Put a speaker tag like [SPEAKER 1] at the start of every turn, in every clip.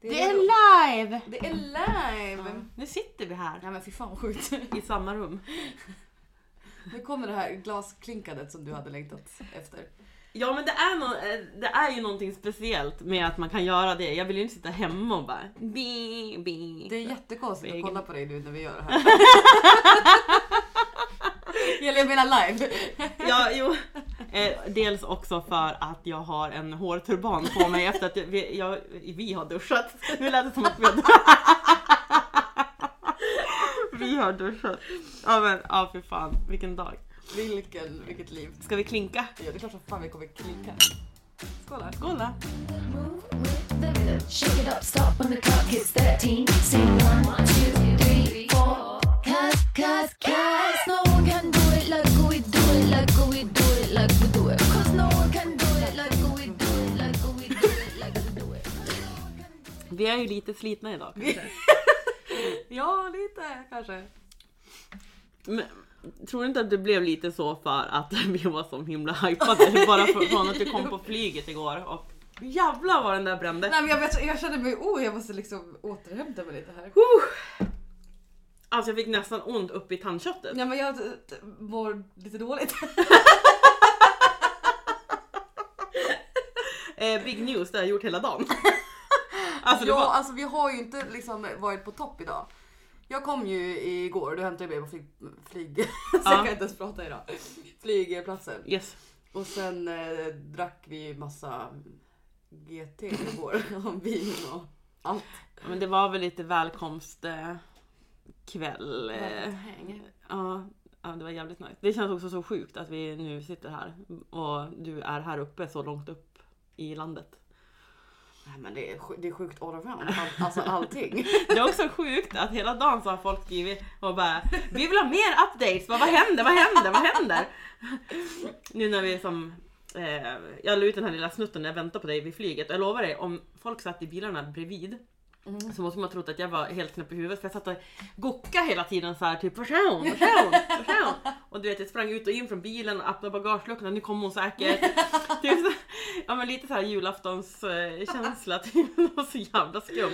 [SPEAKER 1] Det
[SPEAKER 2] Det är
[SPEAKER 1] ro-
[SPEAKER 2] live!
[SPEAKER 1] det är live!
[SPEAKER 2] Ja, nu sitter vi här
[SPEAKER 1] Nej men fy fan vad sjukt.
[SPEAKER 2] i samma rum.
[SPEAKER 1] Nu kommer det här glasklinkandet som du hade längtat efter.
[SPEAKER 2] Ja men det är, nå- eh, det är ju någonting speciellt med att man kan göra det. Jag vill ju inte sitta hemma och bara bi, bi.
[SPEAKER 1] Det är jättekonstigt att
[SPEAKER 2] Egen.
[SPEAKER 1] kolla på dig nu när vi gör det här. Eller jag menar live.
[SPEAKER 2] Ja, jo. Eh, dels också för att jag har en hårturban på mig efter att jag, vi, jag, vi har duschat. Nu lät det som att vi har duschat. Vi har duschat. Ja men ja, fy fan vilken dag.
[SPEAKER 1] Vilken, vilket liv.
[SPEAKER 2] Ska vi klinka?
[SPEAKER 1] Ja, det är klart som fan vi kommer klinka. Skål!
[SPEAKER 2] Skåla!
[SPEAKER 3] Move with the rhythm. Shake it up, stop when the clock hits 13. Sing one, two, three, four. Cause, cause, cause no one can do it like we do it, like we do it, like we do it. Cause no one can do it like we do it, like we do it, like we do it.
[SPEAKER 2] Vi är ju lite slitna idag.
[SPEAKER 1] Ja, lite kanske.
[SPEAKER 2] Men, tror du inte att det blev lite så för att vi var så himla hypade bara för- från att du kom på flyget igår och jävlar vad den där brände.
[SPEAKER 1] Nej men jag, vet, jag känner mig, oh jag måste liksom återhämta mig lite här.
[SPEAKER 2] Alltså jag fick nästan ont upp i tandköttet.
[SPEAKER 1] Nej men jag t- t- mår lite dåligt.
[SPEAKER 2] Eh, big news, det har jag gjort hela dagen. Alltså det
[SPEAKER 1] ja,
[SPEAKER 2] var...
[SPEAKER 1] alltså vi har ju inte liksom varit på topp idag. Jag kom ju igår, du hämtade mig på flyg... flyg så jag kan inte ens prata idag. Flygplatsen.
[SPEAKER 2] Yes.
[SPEAKER 1] Och sen eh, drack vi ju massa GT igår. och vin och allt.
[SPEAKER 2] Men det var väl lite välkomst eh, kväll. Eh, ja, ja, det var jävligt nice. Det känns också så sjukt att vi nu sitter här och du är här uppe så långt upp i landet.
[SPEAKER 1] Nej men det är, sj- det är sjukt allround. All, alltså allting.
[SPEAKER 2] Det är också sjukt att hela dagen så har folk skrivit och bara Vi vill ha mer updates, vad, vad händer, vad händer, vad händer? Nu när vi är som eh, Jag la ut den här lilla snutten när jag väntade på dig vid flyget och jag lovar dig om folk satt i bilarna bredvid Så måste man ha trott att jag var helt knäpp i huvudet för jag satt och gokade hela tiden så här typ person, person, person. Och du vet jag sprang ut och in från bilen och öppnade bagageluckorna, nu kommer hon säkert. Typ så, ja men lite så här julaftonskänsla, typ. det var så jävla skumt.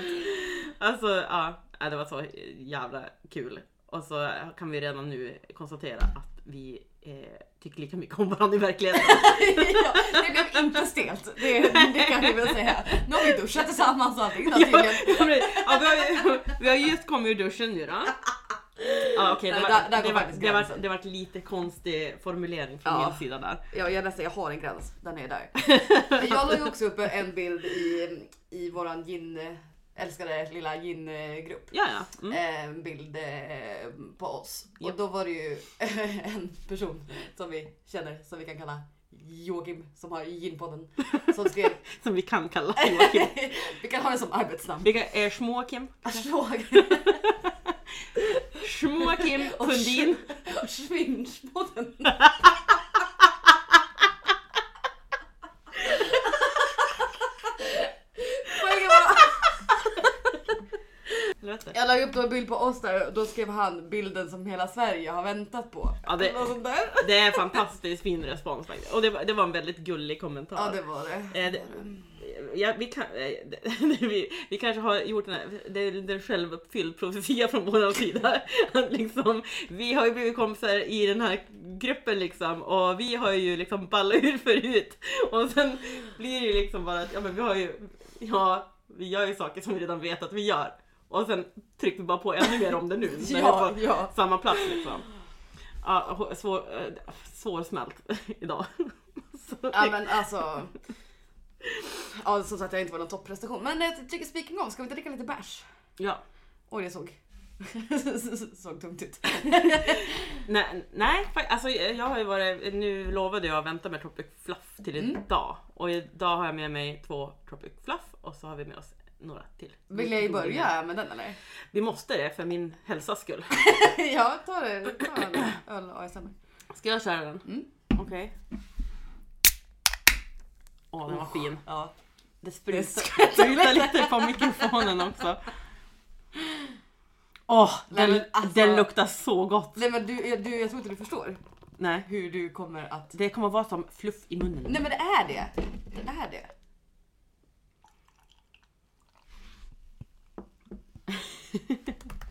[SPEAKER 2] Alltså ja, ja, det var så jävla kul. Och så kan vi redan nu konstatera att vi eh, tycker lika mycket om varandra i verkligheten.
[SPEAKER 1] ja, det blev inte stelt. Det, det kan vi väl säga. Nu har vi duschat tillsammans och allting. då tydligen.
[SPEAKER 2] Ja, men- ja, vi, har, ju- vi har just kommit ur duschen nu då. Ja, okej, det,
[SPEAKER 1] Nej,
[SPEAKER 2] var,
[SPEAKER 1] där- där
[SPEAKER 2] det,
[SPEAKER 1] går
[SPEAKER 2] var,
[SPEAKER 1] faktiskt
[SPEAKER 2] det, var,
[SPEAKER 1] gränsen.
[SPEAKER 2] det var lite konstig formulering från
[SPEAKER 1] Ja.
[SPEAKER 2] min sida där.
[SPEAKER 1] Ja, jag, nästan, jag har en gräns, den är där. Men Jag la ju också upp en bild i, i våran gin, älskade lilla gin-grupp.
[SPEAKER 2] Ja, ja. Mm.
[SPEAKER 1] En bild eh, på oss.
[SPEAKER 2] Ja.
[SPEAKER 1] Och då var det ju en person som vi känner, som vi kan kalla Joakim, som har ginpodden. Som skrev,
[SPEAKER 2] Som vi kan kalla Joakim. eh,
[SPEAKER 1] vi kan ha det som arbetsnamn.
[SPEAKER 2] Vilka är Småkim?
[SPEAKER 1] Joakim
[SPEAKER 2] Småkim Sundin.
[SPEAKER 1] och Schwinchpodden. Poängen var
[SPEAKER 2] Helvete.
[SPEAKER 1] Jag la ju upp då en bild på oss där och då skrev han bilden som hela Sverige har väntat på.
[SPEAKER 2] Ja, det-
[SPEAKER 1] Eller något sånt där.
[SPEAKER 2] Det är en fantastiskt fin respons faktiskt. Och det var, det var en väldigt gullig kommentar.
[SPEAKER 1] Ja det var det.
[SPEAKER 2] Eh, det- Ja, vi, kan, eh, vi, vi kanske har gjort den, här, det är en självuppfylld profetia från vår sida. Att liksom, vi har ju blivit kompisar i den här gruppen liksom och vi har ju liksom ballat ur förut. Och sen blir det ju liksom bara att ja, men vi har ju, ja, vi gör ju saker som vi redan vet att vi gör. Och sen trycker vi bara på ännu mer om det nu. när vi är
[SPEAKER 1] Ja,
[SPEAKER 2] på
[SPEAKER 1] ja.
[SPEAKER 2] Samma plats liksom. Ja, hå- svår, eh, svårsmält idag. Så-
[SPEAKER 1] ja men alltså. Ja som sagt jag inte var någon topprestation. Men jag tycker speaking of, ska vi inte dricka lite bärs?
[SPEAKER 2] ja.
[SPEAKER 1] Oj det såg. såg tungt ut.
[SPEAKER 2] Nej, nej fa- alltså, jag har ju varit, nu lovade jag att vänta med Tropic Fluff till
[SPEAKER 1] Mm.
[SPEAKER 2] idag. Och idag har jag med mig två Tropic Fluff och så har vi med oss några till.
[SPEAKER 1] Vill jag ju börja med den eller?
[SPEAKER 2] Vi måste det för min hälsas skull.
[SPEAKER 1] ja ta det, ta en öl och ASMR.
[SPEAKER 2] Ska jag köra den?
[SPEAKER 1] Mm.
[SPEAKER 2] Okej. Åh den var fin.
[SPEAKER 1] Ja.
[SPEAKER 2] Det
[SPEAKER 1] Det
[SPEAKER 2] sprutar
[SPEAKER 1] skvätter
[SPEAKER 2] sprutar lite på mikrofonen också. Åh, den,
[SPEAKER 1] Nej, men alltså-
[SPEAKER 2] den luktar så gott!
[SPEAKER 1] Nej men du, jag- du, jag tror inte du förstår
[SPEAKER 2] Nej,
[SPEAKER 1] hur du kommer att.
[SPEAKER 2] det kommer vara som fluff i munnen.
[SPEAKER 1] Nej men det är det. Det är det.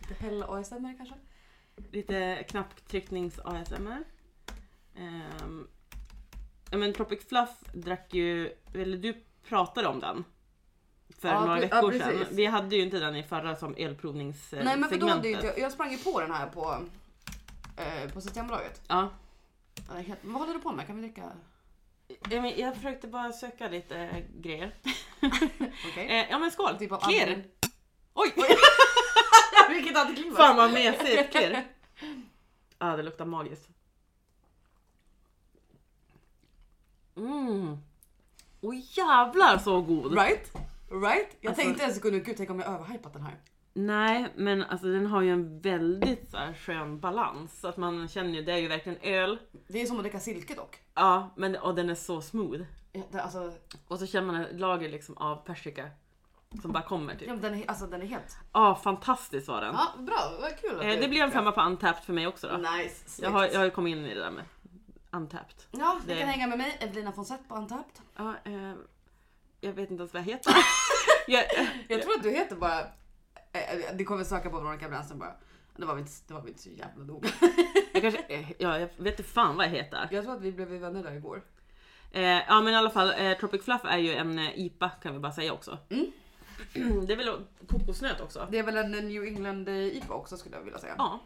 [SPEAKER 1] Kapell-ASMR kanske?
[SPEAKER 2] Lite knapptrycknings-ASMR. Ehm, ja men Tropic Fluff drack ju, eller du pratade om den. För
[SPEAKER 1] Ja,
[SPEAKER 2] några
[SPEAKER 1] pre- ja,
[SPEAKER 2] veckor sedan.
[SPEAKER 1] precis.
[SPEAKER 2] Vi hade ju inte den i förra som elprovningssegmentet.
[SPEAKER 1] Nej men för då hade ju inte jag, jag sprang ju på den här på, eh, på Systembolaget.
[SPEAKER 2] Ja.
[SPEAKER 1] Ja, det är helt- Vad håller du på med? Kan vi dricka?
[SPEAKER 2] Ja, men jag försökte bara söka lite eh, grejer.
[SPEAKER 1] Okej.
[SPEAKER 2] Eh, ja men skål!
[SPEAKER 1] Typ av
[SPEAKER 2] klirr!
[SPEAKER 1] andning.
[SPEAKER 2] Oj!
[SPEAKER 1] Vilket antiklimax!
[SPEAKER 2] Fan vad mesigt! Klirr! Ja ah, det luktar magiskt. Mm. Oj jävlar så god!
[SPEAKER 1] Right? Right? Jag
[SPEAKER 2] Alltså-
[SPEAKER 1] tänkte en sekund, gud tänk om jag överhypat den här.
[SPEAKER 2] Nej men alltså den har ju en väldigt så här, skön balans. Så att man känner ju, det är ju verkligen öl.
[SPEAKER 1] Det är som att dricka silke dock.
[SPEAKER 2] Ja men och den är så smooth.
[SPEAKER 1] Ja, det- Alltså,
[SPEAKER 2] Och så känner man ett lager liksom av persika. Som bara kommer typ.
[SPEAKER 1] ja, men den, är, alltså den är helt...
[SPEAKER 2] Ja ah, fantastisk var den.
[SPEAKER 1] Ja, bra, vad kul att
[SPEAKER 2] Eh,
[SPEAKER 1] du-
[SPEAKER 2] det blir en femma på Untapped för mig också då.
[SPEAKER 1] Nice, snyggt.
[SPEAKER 2] Jag har, jag har ju kommit in i det där med Untapped.
[SPEAKER 1] Ja, ni
[SPEAKER 2] det-
[SPEAKER 1] kan hänga med mig, Evelina Fonsepp på Untapped.
[SPEAKER 2] Ja, eh, jag vet inte ens vad jag heter. jag,
[SPEAKER 1] Jag tror att du heter bara... eh, eh, Du kommer söka på Veronica Bransen bara. Det var väl inte, det var väl inte så jävla noga.
[SPEAKER 2] jag kanske, eh, ja, jag vet inte fan vad jag heter.
[SPEAKER 1] Jag tror att vi blev vänner där igår.
[SPEAKER 2] Eh, ja men i alla fall, eh, Tropic Fluff är ju en eh, IPA kan vi bara säga också.
[SPEAKER 1] Mm.
[SPEAKER 2] det är väl kokosnöt också?
[SPEAKER 1] Det är väl en New England eh, IPA också skulle jag vilja säga.
[SPEAKER 2] Ja.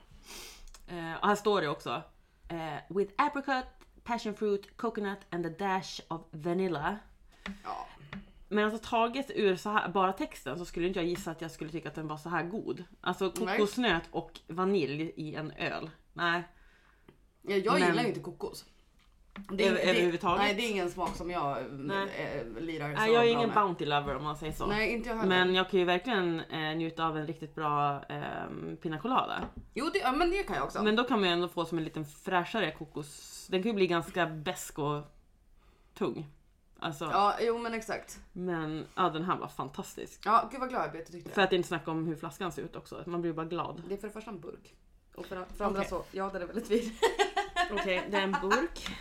[SPEAKER 2] Eh, och här står det också. Eh, with apricot, passion fruit, coconut and a dash of vanilla.
[SPEAKER 1] Ja.
[SPEAKER 2] Men alltså taget ur så här, bara texten så skulle inte jag gissa att jag skulle tycka att den var så här god. Alltså
[SPEAKER 1] Nej.
[SPEAKER 2] kokosnöt och vanilj i en öl. Nej.
[SPEAKER 1] Ja, Jag
[SPEAKER 2] Men-
[SPEAKER 1] gillar ju inte kokos. Det
[SPEAKER 2] Över- överhuvudtaget?
[SPEAKER 1] Nej, det är ingen smak som jag eh,
[SPEAKER 2] Nej.
[SPEAKER 1] eh, lirar så
[SPEAKER 2] Nej jag är
[SPEAKER 1] bra
[SPEAKER 2] ingen
[SPEAKER 1] med.
[SPEAKER 2] bounty lover om man säger så.
[SPEAKER 1] Nej, inte jag heller.
[SPEAKER 2] Men jag kan ju verkligen eh, njuta av en riktigt bra eh, pina colada.
[SPEAKER 1] Jo, det, ja, men det kan jag också.
[SPEAKER 2] Men då kan man ju ändå få som en liten fräschare kokos. Den kan ju bli ganska besk och tung. Alltså,
[SPEAKER 1] Ja, jo men exakt.
[SPEAKER 2] men ja, den här var fantastisk.
[SPEAKER 1] Ja, gud vad glad jag blev att du tyckte
[SPEAKER 2] För
[SPEAKER 1] det.
[SPEAKER 2] att inte snacka om hur flaskan ser ut också. Man blir bara glad.
[SPEAKER 1] Det är för det första en burk. Och för, för andra
[SPEAKER 2] Okej.
[SPEAKER 1] så, ja den är väldigt vid.
[SPEAKER 2] Okej, det är en burk.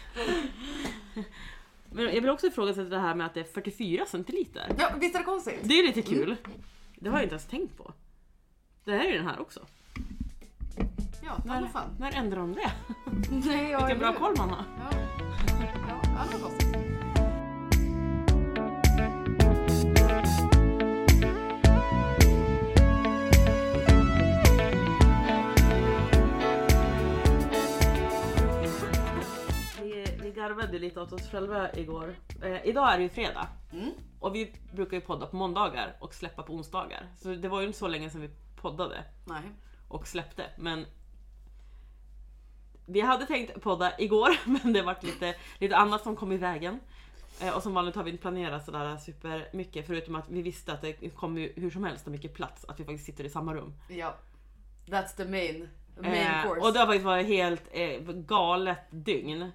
[SPEAKER 2] Men jag vill också ifrågasätta det här med att det är 44 centiliter.
[SPEAKER 1] Ja, visst är det konstigt?
[SPEAKER 2] Det är lite kul. Det har jag inte ens tänkt på. Det här är ju den här också.
[SPEAKER 1] Ja, ja
[SPEAKER 2] När,
[SPEAKER 1] vad fan.
[SPEAKER 2] när ändrar de det?
[SPEAKER 1] Nej, ja,
[SPEAKER 2] Vilken bra
[SPEAKER 1] eller hur?
[SPEAKER 2] koll man har.
[SPEAKER 1] Ja, ja, ja det var konstigt.
[SPEAKER 2] Vi, vi garvade lite åt oss själva igår. Eh, idag är det ju fredag.
[SPEAKER 1] Mm.
[SPEAKER 2] Och vi brukar ju podda på måndagar och släppa på onsdagar. Så det var ju inte så länge sedan vi poddade
[SPEAKER 1] Nej.
[SPEAKER 2] och släppte. Men vi hade tänkt podda igår men det vart lite, lite annat som kom i vägen. Eh, och som vanligt har vi inte planerat sådär supermycket förutom att vi visste att det kommer ju hur som helst så mycket plats att vi faktiskt sitter i samma rum.
[SPEAKER 1] Ja. That's the main, main
[SPEAKER 2] Eh,
[SPEAKER 1] course.
[SPEAKER 2] och det har faktiskt varit helt eh, galet dygn.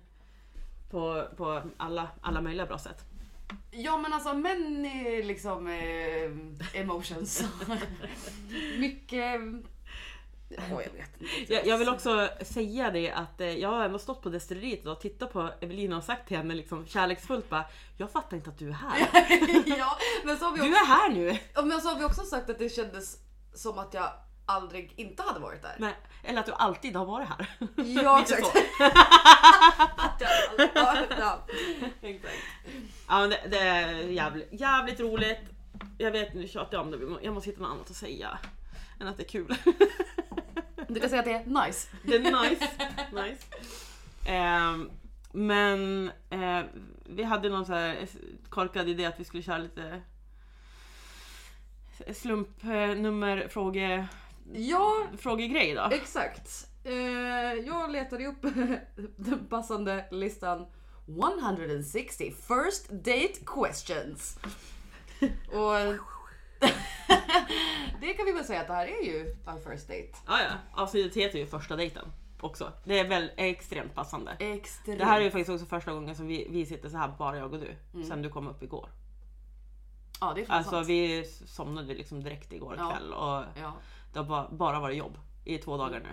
[SPEAKER 2] På, på alla, alla möjliga bra sätt.
[SPEAKER 1] Ja men alltså män är liksom eh, emotions. Mycket... Åh jag vet inte.
[SPEAKER 2] Jag, jag vill också säga det att eh, jag har ändå stått på destilleriet idag och tittat på Evelina och sagt till henne liksom kärleksfullt bara Jag fattar inte att du är här.
[SPEAKER 1] ja, men så har vi
[SPEAKER 2] Du är här nu!
[SPEAKER 1] Ja, Men så har vi också sagt att det kändes som att jag aldrig inte hade varit där.
[SPEAKER 2] Men, eller att du alltid har varit här.
[SPEAKER 1] Ja,
[SPEAKER 2] Lite
[SPEAKER 1] exakt.
[SPEAKER 2] så.
[SPEAKER 1] Att jag aldrig- ja, ja, exakt.
[SPEAKER 2] Ja, men det, det är jävligt, jävligt roligt. Jag vet nu tjatar jag om det, vi må- jag måste hitta något annat att säga än att det är kul.
[SPEAKER 1] Du kan säga att det är nice.
[SPEAKER 2] Det är nice. nice. Ehm, men eh, vi hade någon så här korkad idé att vi skulle köra lite slumpnummer fråge,
[SPEAKER 1] Ja,
[SPEAKER 2] frågegrej då.
[SPEAKER 1] exakt. Eh, jag letade upp den passande listan 160 first date questions. Och det kan vi väl säga att det här är ju our first date.
[SPEAKER 2] Ja, ja. Avsnittet heter ju första dejten också. Det är väl är extremt passande.
[SPEAKER 1] Extremt.
[SPEAKER 2] Det här är ju faktiskt också första gången som vi, vi sitter så här bara jag och du. Sen du kom upp igår.
[SPEAKER 1] ja, Mm. det är fan
[SPEAKER 2] Alltså
[SPEAKER 1] sant.
[SPEAKER 2] vi somnade liksom direkt igår
[SPEAKER 1] Ja.
[SPEAKER 2] kväll och
[SPEAKER 1] Ja. Mm.
[SPEAKER 2] det har bara, bara varit jobb i två dagar nu.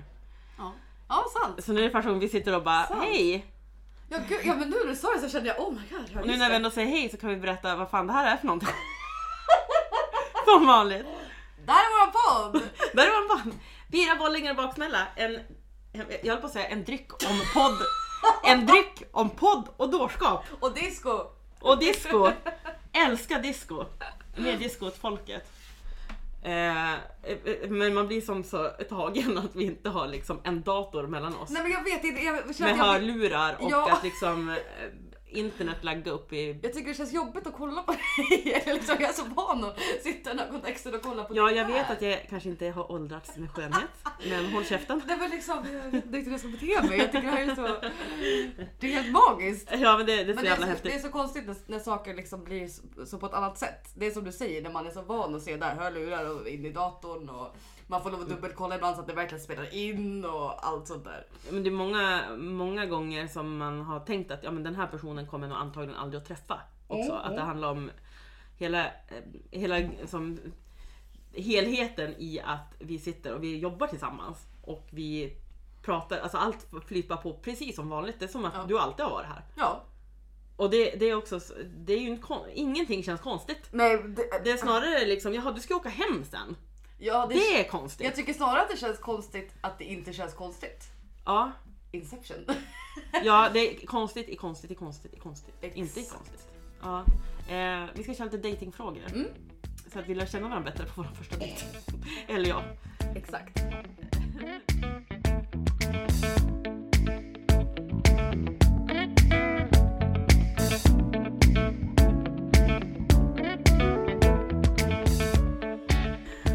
[SPEAKER 1] Ja. ja, sant.
[SPEAKER 2] Så nu är det första gången vi sitter och bara
[SPEAKER 1] Sant.
[SPEAKER 2] hej!
[SPEAKER 1] Ja, gud, ja men nu när du sa det så kände jag oh my god. ja,
[SPEAKER 2] Och nu
[SPEAKER 1] just
[SPEAKER 2] när vi
[SPEAKER 1] det.
[SPEAKER 2] ändå säger hej så kan vi berätta vad fan det här är för någonting. Som vanligt.
[SPEAKER 1] Där är våran podd!
[SPEAKER 2] Där var en band. Fyra bollingar och baksmälla. En, jag höll på att säga en dryck om podd. En dryck om podd och dårskap.
[SPEAKER 1] Och disco!
[SPEAKER 2] Och disco. Älskar disco. Mer disco åt folket. Eh, eh, men man blir som så tagen att vi inte har liksom en dator mellan oss.
[SPEAKER 1] Nej men jag vet inte, jag känner
[SPEAKER 2] med
[SPEAKER 1] att jag, vill-
[SPEAKER 2] hörlurar och
[SPEAKER 1] Ja.
[SPEAKER 2] att liksom eh, internet laggar upp i...
[SPEAKER 1] jag tycker det känns jobbigt att kolla på dig. Eller liksom, jag är så van att sitta i den här kontexten och kolla på
[SPEAKER 2] Ja,
[SPEAKER 1] dig
[SPEAKER 2] jag vet
[SPEAKER 1] här.
[SPEAKER 2] att jag kanske inte har åldrats med skönhet, men håll käften.
[SPEAKER 1] Nej men liksom, jag vet inte hur jag ska bete mig. Jag tycker det här är så... Det är helt magiskt.
[SPEAKER 2] Ja, men det, det är
[SPEAKER 1] Men
[SPEAKER 2] så
[SPEAKER 1] det,
[SPEAKER 2] jävla
[SPEAKER 1] är så,
[SPEAKER 2] häftigt.
[SPEAKER 1] det är så konstigt när, när saker liksom blir så, så på ett annat sätt. Det är som du säger, när man är så van att se där hörlurar och in i datorn och man får lov att dubbelkolla ibland så att det verkligen spelar in och allt sånt där.
[SPEAKER 2] Men det är många, många gånger som man har tänkt att ja, men den här personen kommer nog antagligen aldrig att träffa. Också.
[SPEAKER 1] Mm,
[SPEAKER 2] Att det
[SPEAKER 1] mm.
[SPEAKER 2] handlar om hela, eh, hela som, helheten i att vi sitter och vi jobbar tillsammans. Och vi pratar, alltså allt flyter på precis som vanligt. Det är som att
[SPEAKER 1] Ja.
[SPEAKER 2] du alltid har varit här.
[SPEAKER 1] Ja.
[SPEAKER 2] Och det, det är också, så- det är ju en, kon- ingenting känns konstigt.
[SPEAKER 1] Nej, det,
[SPEAKER 2] Det är snarare liksom, jaha du ska åka hem sen.
[SPEAKER 1] ja, det,
[SPEAKER 2] Det är konstigt.
[SPEAKER 1] jag tycker snarare att det känns konstigt att det inte känns konstigt.
[SPEAKER 2] Ja,
[SPEAKER 1] Inception.
[SPEAKER 2] ja, det är konstigt, är konstigt, är konstigt, är konstigt.
[SPEAKER 1] Exakt.
[SPEAKER 2] Inte är konstigt. Ja. Eh, vi ska köra lite datingfrågor.
[SPEAKER 1] Mm.
[SPEAKER 2] Så att vi lär känna varandra bättre på vår första dejt. Eller jag.
[SPEAKER 1] Exakt.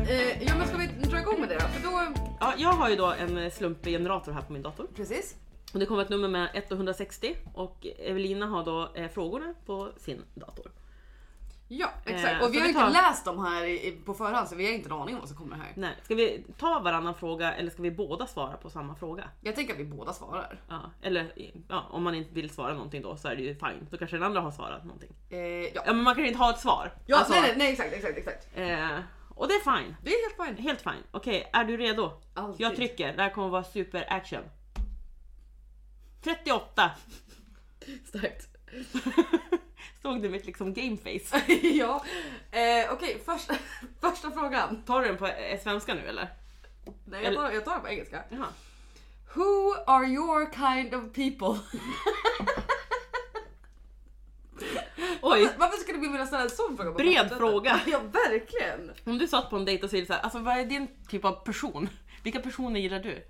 [SPEAKER 1] Eh, ja men ska vi dra igång med det då? För då...
[SPEAKER 2] Ja, jag har ju då en eh, slumpgenerator här på min dator.
[SPEAKER 1] Precis.
[SPEAKER 2] Och det kommer ett nummer med 1 och 160 och Evelina har då eh, frågorna på sin dator.
[SPEAKER 1] Ja exakt.
[SPEAKER 2] Eh,
[SPEAKER 1] och vi
[SPEAKER 2] så
[SPEAKER 1] har
[SPEAKER 2] vi
[SPEAKER 1] ju
[SPEAKER 2] tar-
[SPEAKER 1] inte läst dem här i, i- på förhand så vi har inte en aning om vad som kommer här.
[SPEAKER 2] Nej, ska vi ta varannan fråga eller ska vi båda svara på samma fråga?
[SPEAKER 1] Jag tänker att vi båda svarar.
[SPEAKER 2] Ja, eller ja, om man inte vill svara någonting då så är det ju fine. Då kanske den andra har svarat någonting.
[SPEAKER 1] Eh, ja.
[SPEAKER 2] Ja men man kan ju inte ha ett svar.
[SPEAKER 1] Ja,
[SPEAKER 2] Alltså,
[SPEAKER 1] nej, nej, nej exakt, exakt, exakt.
[SPEAKER 2] Eh, och det är fine.
[SPEAKER 1] Det är helt fine.
[SPEAKER 2] Helt fine. Okej, är du redo?
[SPEAKER 1] Alltid.
[SPEAKER 2] Jag trycker. Det här kommer vara super action. 38.
[SPEAKER 1] Starkt.
[SPEAKER 2] Såg du mitt liksom gameface?
[SPEAKER 1] ja. Eh, Okej, första, första frågan.
[SPEAKER 2] Tar du den på eh, svenska nu eller?
[SPEAKER 1] Nej, jag tar, jag tar den på engelska.
[SPEAKER 2] Jaha.
[SPEAKER 1] Who are your kind of people?
[SPEAKER 2] Oj,
[SPEAKER 1] Varför skulle vi vilja ställa en sån fråga? på
[SPEAKER 2] Bred
[SPEAKER 1] första dejten?
[SPEAKER 2] fråga.
[SPEAKER 1] Ja, verkligen.
[SPEAKER 2] om du satt på en dejt och säger så här, alltså vad är din typ av person? Vilka personer gillar du?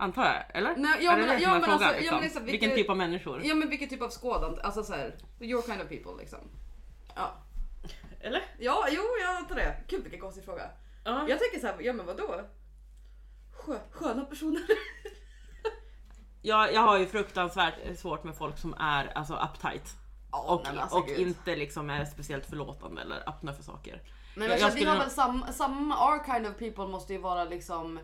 [SPEAKER 2] Antar jag, eller?
[SPEAKER 1] Nej, ja,
[SPEAKER 2] Är det
[SPEAKER 1] men-
[SPEAKER 2] det
[SPEAKER 1] ja,
[SPEAKER 2] som är
[SPEAKER 1] men
[SPEAKER 2] frågan,
[SPEAKER 1] alltså, ja,
[SPEAKER 2] liksom?
[SPEAKER 1] men liksom,
[SPEAKER 2] Vilken
[SPEAKER 1] vilket-
[SPEAKER 2] typ av människor?
[SPEAKER 1] Ja, men vilken typ av skådant? Alltså så här, your kind of people liksom. Ja,
[SPEAKER 2] Eller?
[SPEAKER 1] ja jo, jag antar det. Gud vilken konstig fråga.
[SPEAKER 2] Ja.
[SPEAKER 1] Jag tänker så här, ja men vadå? Skö, sköna personer.
[SPEAKER 2] Jag, jag har ju fruktansvärt eh, svårt med folk som är alltså uptight.
[SPEAKER 1] Ja,
[SPEAKER 2] Och,
[SPEAKER 1] nej, men alltså,
[SPEAKER 2] och
[SPEAKER 1] gud.
[SPEAKER 2] inte liksom är speciellt förlåtande eller öppna för saker.
[SPEAKER 1] Men
[SPEAKER 2] Jag-
[SPEAKER 1] jag,
[SPEAKER 2] jag
[SPEAKER 1] vi
[SPEAKER 2] skulle
[SPEAKER 1] har
[SPEAKER 2] nog-
[SPEAKER 1] väl samma, samma, our kind of people måste ju vara liksom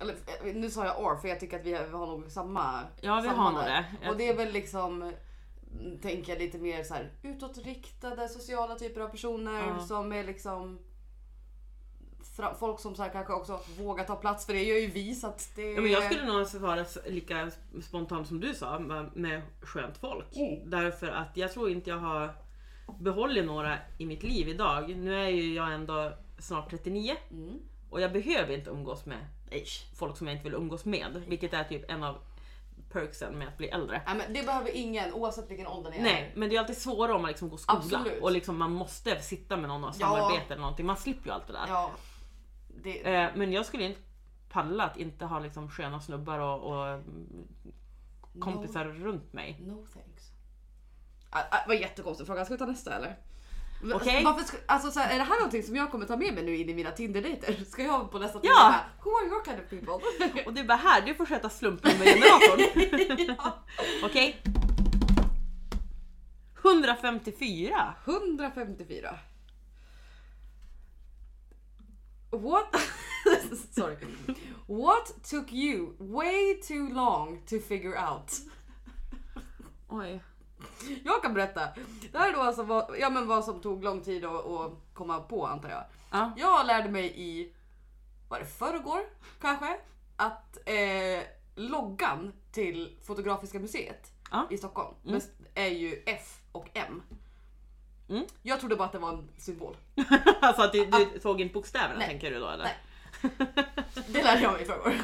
[SPEAKER 1] eller, eh, nu sa jag or för jag tycker att vi har, vi har nog samma.
[SPEAKER 2] Ja, vi
[SPEAKER 1] samma
[SPEAKER 2] har nog
[SPEAKER 1] där.
[SPEAKER 2] det.
[SPEAKER 1] Och det är väl liksom, mm, tänker jag lite mer så här utåtriktade sociala typer av personer
[SPEAKER 2] Ja.
[SPEAKER 1] som är liksom fra- folk som så här kanske också vågar ta plats för det gör ju vi så att det...
[SPEAKER 2] Ja, men jag skulle nog svara s- lika spontant som du sa med- med skönt folk.
[SPEAKER 1] Mm.
[SPEAKER 2] Därför att jag tror inte jag har behållit några i mitt liv idag. Nu är ju jag ändå snart 39
[SPEAKER 1] Mm.
[SPEAKER 2] och jag behöver inte umgås med ish, folk som jag inte vill umgås med. Vilket är typ en av perksen med att bli äldre.
[SPEAKER 1] Nej, men det behöver ingen oavsett vilken ålder ni är.
[SPEAKER 2] Nej, men det är alltid svårare om man liksom går skola
[SPEAKER 1] Absolut.
[SPEAKER 2] och liksom man måste sitta med någon och
[SPEAKER 1] Ja.
[SPEAKER 2] samarbeta eller någonting. Man slipper ju allt det där.
[SPEAKER 1] Ja. Det,
[SPEAKER 2] Eh, Men jag skulle inte palla att inte ha liksom sköna snubbar och, och mm, kompisar runt mig.
[SPEAKER 1] No thanks. Ah, ah, vad jättekonstig fråga, ska vi ta nästa eller? Men,
[SPEAKER 2] Okej.
[SPEAKER 1] Varför ska, alltså, så här, är det här någonting som jag kommer ta med mig nu in i mina Tinder-dejter? Ska jag på nästa Tinder
[SPEAKER 2] Ja.
[SPEAKER 1] bara, Who are your kind of people?
[SPEAKER 2] Och du bara här, du får sköta slumpnummergeneratorn.
[SPEAKER 1] ja.
[SPEAKER 2] Okej? 154.
[SPEAKER 1] 154. What? Sorry. What took you way too long to figure out?
[SPEAKER 2] Oj.
[SPEAKER 1] Jag kan berätta. Det här är då alltså vad, ja, men vad som tog lång tid att, att komma på antar jag.
[SPEAKER 2] Ja.
[SPEAKER 1] Jag lärde mig i, var det förrgår kanske? Att eh, loggan till Fotografiska museet
[SPEAKER 2] Ja.
[SPEAKER 1] i Stockholm men är ju F och M.
[SPEAKER 2] Mm.
[SPEAKER 1] Jag trodde bara att det var en symbol.
[SPEAKER 2] Alltså att du, du såg inte bokstäverna tänker du då eller?
[SPEAKER 1] Nej. Det lärde jag mig i förrgår.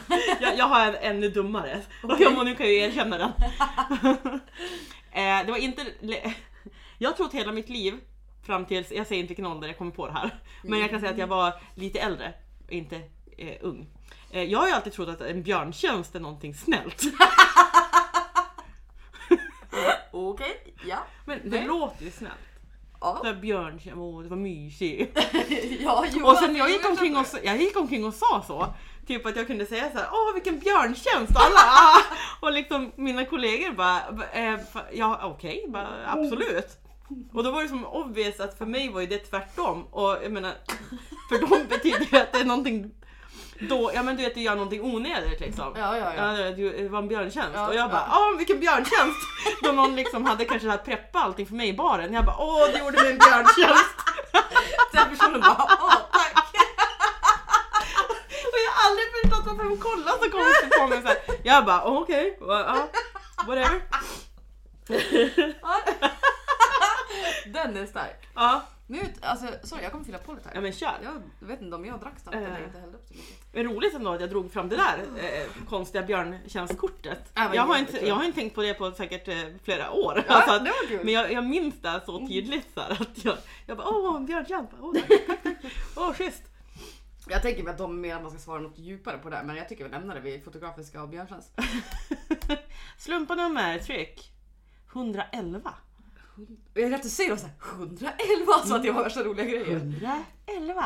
[SPEAKER 2] Jag, jag har en ännu dummare. Och jag, nu kan jag ju erkänna den. eh, det var inte... le- Jag har trott hela mitt liv fram tills, jag säger inte vilken ålder jag kommer på det här. Men jag kan säga att jag var lite äldre, inte eh, ung. Eh, jag har ju alltid trott att en björntjänst är någonting snällt.
[SPEAKER 1] Okej, ja.
[SPEAKER 2] Men det
[SPEAKER 1] Nej.
[SPEAKER 2] låter ju snällt.
[SPEAKER 1] Ja,
[SPEAKER 2] Så här, Björntjänst, åh det var mysigt.
[SPEAKER 1] ja jo,
[SPEAKER 2] Och
[SPEAKER 1] alltså,
[SPEAKER 2] sen jag
[SPEAKER 1] jo,
[SPEAKER 2] gick, omkring och,
[SPEAKER 1] köper
[SPEAKER 2] jag gick omkring och sa så. Typ att jag kunde säga så här, åh vilken björntjänst och alla ah! Och liksom mina kollegor bara, "B- eh, fa- ja okej, bara, absolut. Och då var det som obvious att för mig var ju det tvärtom. Och jag menar, för dem betyder ju att det är någonting då, ja men du vet du gör någonting onödigt liksom.
[SPEAKER 1] det. Ja, ja, ja.
[SPEAKER 2] Ja, det- det var en björntjänst
[SPEAKER 1] Ja,
[SPEAKER 2] och jag bara
[SPEAKER 1] ja.
[SPEAKER 2] ja. vilken björntjänst! Då någon liksom hade kanske hade preppat allting för mig i baren. Jag bara åh du gjorde mig en björntjänst!
[SPEAKER 1] Den personen bara, åh tack.
[SPEAKER 2] Och jag har aldrig förstått varför de kollar så konstigt på mig. Så här. Jag bara "Åh, okej, va- ja, whatever.
[SPEAKER 1] Ja. Den är stark.
[SPEAKER 2] Ja,
[SPEAKER 1] Nu, alltså, sorry jag kommer fylla på lite
[SPEAKER 2] ja
[SPEAKER 1] här.
[SPEAKER 2] men kör.
[SPEAKER 1] Jag vet inte om jag drack snabbt eller
[SPEAKER 2] Eh.
[SPEAKER 1] inte hällde upp så mycket.
[SPEAKER 2] Men roligt ändå att jag drog fram det där eh, konstiga björntjänstkortet.
[SPEAKER 1] Ja, men
[SPEAKER 2] Jag har, inte,
[SPEAKER 1] jättekul.
[SPEAKER 2] jag har inte tänkt på det på säkert eh, flera år.
[SPEAKER 1] Ja,
[SPEAKER 2] Alltså att-
[SPEAKER 1] det var kul.
[SPEAKER 2] Men jag, jag minns det här
[SPEAKER 1] Mm.
[SPEAKER 2] så tydligt så här, att jag, jag bara åh en björntjänst, åh tack, tack, tack. åh schysst.
[SPEAKER 1] Jag tänker mig att de mer att man ska svara något djupare på det här, men jag tycker vi lämnar det vid fotografiska och björntjänst.
[SPEAKER 2] Slumpanummer, tryck. 111.
[SPEAKER 1] Jag är rätt att säga då såhär 111 alltså att det var värsta roliga grejer.
[SPEAKER 2] 111. 111.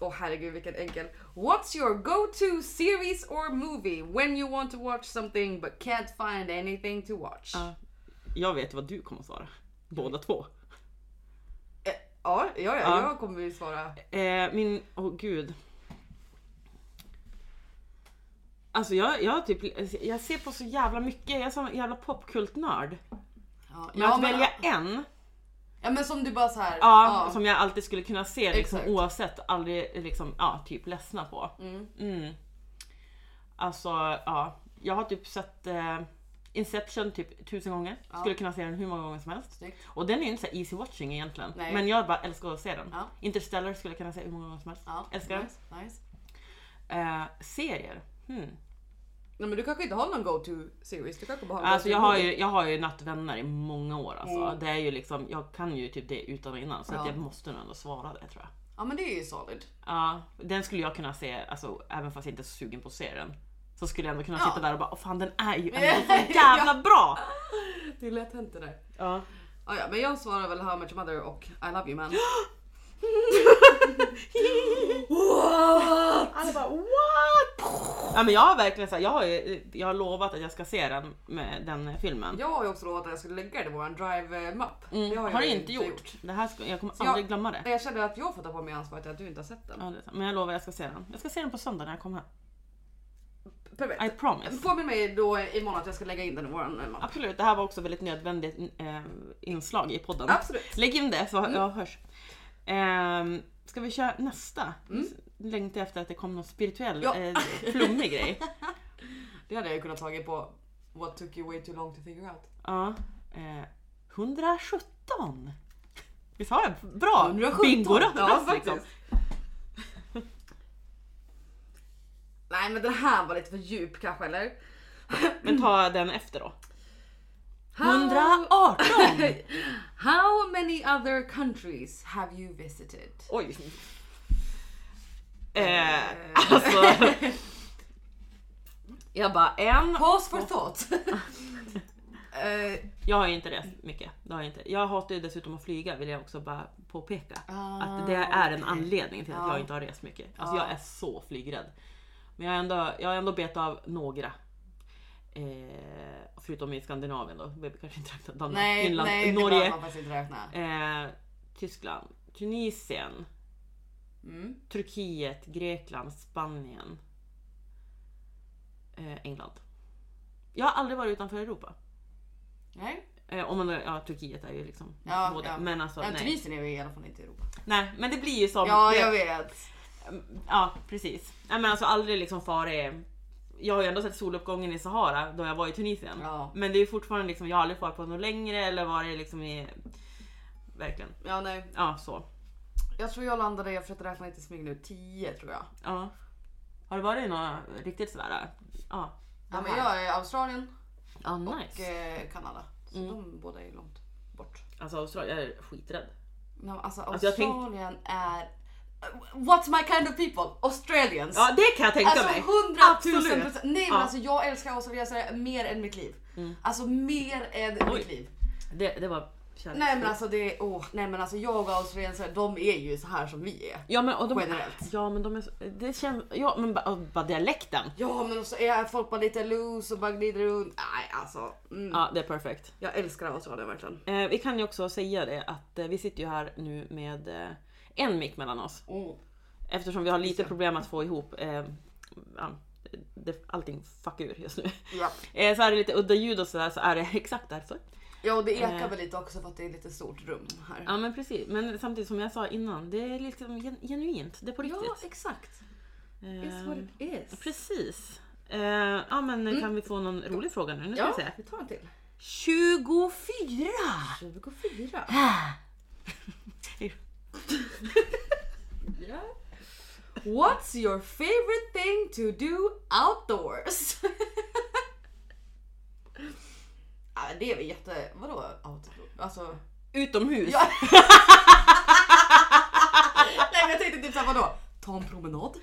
[SPEAKER 1] Åh herregud vilken enkel. What's your go-to series or movie when you want to watch something but can't find anything to watch?
[SPEAKER 2] Ja. Jag vet vad du kommer att svara. Båda två.
[SPEAKER 1] Eh, Ja, ja, ja,
[SPEAKER 2] Ja.
[SPEAKER 1] jag kommer ju svara.
[SPEAKER 2] Eh, min, åh gud. Alltså jag, jag, typ, jag ser på så jävla mycket, jag är sån jävla popkultnörd.
[SPEAKER 1] Ja,
[SPEAKER 2] Men
[SPEAKER 1] ja,
[SPEAKER 2] att
[SPEAKER 1] men,
[SPEAKER 2] välja en,
[SPEAKER 1] ja men som du bara såhär.
[SPEAKER 2] ja, som jag alltid skulle kunna se liksom,
[SPEAKER 1] Exakt.
[SPEAKER 2] oavsett, aldrig liksom, ja, typ ledsna på.
[SPEAKER 1] Mm.
[SPEAKER 2] Mm. Alltså ja, jag har typ sett eh, Inception typ tusen gånger.
[SPEAKER 1] Ja.
[SPEAKER 2] Skulle kunna se den hur många gånger som helst.
[SPEAKER 1] Snyggt.
[SPEAKER 2] Och den är ju inte så här easy watching egentligen.
[SPEAKER 1] Nej.
[SPEAKER 2] Men jag bara älskar att se den.
[SPEAKER 1] Ja.
[SPEAKER 2] Interstellar skulle jag kunna se hur många gånger som helst.
[SPEAKER 1] Ja,
[SPEAKER 2] Älskar den.
[SPEAKER 1] nice, nice.
[SPEAKER 2] Eh, serier. Hmm.
[SPEAKER 1] Nej, men du kanske inte har någon go-to series? Du kanske bara har en
[SPEAKER 2] Alltså
[SPEAKER 1] go-to
[SPEAKER 2] jag har,
[SPEAKER 1] movie.
[SPEAKER 2] ju, jag har ju nattvänner i många år alltså.
[SPEAKER 1] Mm.
[SPEAKER 2] Det är ju liksom, jag kan ju typ det utan och innan så
[SPEAKER 1] Ja.
[SPEAKER 2] att jag måste nog ändå svara det tror jag.
[SPEAKER 1] Ja men det är ju solid.
[SPEAKER 2] Ja, den skulle jag kunna se, alltså, även fast jag inte är så sugen på att se den. Så skulle jag ändå kunna
[SPEAKER 1] Ja.
[SPEAKER 2] sitta där och bara Åh, fan den är ju ändå så jävla bra!
[SPEAKER 1] Det är lätt hänt det där.
[SPEAKER 2] Ja.
[SPEAKER 1] Ah, ja, men jag svarar väl How Much Mother och I Love You Man. What?
[SPEAKER 2] Alla bara what? Ja, men jag har verkligen så här, jag har ju, eh, jag har lovat att jag ska se den med den filmen.
[SPEAKER 1] Jag har ju också lovat att jag skulle lägga det i våran drive-mapp.
[SPEAKER 2] Mm,
[SPEAKER 1] Det
[SPEAKER 2] har
[SPEAKER 1] jag
[SPEAKER 2] du
[SPEAKER 1] ju
[SPEAKER 2] inte gjort. Det här ska, jag kommer
[SPEAKER 1] jag-
[SPEAKER 2] aldrig glömma det.
[SPEAKER 1] Nej, Jag känner att jag får ta på mig ansvaret att du inte har sett den.
[SPEAKER 2] Ja, det är sant. Men jag lovar jag ska se den. Jag ska se den på söndag när jag kommer hem. I
[SPEAKER 1] Perfekt.
[SPEAKER 2] promise.
[SPEAKER 1] Påminn mig då imorgon att jag ska lägga in den i våran eh, mapp.
[SPEAKER 2] Absolut, det här var också väldigt nödvändigt eh, inslag i podden.
[SPEAKER 1] Absolut.
[SPEAKER 2] Lägg in det
[SPEAKER 1] Mm.
[SPEAKER 2] så jag hörs. Ehm, ska vi köra nästa? Längtar efter att det kom någon spirituell
[SPEAKER 1] Mm. Ja.
[SPEAKER 2] eh, flummig grej.
[SPEAKER 1] Det hade jag ju kunnat tagit på What took you way too long to figure out.
[SPEAKER 2] Ja. Eh, 117! Visst har jag bra
[SPEAKER 1] 117,
[SPEAKER 2] bingoröst
[SPEAKER 1] ja,
[SPEAKER 2] ja,
[SPEAKER 1] faktiskt.
[SPEAKER 2] liksom.
[SPEAKER 1] Nej men den här var lite för djup kanske eller?
[SPEAKER 2] Men ta den efter då.
[SPEAKER 1] How-
[SPEAKER 2] 118!
[SPEAKER 1] How many other countries have you visited?
[SPEAKER 2] Oj. Eh, alltså. Jag bara en.
[SPEAKER 1] Pause for thought. Eh,
[SPEAKER 2] Jag har ju inte rest mycket. Det har jag, inte. jag hatar ju dessutom att flyga vill jag också bara påpeka.
[SPEAKER 1] Ah,
[SPEAKER 2] att det är en anledning till att
[SPEAKER 1] Ja.
[SPEAKER 2] jag inte har rest mycket. Alltså
[SPEAKER 1] Ja.
[SPEAKER 2] jag är så flygrädd. Men jag har ändå, jag har ändå betat av några. Eh, förutom i Skandinavien då. Vi kanske inte räknar Danmark,
[SPEAKER 1] nej,
[SPEAKER 2] Finland,
[SPEAKER 1] nej, det behöver
[SPEAKER 2] Norge,
[SPEAKER 1] man faktiskt inte räkna.
[SPEAKER 2] eh, Tyskland, Tunisien,
[SPEAKER 1] Mm.
[SPEAKER 2] Turkiet, Grekland, Spanien. Eh, England. Jag har aldrig varit utanför Europa.
[SPEAKER 1] Nej.
[SPEAKER 2] Eh, om man, ja, Turkiet är ju liksom
[SPEAKER 1] Ja,
[SPEAKER 2] båda.
[SPEAKER 1] ja.
[SPEAKER 2] Men alltså,
[SPEAKER 1] Ja,
[SPEAKER 2] nej.
[SPEAKER 1] Tunisien är ju i alla fall inte i Europa.
[SPEAKER 2] nej. Men det blir ju som...
[SPEAKER 1] Ja,
[SPEAKER 2] det-
[SPEAKER 1] jag vet.
[SPEAKER 2] ja precis. Nej, men alltså aldrig liksom farit... Jag har ju ändå sett soluppgången i Sahara då jag var i Tunisien.
[SPEAKER 1] Ja.
[SPEAKER 2] Men det är ju fortfarande liksom, jag har aldrig farit på något längre eller varit liksom i... Verkligen.
[SPEAKER 1] Ja, nej.
[SPEAKER 2] Ja, så.
[SPEAKER 1] Jag tror jag landade, jag försökte räkna lite smyg nu, 10 tror jag.
[SPEAKER 2] Ja. Har du varit i några riktigt sådär? Ja.
[SPEAKER 1] Ja, men jag är i Australien
[SPEAKER 2] Ja,
[SPEAKER 1] och
[SPEAKER 2] nice.
[SPEAKER 1] eh, Kanada. Så
[SPEAKER 2] Mm.
[SPEAKER 1] de båda är långt bort.
[SPEAKER 2] Alltså Australien, jag är skiträdd.
[SPEAKER 1] Men alltså
[SPEAKER 2] Alltså, jag tänkte-
[SPEAKER 1] Australien är... What's my kind of people? Australians!
[SPEAKER 2] Ja, det kan jag tänka
[SPEAKER 1] Alltså
[SPEAKER 2] mig.
[SPEAKER 1] 100 000
[SPEAKER 2] Absolut.
[SPEAKER 1] procent! Nej men
[SPEAKER 2] Ja. Mm.
[SPEAKER 1] alltså jag älskar australiensare mer än mitt liv. Alltså mer än
[SPEAKER 2] Oj.
[SPEAKER 1] mitt liv.
[SPEAKER 2] Det, det var kärlek.
[SPEAKER 1] Nej men alltså det är, åh, nej men alltså jag och australiensare de är ju så här som vi är.
[SPEAKER 2] Ja men, och de,
[SPEAKER 1] Generellt.
[SPEAKER 2] ja men de är så- det känns, ja men bara, och bara dialekten.
[SPEAKER 1] Ja men så är folk bara lite loose och bara glider runt. Nej alltså. Mm.
[SPEAKER 2] Ja det är perfekt.
[SPEAKER 1] Jag älskar Australien verkligen.
[SPEAKER 2] Eh, vi kan ju också säga det att eh, vi sitter ju här nu med eh, en mick mellan oss.
[SPEAKER 1] Mm.
[SPEAKER 2] Eftersom vi har lite problem att få ihop eh, ja, det, allting fuck ur just nu.
[SPEAKER 1] Ja.
[SPEAKER 2] Eh, så är det lite udda ljud och sådär så är det exakt därför.
[SPEAKER 1] ja och det ekar
[SPEAKER 2] Eh.
[SPEAKER 1] väl lite också för att det är lite stort rum här.
[SPEAKER 2] Ja men precis, men samtidigt som jag sa innan, det är liksom gen- genuint, det är på
[SPEAKER 1] Ja,
[SPEAKER 2] riktigt.
[SPEAKER 1] exakt. It's what
[SPEAKER 2] eh,
[SPEAKER 1] it is. Mm.
[SPEAKER 2] precis. Eh, ja men kan vi få någon rolig fråga nu? Nu ska
[SPEAKER 1] Ja,
[SPEAKER 2] vi se.
[SPEAKER 1] vi tar en till.
[SPEAKER 2] 24!
[SPEAKER 1] 24. Ja. What's your favorite thing to do outdoors? ja, men det är väl jätte... Vadå outdoor? Alltså...
[SPEAKER 2] Utomhus?
[SPEAKER 1] Ja. Nej men jag tänkte typ såhär vadå? Ta en promenad?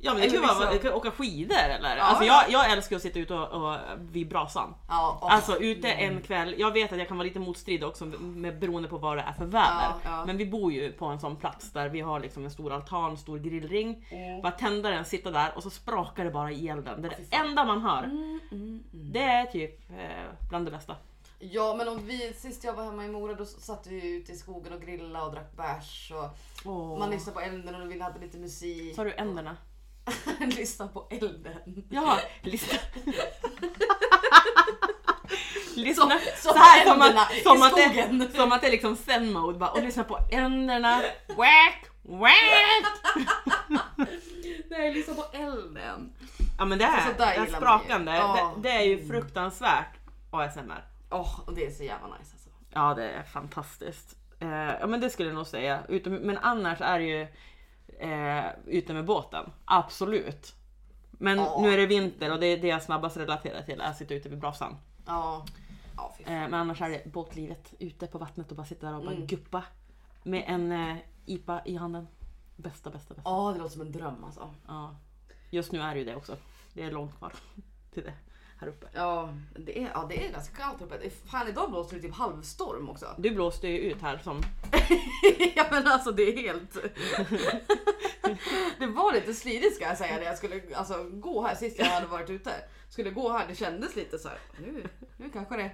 [SPEAKER 2] Ja, men det kan ju
[SPEAKER 1] Eller
[SPEAKER 2] vara,
[SPEAKER 1] liksom-
[SPEAKER 2] det kan åka skidor eller?
[SPEAKER 1] Ja,
[SPEAKER 2] alltså
[SPEAKER 1] ja.
[SPEAKER 2] jag, jag älskar att sitta ute och, och vid brasan.
[SPEAKER 1] Ja, och,
[SPEAKER 2] Alltså ute en kväll, jag vet att jag kan vara lite motstridig också med, beroende på vad det är för väder.
[SPEAKER 1] Ja, ja.
[SPEAKER 2] Men vi bor ju på en sån plats där vi har liksom en stor altan, stor grillring.
[SPEAKER 1] Mm.
[SPEAKER 2] Bara tända den, sitta där och så sprakar det bara i elden. Det är det enda man hör.
[SPEAKER 1] Mm,
[SPEAKER 2] Det är typ eh, bland det bästa.
[SPEAKER 1] ja men om vi, sist jag var hemma i Mora då satt vi ute i skogen och grillade och drack bärs och
[SPEAKER 2] Åh.
[SPEAKER 1] man lyssnade på elden och vi hade lite musik.
[SPEAKER 2] Sa du änderna?
[SPEAKER 1] lyssna på elden.
[SPEAKER 2] Ja, lyssna. lyssna.
[SPEAKER 1] Som- som
[SPEAKER 2] så här, som
[SPEAKER 1] änderna
[SPEAKER 2] att, som,
[SPEAKER 1] i
[SPEAKER 2] att det,
[SPEAKER 1] skogen.
[SPEAKER 2] som att det är liksom zen mode bara, och lyssna på änderna. Whack, whack.
[SPEAKER 1] Nej, lyssna på elden.
[SPEAKER 2] Ja men det här,
[SPEAKER 1] Så
[SPEAKER 2] det
[SPEAKER 1] där
[SPEAKER 2] här
[SPEAKER 1] gillar man ju.
[SPEAKER 2] sprakande,
[SPEAKER 1] Ja.
[SPEAKER 2] det, det är ju fruktansvärt ASMR.
[SPEAKER 1] Åh, och det är så jävla nice alltså.
[SPEAKER 2] Ja det är fantastiskt. Eh, ja men det skulle jag nog säga. Utom, men annars är det ju eh, ute med båten. Absolut. Men
[SPEAKER 1] Ja.
[SPEAKER 2] nu är det vinter och det är det jag snabbast relaterar till, är att sitta ute vid brasan.
[SPEAKER 1] Ja. Ja, fy
[SPEAKER 2] Eh,
[SPEAKER 1] fan.
[SPEAKER 2] men annars är det båtlivet ute på vattnet och bara sitta där och bara guppa med en eh, IPA i handen. Bästa, bästa, bästa.
[SPEAKER 1] Ja, det låter som en dröm alltså.
[SPEAKER 2] Ja. Just nu är det ju det också. Det är långt kvar till det här uppe.
[SPEAKER 1] Ja, det är, ja, det är ganska kallt uppe. Det är- Fan idag blåser det typ halvstorm också.
[SPEAKER 2] Du blåste ju ut här som...
[SPEAKER 1] ja men alltså det är helt... det var lite slidigt ska jag säga när jag skulle alltså, gå här sist jag hade varit ute. Skulle gå här, det kändes lite så här. Nu, nu kanske det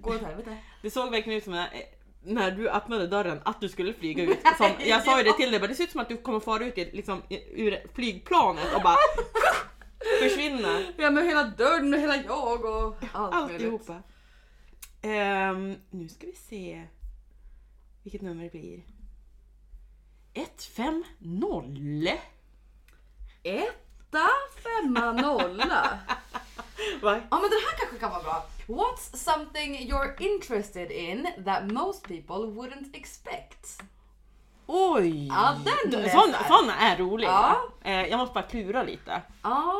[SPEAKER 1] går åt helvete.
[SPEAKER 2] Det såg verkligen ut som när, eh, när du öppnade dörren att du skulle flyga ut. Som, jag sa ju det till dig, bara, det ser ut som att du kommer fara ut i, liksom, i- ur flygplanet och bara försvinna.
[SPEAKER 1] Ja men hela dörren och hela jag och allt
[SPEAKER 2] Alltihopa. Ehm, nu ska vi se vilket nummer det blir. 150.
[SPEAKER 1] Etta, femma, nolla.
[SPEAKER 2] Va?
[SPEAKER 1] Ja men den här kanske kan vara bra. What's something you're interested in that most people wouldn't expect?
[SPEAKER 2] Oj!
[SPEAKER 1] Ja, den är
[SPEAKER 2] Sån,
[SPEAKER 1] stark.
[SPEAKER 2] såna är roliga.
[SPEAKER 1] Ja.
[SPEAKER 2] Eh, jag måste bara klura lite.
[SPEAKER 1] Ja,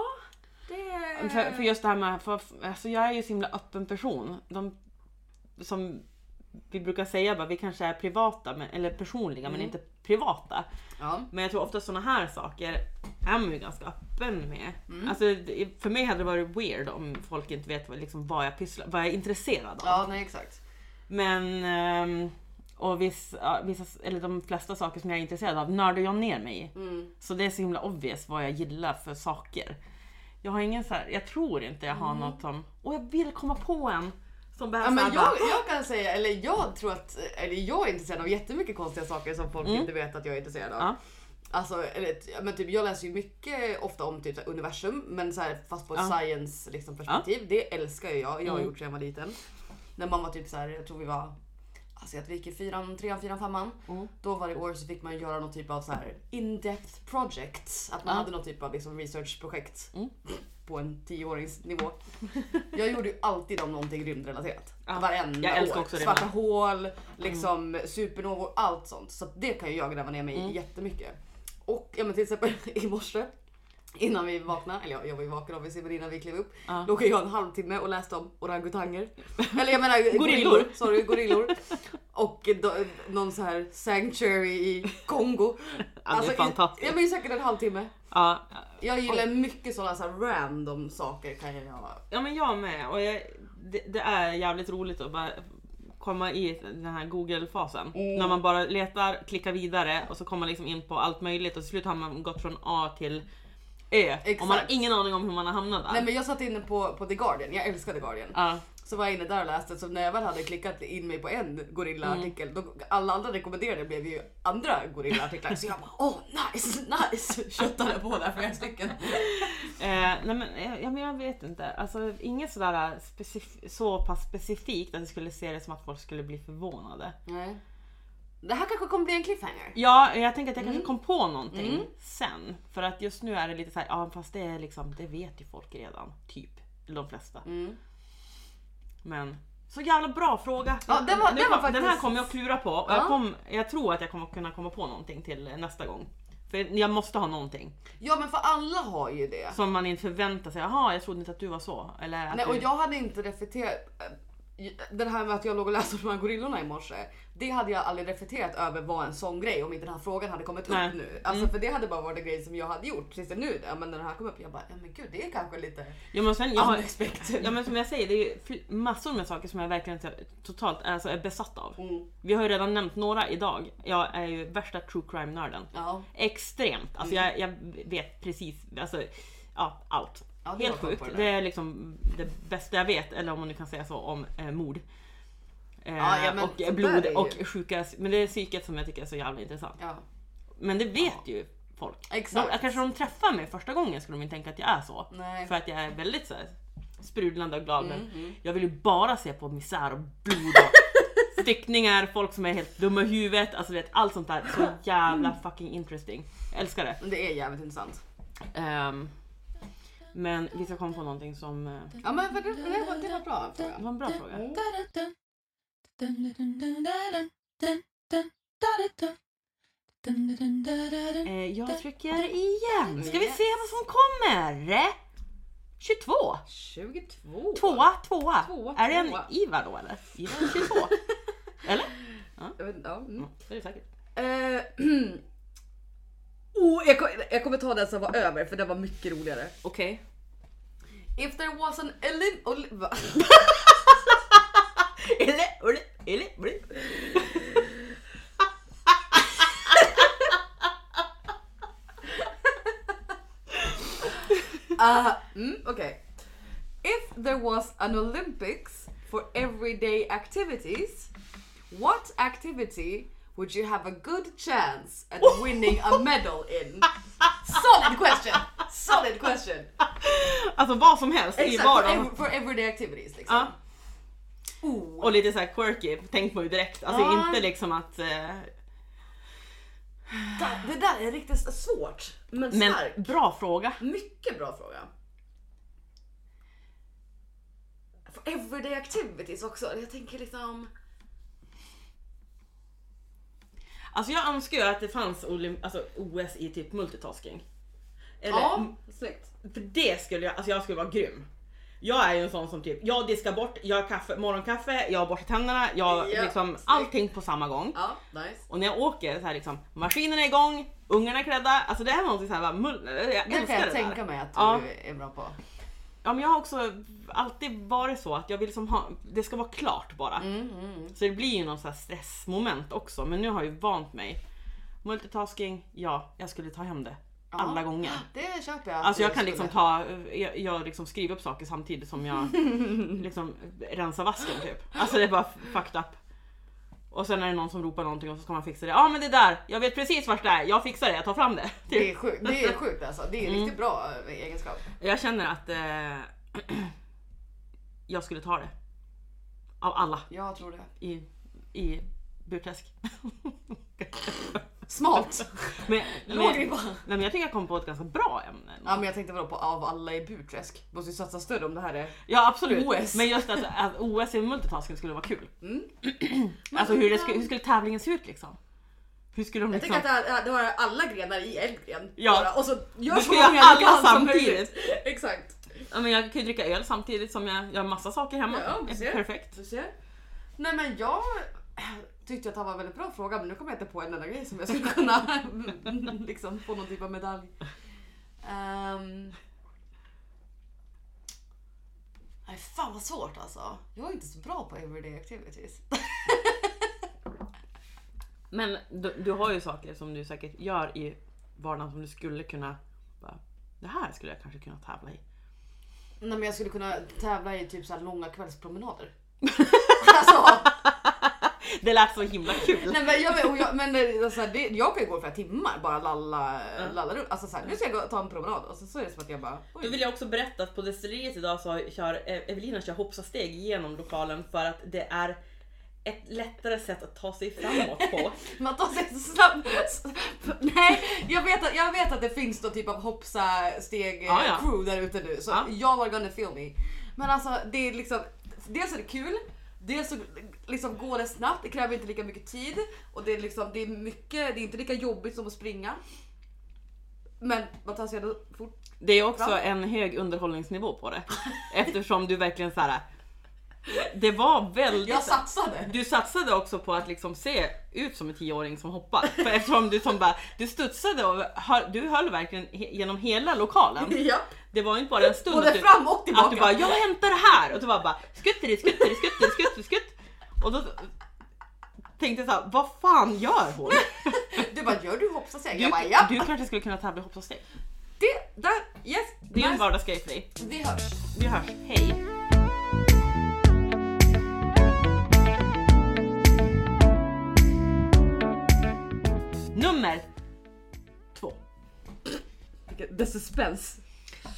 [SPEAKER 1] det...
[SPEAKER 2] För, för just det här med, för, alltså jag är ju så himla öppen person. De, som vi brukar säga, bara, vi kanske är privata men, eller personliga
[SPEAKER 1] Mm.
[SPEAKER 2] men inte privata.
[SPEAKER 1] Ja.
[SPEAKER 2] Men jag tror ofta såna här saker är man ju ganska öppen med.
[SPEAKER 1] Mm.
[SPEAKER 2] Alltså, det- för mig hade det varit weird om folk inte vet vad, liksom, vad jag pysslar vad jag är intresserad av.
[SPEAKER 1] ja, nej exakt.
[SPEAKER 2] Men ehm, och viss, ja, vissa, eller de flesta saker som jag är intresserad av nördar jag ner mig i.
[SPEAKER 1] Mm.
[SPEAKER 2] Så det är så himla obvious vad jag gillar för saker. Jag har ingen så här, jag tror inte jag har något som, och jag vill komma på en som
[SPEAKER 1] Mm. Ja,
[SPEAKER 2] behövs
[SPEAKER 1] men
[SPEAKER 2] här bara,
[SPEAKER 1] jag, jag kan säga, eller jag tror att, eller jag är intresserad av jättemycket konstiga saker som folk inte vet att jag är intresserad av.
[SPEAKER 2] Mm. Ja.
[SPEAKER 1] Alltså, eller, t- ja, men typ, jag läser ju mycket ofta om typ, så här, universum, men så här, fast på ett science liksom, perspektiv. Det älskar ju jag, jag har
[SPEAKER 2] Mm.
[SPEAKER 1] gjort sedan jag var liten. När man var typ så här, jag tror vi var, alltså jag gick i fyran, trean, fyran, femman. Då varje år så fick man göra någon
[SPEAKER 2] Mm.
[SPEAKER 1] typ av så här in-depth projects. Att man hade någon typ av liksom, researchprojekt. på en tioåringsnivå. Jag gjorde ju alltid om någonting rymdrelaterat.
[SPEAKER 2] Ja.
[SPEAKER 1] Varenda
[SPEAKER 2] Jag älskar
[SPEAKER 1] år.
[SPEAKER 2] också Mm.
[SPEAKER 1] Svarta hål, liksom supernovor, allt sånt. Så att det kan ju jag gräva ner mig
[SPEAKER 2] Mm.
[SPEAKER 1] i jättemycket. Och ja, men till exempel i morse innan vi vaknade, eller jag, jag var ju vaken obviously men innan vi klev upp.
[SPEAKER 2] Ja.
[SPEAKER 1] Låg jag en halvtimme och läste om orangutanger. Eller jag menar
[SPEAKER 2] Gorillor.
[SPEAKER 1] Sorry, gorillor. Och då, någon så här sanctuary i Kongo. Alltså,
[SPEAKER 2] det är fantastiskt.
[SPEAKER 1] Jag, jag minns säkert en halvtimme.
[SPEAKER 2] Ja,
[SPEAKER 1] Jag gillar mycket sådana så här random saker kan jag göra.
[SPEAKER 2] ja men jag med. Och jag, det, det är jävligt roligt att bara komma i den här google-fasen.
[SPEAKER 1] Mm.
[SPEAKER 2] När man bara letar, klickar vidare och så kommer man liksom in på allt möjligt och till slut har man gått från A till Ö. Och man har
[SPEAKER 1] Exakt.
[SPEAKER 2] ingen aning om hur man har hamnat där.
[SPEAKER 1] Nej men jag satt inne på, på The Guardian, jag älskar The Guardian.
[SPEAKER 2] Ja.
[SPEAKER 1] Så var jag inne där och läste, så när jag väl hade klickat in mig på en gorillaartikel,
[SPEAKER 2] Mm.
[SPEAKER 1] då alla andra rekommenderade blev ju andra gorillaartiklar. Så jag bara åh nice, nice! Köttade på där flera stycken.
[SPEAKER 2] Eh, nej men, eh, ja, men jag vet inte. Alltså, inget sådär specif- så pass specifikt att jag skulle se det som att folk skulle bli förvånade.
[SPEAKER 1] Nej. Det här kanske kommer bli en cliffhanger.
[SPEAKER 2] Ja, jag tänker att jag
[SPEAKER 1] Mm.
[SPEAKER 2] kanske kom på någonting sen. För att just nu är det lite såhär, ja fast det är liksom, det vet ju folk redan. Typ. Eller de flesta.
[SPEAKER 1] Mm.
[SPEAKER 2] Men så jävla bra fråga.
[SPEAKER 1] Ja, den var-
[SPEAKER 2] Nu
[SPEAKER 1] den var
[SPEAKER 2] kom- den här
[SPEAKER 1] faktiskt-
[SPEAKER 2] kommer jag att klura på. Och
[SPEAKER 1] Ja.
[SPEAKER 2] jag, kom, jag tror att jag kommer att kunna komma på någonting till eh, nästa gång. För jag måste ha någonting.
[SPEAKER 1] Ja men för alla har ju det.
[SPEAKER 2] Som man inte förväntar sig. Jaha, jag trodde inte att du var så. Eller att
[SPEAKER 1] Nej, och
[SPEAKER 2] du...
[SPEAKER 1] jag hade inte reflekterat. Den här med att jag låg och läste om de här gorillorna i morse. Det hade jag aldrig reflekterat över var en sån grej om inte den här frågan hade kommit
[SPEAKER 2] Nej.
[SPEAKER 1] upp nu. Alltså för det hade bara varit en grej som jag hade gjort tills det nu. Ja, men när den här kom upp jag bara, ja men gud det är kanske lite
[SPEAKER 2] Ja, men sen, jag har,
[SPEAKER 1] unexpected.
[SPEAKER 2] Ja men som jag säger, det är ju fl- massor med saker som jag verkligen inte- totalt alltså, är besatt av.
[SPEAKER 1] Mm.
[SPEAKER 2] Vi har ju redan nämnt några idag. Jag är ju värsta true crime-nörden.
[SPEAKER 1] Ja.
[SPEAKER 2] Extremt! Alltså jag,
[SPEAKER 1] Mm.
[SPEAKER 2] jag vet precis, alltså ja, allt.
[SPEAKER 1] Ja, det var
[SPEAKER 2] Helt
[SPEAKER 1] bra
[SPEAKER 2] sjukt.
[SPEAKER 1] på det där.
[SPEAKER 2] Det är liksom det bästa jag vet, eller om man nu kan säga så, om eh, mord. Eh,
[SPEAKER 1] Ja, ja, men
[SPEAKER 2] och
[SPEAKER 1] sånt där
[SPEAKER 2] eh, blod
[SPEAKER 1] är ju-
[SPEAKER 2] och sjuka, men det är psyket som jag tycker är så jävla intressant.
[SPEAKER 1] ja.
[SPEAKER 2] Men det vet ju folk.
[SPEAKER 1] Exakt. Mm.
[SPEAKER 2] De, kanske de träffar mig första gången skulle de inte tänka att jag är så.
[SPEAKER 1] Nej.
[SPEAKER 2] För att jag är väldigt så här, sprudlande och glad. men
[SPEAKER 1] Mhm.
[SPEAKER 2] Jag vill ju bara se på misär och blod och styckningar, folk som är helt dumma i huvudet. Alltså du vet, allt sånt där. Så jävla fucking interesting. Jag älskar det.
[SPEAKER 1] Men det är jävligt intressant.
[SPEAKER 2] Ehm, men vi ska komma på någonting som... eh,
[SPEAKER 1] Ja men för det, det, var, det var bra fråga.
[SPEAKER 2] Det var en bra fråga. Eh, jag trycker igen. Ska vi se vad som kommer? 22!
[SPEAKER 1] 22.
[SPEAKER 2] Tvåa, tvåa.
[SPEAKER 1] Tvåa,
[SPEAKER 2] Är det en
[SPEAKER 1] tvåa.
[SPEAKER 2] IVA då eller? IVA 22. eller?
[SPEAKER 1] Jag vet inte, ja. Mm.
[SPEAKER 2] Mm, det är det säkert.
[SPEAKER 1] Eh, oh, jag, kom, jag kommer ta den som var över för den var mycket roligare.
[SPEAKER 2] Okej.
[SPEAKER 1] If there was an Olymp... Oli- va?
[SPEAKER 2] Eller, eller, eller, eller.
[SPEAKER 1] Ah, mm, Okej. If there was an Olympics for everyday activities, what activity would you have a good chance at winning a medal in? Solid question! Solid question!
[SPEAKER 2] Alltså vad som helst i
[SPEAKER 1] Exakt, for,
[SPEAKER 2] vardagen.
[SPEAKER 1] ev- for everyday activities liksom.
[SPEAKER 2] Ja,
[SPEAKER 1] Oh.
[SPEAKER 2] och lite så här quirky, tänk man ju direkt. Alltså
[SPEAKER 1] Ja.
[SPEAKER 2] inte liksom att... eh,
[SPEAKER 1] Där- Det där är riktigt svårt, men,
[SPEAKER 2] Men
[SPEAKER 1] starkt.
[SPEAKER 2] bra fråga.
[SPEAKER 1] Mycket bra fråga. For everyday activities också. Jag tänker liksom...
[SPEAKER 2] Alltså jag önskar ju att det fanns olymp- alltså, OS i typ multitasking. Eller,
[SPEAKER 1] Ja, mm, snyggt.
[SPEAKER 2] För det skulle jag, alltså jag skulle vara grym. Jag är ju en sån som typ, jag diskar bort, jag har kaffe, morgonkaffe, jag borstar tänderna, jag
[SPEAKER 1] Ja,
[SPEAKER 2] liksom
[SPEAKER 1] snyggt.
[SPEAKER 2] allting på samma gång.
[SPEAKER 1] Ja, nice.
[SPEAKER 2] Och när jag åker så här liksom, maskinen är igång, ungarna är klädda, alltså det här var någonting så här, bara, mul- jag
[SPEAKER 1] Det
[SPEAKER 2] älskar
[SPEAKER 1] kan jag
[SPEAKER 2] det där.
[SPEAKER 1] tänka mig att du
[SPEAKER 2] Ja.
[SPEAKER 1] är bra på.
[SPEAKER 2] Ja men jag har också alltid varit så att jag vill liksom ha, det ska vara klart bara. Så det blir ju någon så här stressmoment också men nu har jag ju vant mig. Multitasking, ja jag skulle ta hem det. Alla gånger.
[SPEAKER 1] Det köper jag.
[SPEAKER 2] Alltså jag
[SPEAKER 1] Du
[SPEAKER 2] kan
[SPEAKER 1] skulle.
[SPEAKER 2] liksom ta, jag, jag liksom skriver upp saker samtidigt som jag liksom rensar vasken typ. Alltså det är bara fucked up. Och sen är det någon som ropar någonting och så ska man fixa det. Ja ah, men det där, jag vet precis vart det är, jag fixar det, jag tar fram det. Typ.
[SPEAKER 1] Det är sjukt, det är sjukt alltså. Det är en riktigt bra eh, egenskap.
[SPEAKER 2] Jag känner att eh, jag skulle ta det. Av alla
[SPEAKER 1] Jag tror det.
[SPEAKER 2] i, i Burträsk.
[SPEAKER 1] Smalt!
[SPEAKER 2] Men,
[SPEAKER 1] Låg
[SPEAKER 2] men,
[SPEAKER 1] ribba!
[SPEAKER 2] nej, men jag tycker jag kom på ett ganska bra ämne.
[SPEAKER 1] Ja men jag tänkte vadå på av alla i Burträsk? Måste ju satsa större om det här är...
[SPEAKER 2] Ja absolut.
[SPEAKER 1] OS.
[SPEAKER 2] Men just att, att OS i multitasking skulle vara kul.
[SPEAKER 1] Mm.
[SPEAKER 2] Alltså hur, det skulle, hur skulle tävlingen se ut liksom? Hur skulle de
[SPEAKER 1] Jag
[SPEAKER 2] liksom...
[SPEAKER 1] tänker att det, här, det här alla grenar i en gren.
[SPEAKER 2] Ja.
[SPEAKER 1] Bara, Och så gör
[SPEAKER 2] Du
[SPEAKER 1] så
[SPEAKER 2] ska göra
[SPEAKER 1] många du
[SPEAKER 2] alla
[SPEAKER 1] kan som möjligt.
[SPEAKER 2] samtidigt.
[SPEAKER 1] Exakt.
[SPEAKER 2] Ja, men jag kan ju dricka öl samtidigt som jag gör massa saker hemma.
[SPEAKER 1] Ja, du ser.
[SPEAKER 2] Perfekt.
[SPEAKER 1] Du ser. Nej men jag tyckte att det var en väldigt bra fråga men nu kommer jag inte på en enda grej som jag skulle kunna liksom, få någon typ av medalj. Um... Nej fan vad svårt alltså. Jag är inte så bra på everyday activities.
[SPEAKER 2] Men du, du har ju saker som du säkert gör i vardagen som du skulle kunna... Bara, det här skulle jag kanske kunna tävla i.
[SPEAKER 1] Nej men jag skulle kunna tävla i typ så här långa kvällspromenader. alltså,
[SPEAKER 2] Det lät så himla kul.
[SPEAKER 1] nej men jag, men- och jag, men eh, alltså, det, jag kan ju gå i flera timmar bara lalla, lalla runt. Alltså så här, nu ska jag gå, ta en promenad och så, så är det som att jag bara oj.
[SPEAKER 2] Då vill jag också berätta att på destilleriet idag så kör eh, Evelina kör hoppsasteg genom lokalen för att det är ett lättare sätt att ta sig framåt på.
[SPEAKER 1] Man tar sig så snabbt. Nej, jag vet, att, jag vet att det finns någon typ av hoppsa steg eh,
[SPEAKER 2] Ja, ja.
[SPEAKER 1] crew där ute nu. Så
[SPEAKER 2] Ja.
[SPEAKER 1] jag are gonna feel me. Men alltså det är liksom, dels är det kul, dels så liksom går det snabbt, det kräver inte lika mycket tid och det är liksom, det är mycket, det är inte lika jobbigt som att springa. Men man tar sig ändå fort.
[SPEAKER 2] Det är också
[SPEAKER 1] Bra.
[SPEAKER 2] en hög underhållningsnivå på det. Eftersom du verkligen så här. Det var väldigt...
[SPEAKER 1] Jag satsade!
[SPEAKER 2] Du satsade också på att liksom se ut som en tioåring som hoppar. För eftersom du som bara, du studsade och höll, du höll verkligen he, genom hela lokalen.
[SPEAKER 1] Ja.
[SPEAKER 2] Det var ju inte bara en stund
[SPEAKER 1] Både
[SPEAKER 2] typ att du,
[SPEAKER 1] fram och tillbaka.
[SPEAKER 2] att du bara, jag hämtar det här! Och du bara, bara skutteri, skutteri, skutteri, skutteri, skutt. Och då tänkte jag såhär, vad fan gör hon?
[SPEAKER 1] Du bara, gör du hoppsa steg?
[SPEAKER 2] Du,
[SPEAKER 1] Jag bara, ja.
[SPEAKER 2] du kanske skulle kunna tävla i hoppsavsteg.
[SPEAKER 1] Det, där, yes.
[SPEAKER 2] Det är en
[SPEAKER 1] nice.
[SPEAKER 2] vardagsgrej för dig.
[SPEAKER 1] Vi hörs.
[SPEAKER 2] Vi hörs, hej! Nummer två.
[SPEAKER 1] Vilket- The suspense.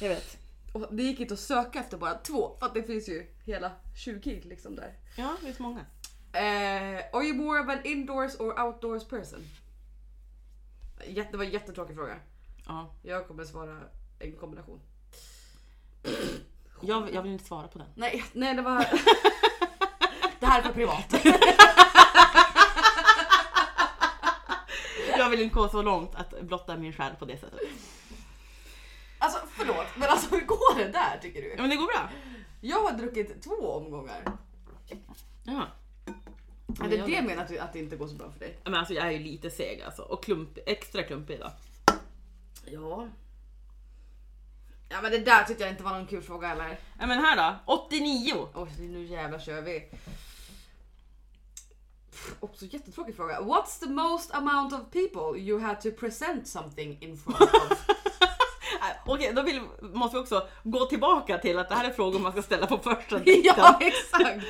[SPEAKER 2] Jag vet.
[SPEAKER 1] Och det gick inte att söka efter bara två för att det finns ju hela 20 liksom där.
[SPEAKER 2] Ja, det är så många.
[SPEAKER 1] Eh, are you more of an indoors or outdoors person? Jätte, det var en jättetråkig fråga.
[SPEAKER 2] Ja.
[SPEAKER 1] Jag kommer svara en kombination.
[SPEAKER 2] Jag, jag vill inte svara på den.
[SPEAKER 1] Nej, nej det var... det här är för privat.
[SPEAKER 2] Jag vill inte gå så långt att blotta min själ på det sättet.
[SPEAKER 1] Alltså förlåt, men alltså hur går det där tycker du?
[SPEAKER 2] Ja, men det går bra.
[SPEAKER 1] Jag har druckit två omgångar.
[SPEAKER 2] Ja.
[SPEAKER 1] Är det det menar du att det inte går så bra för dig?
[SPEAKER 2] Men alltså jag är ju lite seg alltså och klump, extra klumpig idag.
[SPEAKER 1] Ja. Ja men det där tyckte jag inte var någon kul fråga heller.
[SPEAKER 2] Ja, men här då, 89.
[SPEAKER 1] Oj, nu jävlar kör vi. Också jättetråkig fråga. What's the most amount of people you had to present something in front of?
[SPEAKER 2] Äh, Okej, då vill, måste vi också gå tillbaka till att det här är frågor man ska ställa på första dejten.
[SPEAKER 1] ja, exakt!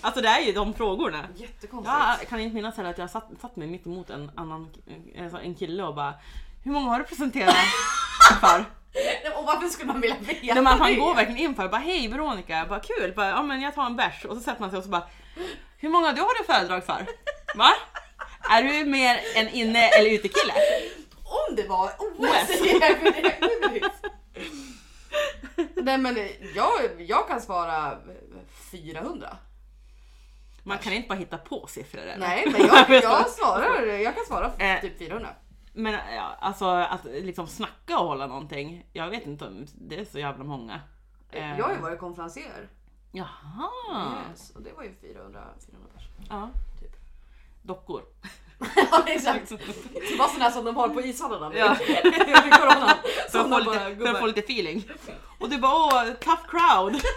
[SPEAKER 2] Alltså det är ju de frågorna.
[SPEAKER 1] Jättekonstigt.
[SPEAKER 2] Jag kan inte minnas heller att jag satt, satt mig mitt emot en annan alltså en kille och bara Hur många har du presenterat för?
[SPEAKER 1] Nej, Och varför skulle man vilja veta
[SPEAKER 2] När man, man
[SPEAKER 1] det?
[SPEAKER 2] går verkligen in för bara hej Veronica, Jag bara kul, bara, ja men jag tar en bärs och så sätter man sig och så bara Hur många du har du föredrag för? Va? Är du mer en inne eller utekille?
[SPEAKER 1] Om det var OS!
[SPEAKER 2] OS.
[SPEAKER 1] Nej men jag, jag kan svara 400.
[SPEAKER 2] Man kan inte bara hitta på siffror eller?
[SPEAKER 1] Nej men jag, jag svarar, jag kan svara
[SPEAKER 2] Eh.
[SPEAKER 1] typ 400.
[SPEAKER 2] Men ja, alltså att liksom snacka och hålla någonting. Jag vet inte om det är så jävla många. Eh,
[SPEAKER 1] Jag har ju varit Mm. konferenser.
[SPEAKER 2] Jaha.
[SPEAKER 1] Yes, och det var ju 400, 400 personer.
[SPEAKER 2] Ja.
[SPEAKER 1] Typ.
[SPEAKER 2] Dockor.
[SPEAKER 1] Ja exakt. Liksom.
[SPEAKER 2] Liksom.
[SPEAKER 1] Det var sådana som de har på ishallarna
[SPEAKER 2] Ja.
[SPEAKER 1] under coronan.
[SPEAKER 2] För att,
[SPEAKER 1] Sådana
[SPEAKER 2] få
[SPEAKER 1] bara
[SPEAKER 2] lite, för att få
[SPEAKER 1] gubbar.
[SPEAKER 2] lite feeling. Och du bara åh, tough crowd.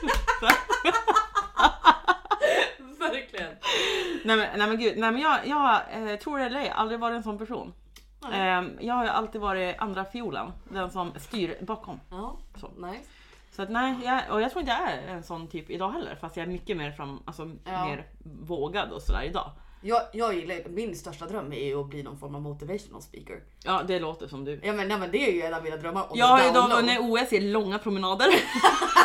[SPEAKER 1] Verkligen.
[SPEAKER 2] nej, men, nej men gud, nej men jag, jag eh, tror det eller ej, aldrig varit en sån person.
[SPEAKER 1] Nej.
[SPEAKER 2] Ehm, jag har ju alltid varit andra fiolen, den som styr bakom.
[SPEAKER 1] Ja,
[SPEAKER 2] Så.
[SPEAKER 1] nice.
[SPEAKER 2] Så att nej, jag, och jag tror inte jag är en sån typ idag heller fast jag är mycket mer fram, alltså
[SPEAKER 1] Ja.
[SPEAKER 2] mer vågad och sådär idag.
[SPEAKER 1] Jag, jag gillar ju- min största dröm är ju att bli någon form av motivational speaker.
[SPEAKER 2] Ja det låter som du.
[SPEAKER 1] Ja men, nej, men det är ju en av mina drömmar. on
[SPEAKER 2] Jag har
[SPEAKER 1] the
[SPEAKER 2] ju då
[SPEAKER 1] down low.
[SPEAKER 2] vunnit OS i långa promenader.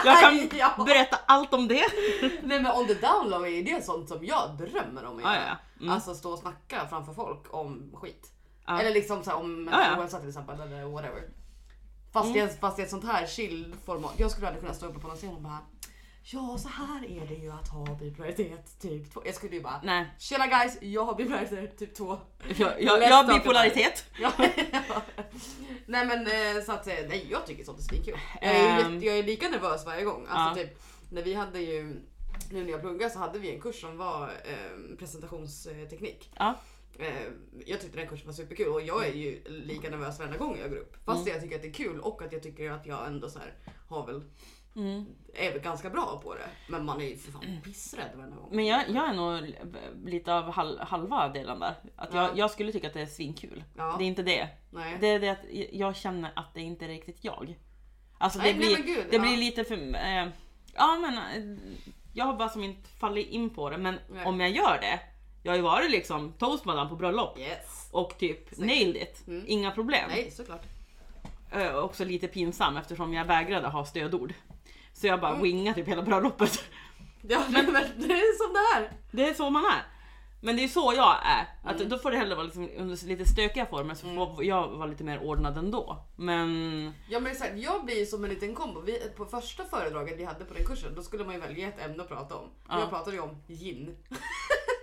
[SPEAKER 2] jag kan
[SPEAKER 1] Ja.
[SPEAKER 2] berätta allt om det.
[SPEAKER 1] Nej men on the download är ju det sånt som jag drömmer om att
[SPEAKER 2] Ja,
[SPEAKER 1] göra.
[SPEAKER 2] ja, ja. Mm.
[SPEAKER 1] Alltså stå och snacka framför folk om skit.
[SPEAKER 2] Ja.
[SPEAKER 1] Alltså, Eller liksom så här, om
[SPEAKER 2] Ja, ja.
[SPEAKER 1] mental
[SPEAKER 2] Mm.
[SPEAKER 1] ohälsa till exempel eller whatever. Fast, i, ett- fast i ett sånt här chill format. Jag skulle aldrig kunna stå uppe på någon scen och bara Ja så här är det ju att ha bipolaritet typ 2. Jag skulle ju bara
[SPEAKER 2] Nej,
[SPEAKER 1] Tjena guys, jag har bipolaritet typ 2.
[SPEAKER 2] jag,
[SPEAKER 1] Let's
[SPEAKER 2] jag, jag
[SPEAKER 1] talk
[SPEAKER 2] har bipolaritet.
[SPEAKER 1] Ja. nej men eh, så att eh, nej jag tycker sånt är svinkul. Jag är, ju
[SPEAKER 2] Ehm.
[SPEAKER 1] jätte, jag är lika nervös varje gång. Alltså
[SPEAKER 2] Ja.
[SPEAKER 1] typ när vi hade ju, nu när jag pluggade så hade vi en kurs som var eh, presentationsteknik.
[SPEAKER 2] Ja.
[SPEAKER 1] Eh, jag tyckte den kursen var superkul och jag
[SPEAKER 2] Mm.
[SPEAKER 1] är ju lika nervös varenda gång jag går upp. Fast jag tycker att det är kul och att jag tycker att jag ändå så här har väl
[SPEAKER 2] Mm.
[SPEAKER 1] är väl ganska bra på det. Men man är ju för fan pissrädd varenda gång.
[SPEAKER 2] Men jag, jag är nog l- lite av hal, halva delen där. Att jag,
[SPEAKER 1] Ja.
[SPEAKER 2] jag skulle tycka att det är svinkul.
[SPEAKER 1] Ja.
[SPEAKER 2] Det är inte det.
[SPEAKER 1] Nej.
[SPEAKER 2] Det är det att jag känner att det inte är riktigt jag. Alltså det
[SPEAKER 1] Nej, nej,
[SPEAKER 2] blir,
[SPEAKER 1] men gud,
[SPEAKER 2] det
[SPEAKER 1] ja.
[SPEAKER 2] blir lite för... Eh, ja men... Eh, jag har bara som inte fallit in på det. Men
[SPEAKER 1] Nej.
[SPEAKER 2] om jag gör det. Jag har ju varit liksom toastmadan på bröllop
[SPEAKER 1] Yes.
[SPEAKER 2] och typ nailed it. Inga problem.
[SPEAKER 1] Mm. Nej såklart.
[SPEAKER 2] Eh, också lite pinsam eftersom jag vägrade ha stödord. Så jag
[SPEAKER 1] Mm.
[SPEAKER 2] bara wingade typ hela bröllopet.
[SPEAKER 1] Ja, men, men det är som det här.
[SPEAKER 2] Det är så man är. Men det är så jag är. Att
[SPEAKER 1] Mm.
[SPEAKER 2] Då får det hellre vara liksom under lite stökiga former så får jag vara lite mer ordnad ändå. Men
[SPEAKER 1] Ja men exakt, jag blir ju som en liten kombo. Vi, på första föredraget vi hade på den kursen då skulle man ju välja ett ämne att prata om.
[SPEAKER 2] Ja.
[SPEAKER 1] Jag pratade ju om gin.